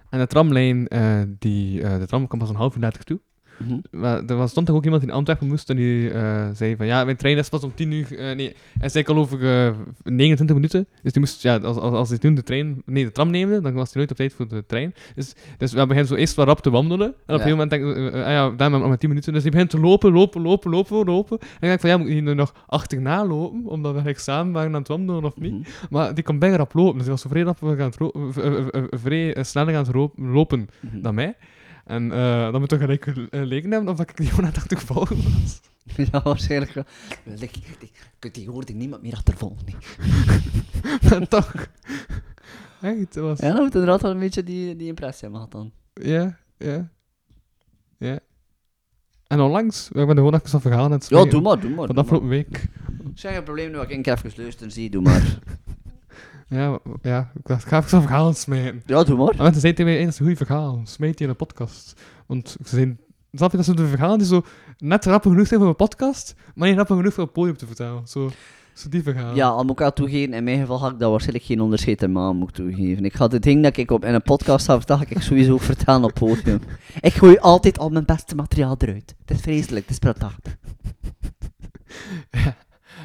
Speaker 3: En de tramlijn, eh, die, eh, de tram kwam pas een half uur later toe.
Speaker 4: Mhm.
Speaker 3: Maar er was, stond toch ook iemand die in Antwerpen moest en die eh, zei van ja, mijn trein is pas om 10 uur. eh, nee, hij zei ik al over eh, 29 minuten. Dus die moest, ja, als, als, als hij toen de trein, nee, de tram neemde, dan was hij nooit op tijd voor de trein. Dus, dus we beginnen zo eerst wat rap te wandelen. En op een
Speaker 4: Ja.
Speaker 3: gegeven moment denk ik, eh, eh, ah ja, daar maar nog maar 10 minuten. Dus die begint te lopen, lopen, lopen, lopen, lopen. En ik denk van ja, moet ik hier nu nog achterna lopen, omdat we eigenlijk samen waren aan het wandelen of
Speaker 4: Mhm,
Speaker 3: niet. Maar die kon bijna rap lopen, dus die was zo vrij, rap aan het ro- v- eh, eh, eh, vrij eh, sneller aan het ro- lopen
Speaker 4: Mhm.
Speaker 3: dan mij. En eh, dan moet toch gelijk leken hebben of dat ik die gewoon aan het achtervolgen was.
Speaker 4: Ja, waarschijnlijk wel. Lik, lik, kunt die hoorde niemand meer achtervolgen. nee.
Speaker 3: Maar toch. Echt, het was...
Speaker 4: Ja, dan moet inderdaad wel een beetje die, die impressie hebben gehad dan.
Speaker 3: Ja, ja. Ja. En onlangs, ik ben er gewoon even aan verhaal aan het
Speaker 4: Ja,
Speaker 3: spreken
Speaker 4: doe maar, doe maar.
Speaker 3: Van
Speaker 4: Doe
Speaker 3: de
Speaker 4: maar.
Speaker 3: afgelopen week.
Speaker 4: Zeg geen probleem nu, dat ik een keer even luister, zie, doe maar.
Speaker 3: Ja, w- ja, ik dacht, ik ga even een verhaal smijten.
Speaker 4: Ja, doe maar.
Speaker 3: En mensen zeiden tegen mij eens, goeie verhaal, smijt die in een podcast. Want ze zijn... Snap je, dat zijn de verhalen die zo net rappen genoeg zijn voor een podcast, maar niet rappen genoeg voor een podium te vertalen. Zo, zo die verhalen.
Speaker 4: Ja, al moet ik dat toegeven, in mijn geval ga ik daar waarschijnlijk geen onderscheid in maken, moet ik toegeven. Ik had het ding dat ik op, in een podcast had verteld, ga ik sowieso ook vertellen op podium. Ik gooi altijd al mijn beste materiaal eruit. Het is vreselijk, het is prachtig.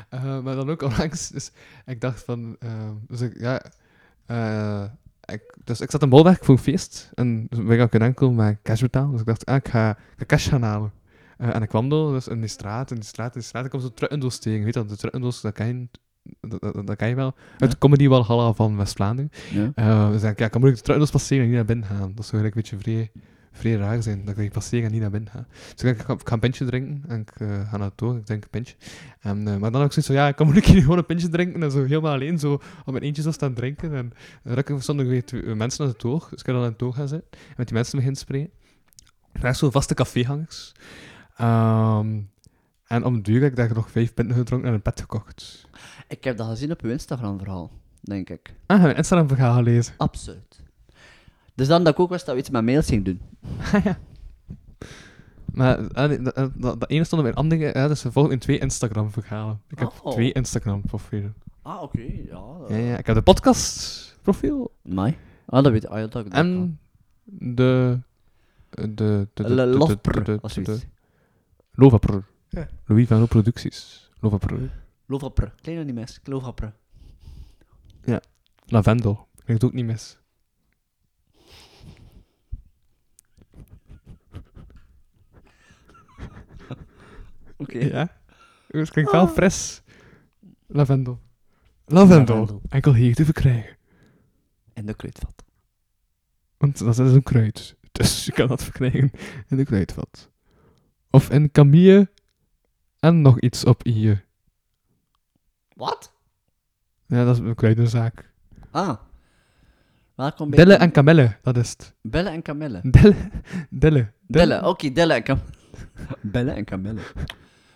Speaker 3: Eh, maar dan ook onlangs, dus ik dacht van, eh, dus ik, ja, eh, ik, dus ik zat in Bolwerk voor een feest en dus ben ik ook in enkel maar cash betaald, dus ik dacht, ah, ik ga, ik ga cash gaan halen. Eh, en ik wandel dus in die straat, in die straat, in die straat, ik kwam zo'n truttendoos tegen, weet je dat, de truttendoos, dat kan je, dat, dat, dat kan je wel, uit de comedy walhalla van West-Vlaanderen.
Speaker 4: Ja.
Speaker 3: Eh, dus ik, ja, kan moeilijk de truttendoos passeren en niet naar binnen gaan, dat zou eigenlijk een beetje vrij, vrij raar zijn, dat ik die passeren en niet naar binnen ga. Dus ik, denk, ik, ga, ik ga een pintje drinken en ik eh, ga naar het toren, ik drink een pintje. En, eh, maar dan ook zoiets van, ja, ik kan moeilijk hier gewoon een pintje drinken en zo helemaal alleen zo op mijn eentje zo staan drinken. En rukken stonden weer twee, eh, mensen aan het toog, dus ik kan dan aan het toog gaan zitten en met die mensen beginnen spreken. Daar zo vaste caféhangers. Ehm, En om duur heb ik daar nog vijf pinten gedronken en een pet gekocht.
Speaker 4: Ik heb dat gezien op uw Instagram-verhaal, denk ik.
Speaker 3: Ah, heb je Instagram verhaal gelezen?
Speaker 4: Absoluut. Dus dan dat ik ook wist dat we iets met mails gingen doen.
Speaker 3: Maar eh, die- dat, dat, dat ene stond op een andere, eh, dus er volgen in twee Instagram verhalen. Ik heb
Speaker 4: Oh.
Speaker 3: twee Instagram profielen.
Speaker 4: Ah, oké, ja.
Speaker 3: Ja, ja, ik heb de podcast profiel
Speaker 4: Mai. Ah, dat weet ik. Ah, ja, dat, dat
Speaker 3: en de de de de de- de- de- de- de-
Speaker 4: Lovpr, of
Speaker 3: de-
Speaker 4: Eh, zoiets.
Speaker 3: Lovapr. Louis van Loo Producties. Lovapr.
Speaker 4: Lovapr. Klein animes. Lovapr.
Speaker 3: Lavendel. Ik denk het ook niet mis.
Speaker 4: Oké.
Speaker 3: Ja? Dus Het klinkt
Speaker 4: Ah.
Speaker 3: wel fris. Lavendel. Lavendel.
Speaker 4: Lavendel.
Speaker 3: Enkel hier te verkrijgen.
Speaker 4: En de kruidvat.
Speaker 3: Want dat is een kruid. Dus je kan dat verkrijgen in de kruidvat. Of in Camille en nog iets op hier.
Speaker 4: Wat?
Speaker 3: Ja, dat is een kruidenzaak.
Speaker 4: Ah. Welkom bij...
Speaker 3: Dille en Camille, dat is het.
Speaker 4: Bellen en kamellen.
Speaker 3: Dille. Dille.
Speaker 4: Bellen, oké, Delle en kam... bellen en kamellen.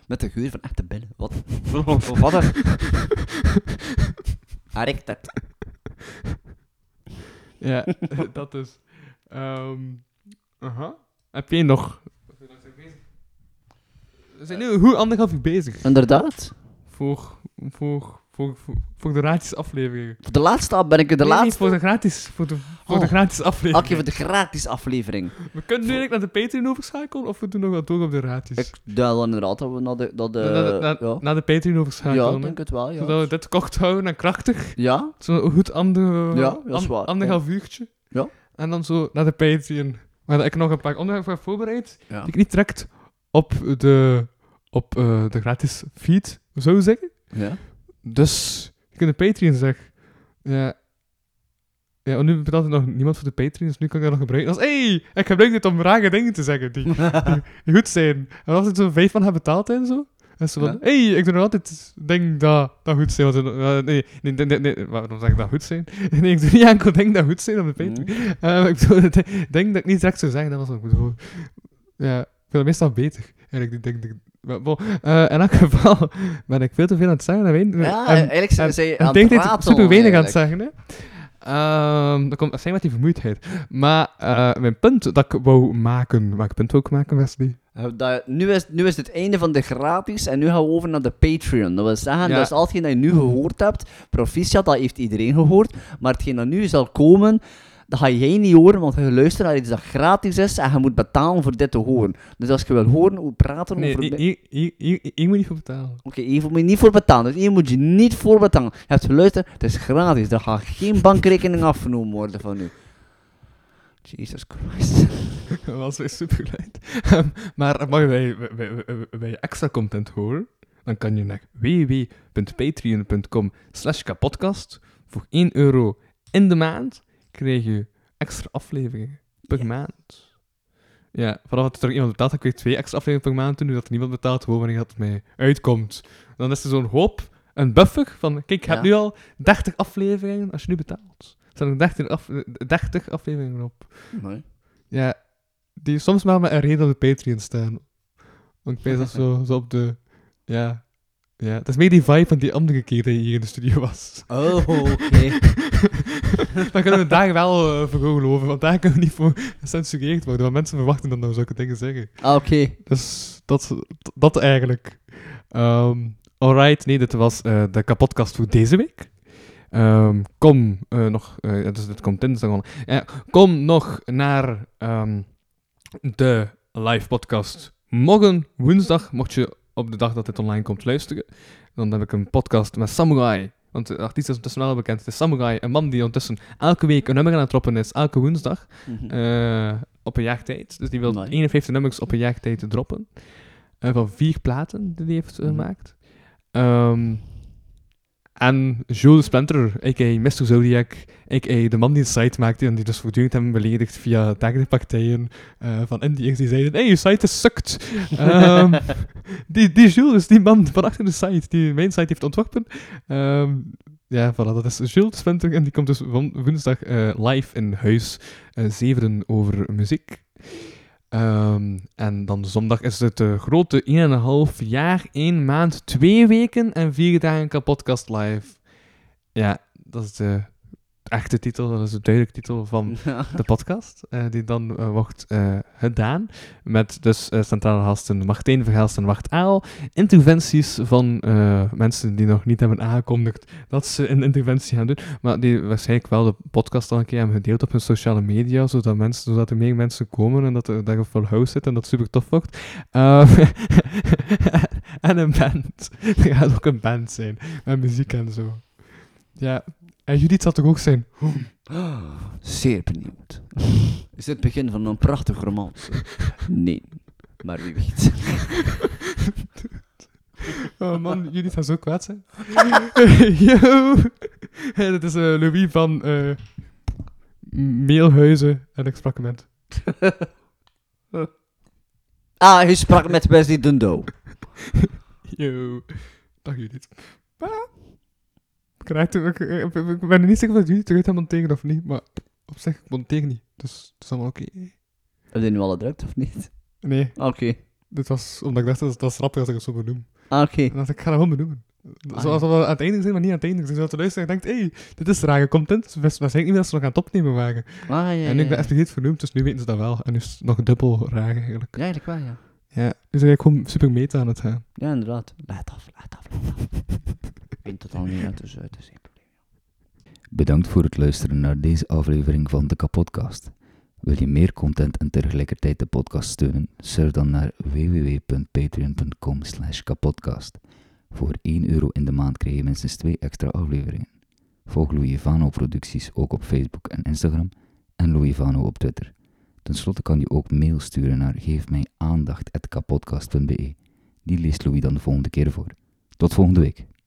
Speaker 4: Met de geur van echte bellen. Wat? Wat een... Hij rikt het.
Speaker 3: Ja, dat is. ehm, aha. Heb jij nog? We zijn nu goed anderhalf uur bezig.
Speaker 4: Inderdaad.
Speaker 3: Voor, voor, voor, voor, voor de gratis afleveringen.
Speaker 4: Voor de laatste af ben ik er de
Speaker 3: Nee, nee,
Speaker 4: laatste.
Speaker 3: voor de gratis, voor de, voor de
Speaker 4: Oh.
Speaker 3: gratis
Speaker 4: Oké,
Speaker 3: aflevering.
Speaker 4: voor de gratis aflevering.
Speaker 3: We kunnen nu eigenlijk naar de Patreon overschakelen, of we doen nog wat door op de gratis.
Speaker 4: Ik duid dan inderdaad dat we naar de... Naar de
Speaker 3: Na- na- na-
Speaker 4: ja.
Speaker 3: Naar de Patreon
Speaker 4: ja,
Speaker 3: overschakelen.
Speaker 4: ik denk het wel, ja.
Speaker 3: Zodat we dit kort houden en krachtig.
Speaker 4: Ja?
Speaker 3: Zo'n goed ander,
Speaker 4: Ja, dat is waar,
Speaker 3: anderhalf uurtje.
Speaker 4: Ja.
Speaker 3: En dan zo naar de Patreon. Waar ik nog een paar onderwerpen heb voorbereid.
Speaker 4: Ja.
Speaker 3: die ik niet direct op de, op, eh, de gratis feed zou zeggen.
Speaker 4: ja.
Speaker 3: Dus je kunt de Patreon zeggen. Ja. Ja, want nu betaalt er nog niemand voor de Patreon, dus nu kan ik dat nog gebruiken. Als, hey, ik gebruik dit om rare dingen te zeggen die, die goed zijn. En als ik zo vijf van heb betaald en zo. En zo van,
Speaker 4: Ja.
Speaker 3: hey, ik doe nog altijd dingen dat, dat goed zijn. Want, eh, nee, nee, nee, nee, nee, waarom zeg ik dat goed zijn? Nee, ik doe niet enkel dingen dat goed zijn op de Patreon. Eh, ik bedoel, het denk dat ik niet direct zou zeggen, dat was ook zo. Ja, ik vind dat meestal beter. Eigenlijk, ik denk, ik- maar bon, eh, in elk geval ben ik veel te veel aan het zeggen. Dat weet,
Speaker 4: Ja,
Speaker 3: en-
Speaker 4: eigenlijk zijn
Speaker 3: en-
Speaker 4: zij
Speaker 3: en
Speaker 4: aan
Speaker 3: denk
Speaker 4: het
Speaker 3: dat ik
Speaker 4: ratelen
Speaker 3: super weinig aan het
Speaker 4: eigenlijk.
Speaker 3: zeggen, hè. Ehm, dat komt zijn met die vermoeidheid. Maar eh, mijn punt dat ik wou maken, waar ik punt ook maken, Wesley.
Speaker 4: Eh, dat- nu, is, nu is het einde van de gratis en nu gaan we over naar de Patreon. Dat wil zeggen,
Speaker 3: Ja.
Speaker 4: dat is al hetgeen dat je nu gehoord hebt. Proficiat, dat heeft iedereen gehoord. Maar hetgeen dat nu zal komen, dat ga jij niet horen, want je luistert naar iets dat gratis is en je moet betalen voor dit te horen. Dus als je wil horen hoe we praten
Speaker 3: Nee,
Speaker 4: over...
Speaker 3: hier-
Speaker 4: Oké,
Speaker 3: hier hier- hier- hier moet je niet voor betalen.
Speaker 4: hier moet je niet voor betalen. Dus hier moet je niet voor betalen. Je hebt geluisterd, het is gratis. Er gaat geen bankrekening afgenomen worden van nu. Jesus Christ.
Speaker 3: Dat was weer super maar mag je bij, bij, bij- bij extra content horen? Dan kan je naar www.patreon.com slash kapodcast. Voor 1 euro in de maand krijg je extra afleveringen per maand. Ja, vanaf dat er iemand betaalt, dan kun je twee extra afleveringen per maand doen. Nu dat er niemand betaalt, gewoon wanneer dat mij uitkomt. Dan is er zo'n hoop, een buffer van, kijk, ik heb
Speaker 4: Ja.
Speaker 3: nu al 30 afleveringen als je nu betaalt. Er staan er 30, af, 30 afleveringen op.
Speaker 4: Nee.
Speaker 3: Ja, die soms maar met een reden op de Patreon staan. Want ik weet dat zo, zo op de... Ja, ja. Het is meer die vibe van die andere keer dat je hier in de studio was.
Speaker 4: Oh, oké.
Speaker 3: Dan kunnen we daar wel eh, voor geloven, want daar kunnen we niet voor gecensureerd worden. Want mensen verwachten dan nou zulke dingen zeggen.
Speaker 4: Ah, oké.
Speaker 3: Dus dat, dat eigenlijk. Ehm, alright, nee, dit was eh, de kapotkast voor deze week. Ehm, kom eh, nog, eh, ja, dus dit komt dinsdag al. Ja, eh, kom nog naar ehm, de live podcast morgen, woensdag, mocht je op de dag dat dit online komt luisteren. Dan heb ik een podcast met Samurai. Want de artiest is ondertussen wel bekend. Het is Samurai, een man die ondertussen elke week een nummer aan het droppen is, elke woensdag.
Speaker 4: Mhm.
Speaker 3: Eh, op een jaar tijd. Dus die wil
Speaker 4: Amai.
Speaker 3: 51 nummers op een jaar tijd droppen. Eh, van vier platen die hij heeft eh,
Speaker 4: Mhm.
Speaker 3: gemaakt. Ehm, en Jules Splinter, a.k.a. Mr. Zodiac, a.k.a. de man die een site maakte en die dus voortdurend hem beledigd via dagelijkse partijen eh, van Indiërs die zeiden, hey, je site is sukt. Ehm, die, die Jules is die man van achter de site, die mijn site heeft ontworpen. Ehm, ja, voilà, dat is Jules Splinter en die komt dus van woensdag eh, live in huis eh, zeveren over muziek. Ehm, en dan zondag is het de grote 1,5 jaar, 1 maand, 2 weken en 4 dagen kapotkast live. Ja, dat is de echte titel, dat is de duidelijke titel van de podcast, eh, die dan eh, wordt eh, gedaan. Met dus eh, centrale gasten Martijn Verhelst en Wart Aal. Interventies van eh, mensen die nog niet hebben aangekondigd dat ze een interventie gaan doen. Maar die waarschijnlijk wel de podcast al een keer hebben gedeeld op hun sociale media, zodat, mensen, zodat er meer mensen komen en dat er daar een full house zit en dat het super tof wordt. Ehm, en een band. Er gaat ook een band zijn, met muziek en zo. Ja, en Judith zal toch ook zijn?
Speaker 4: Ehm, Zeer benieuwd. Is dit het begin van een prachtig romance? Nee, maar wie weet.
Speaker 3: Oh man, jullie gaan zo kwaad zijn. Yo! Hey, dit is eh, Louis van eh, Meelhuizen en ik sprak hem met.
Speaker 4: Ah, hij sprak met Wesley Dundo.
Speaker 3: Yo. Dag Judith. Pa. Ik, raak er- ik, eh, ik- ik ben er niet zeker of Judith eruit helemaal tegen of niet, maar op zich, ik ben tegen niet. Dus het is allemaal oké.
Speaker 4: Heb je nu al gedrukt of niet?
Speaker 3: Nee,
Speaker 4: Oké.
Speaker 3: dit was omdat ik dacht dat dat is grappig als ik het zo benoem.
Speaker 4: Ah, Oké.
Speaker 3: En dacht ik, ik ga dat wel benoemen.
Speaker 4: Ah,
Speaker 3: Zoals we aan het einde zijn, maar niet aan het einde. Dus dat de luisteraar denkt, hey, dit is rare content. Dus We zijn niet meer dat ze nog aan het opnemen waren.
Speaker 4: Ah, ja, ja,
Speaker 3: En nu ik
Speaker 4: ja.
Speaker 3: ben expliciet vernoemd, dus nu weten ze dat wel. En nu is het nog dubbel raar eigenlijk.
Speaker 4: Ja, eigenlijk wel, ja.
Speaker 3: Ja, nu zijn eigenlijk gewoon super meta aan het gaan.
Speaker 4: Ja, inderdaad. Laat af, laat af, laat af. Ik vind het al niet uit, dus eh, het is geen probleem.
Speaker 8: Bedankt voor het luisteren naar deze aflevering van de Kapodcast. Wil je meer content en tegelijkertijd de podcast steunen? Surf dan naar www.patreon.com slash kapodcast. Voor 1 euro in de maand krijg je minstens 2 extra afleveringen. Volg Louis Vano producties ook op Facebook en Instagram en Louis Vano op Twitter. Ten slotte kan je ook mail sturen naar geefmijaandacht.kapodcast.be. Die leest Louis dan de volgende keer voor. Tot volgende week.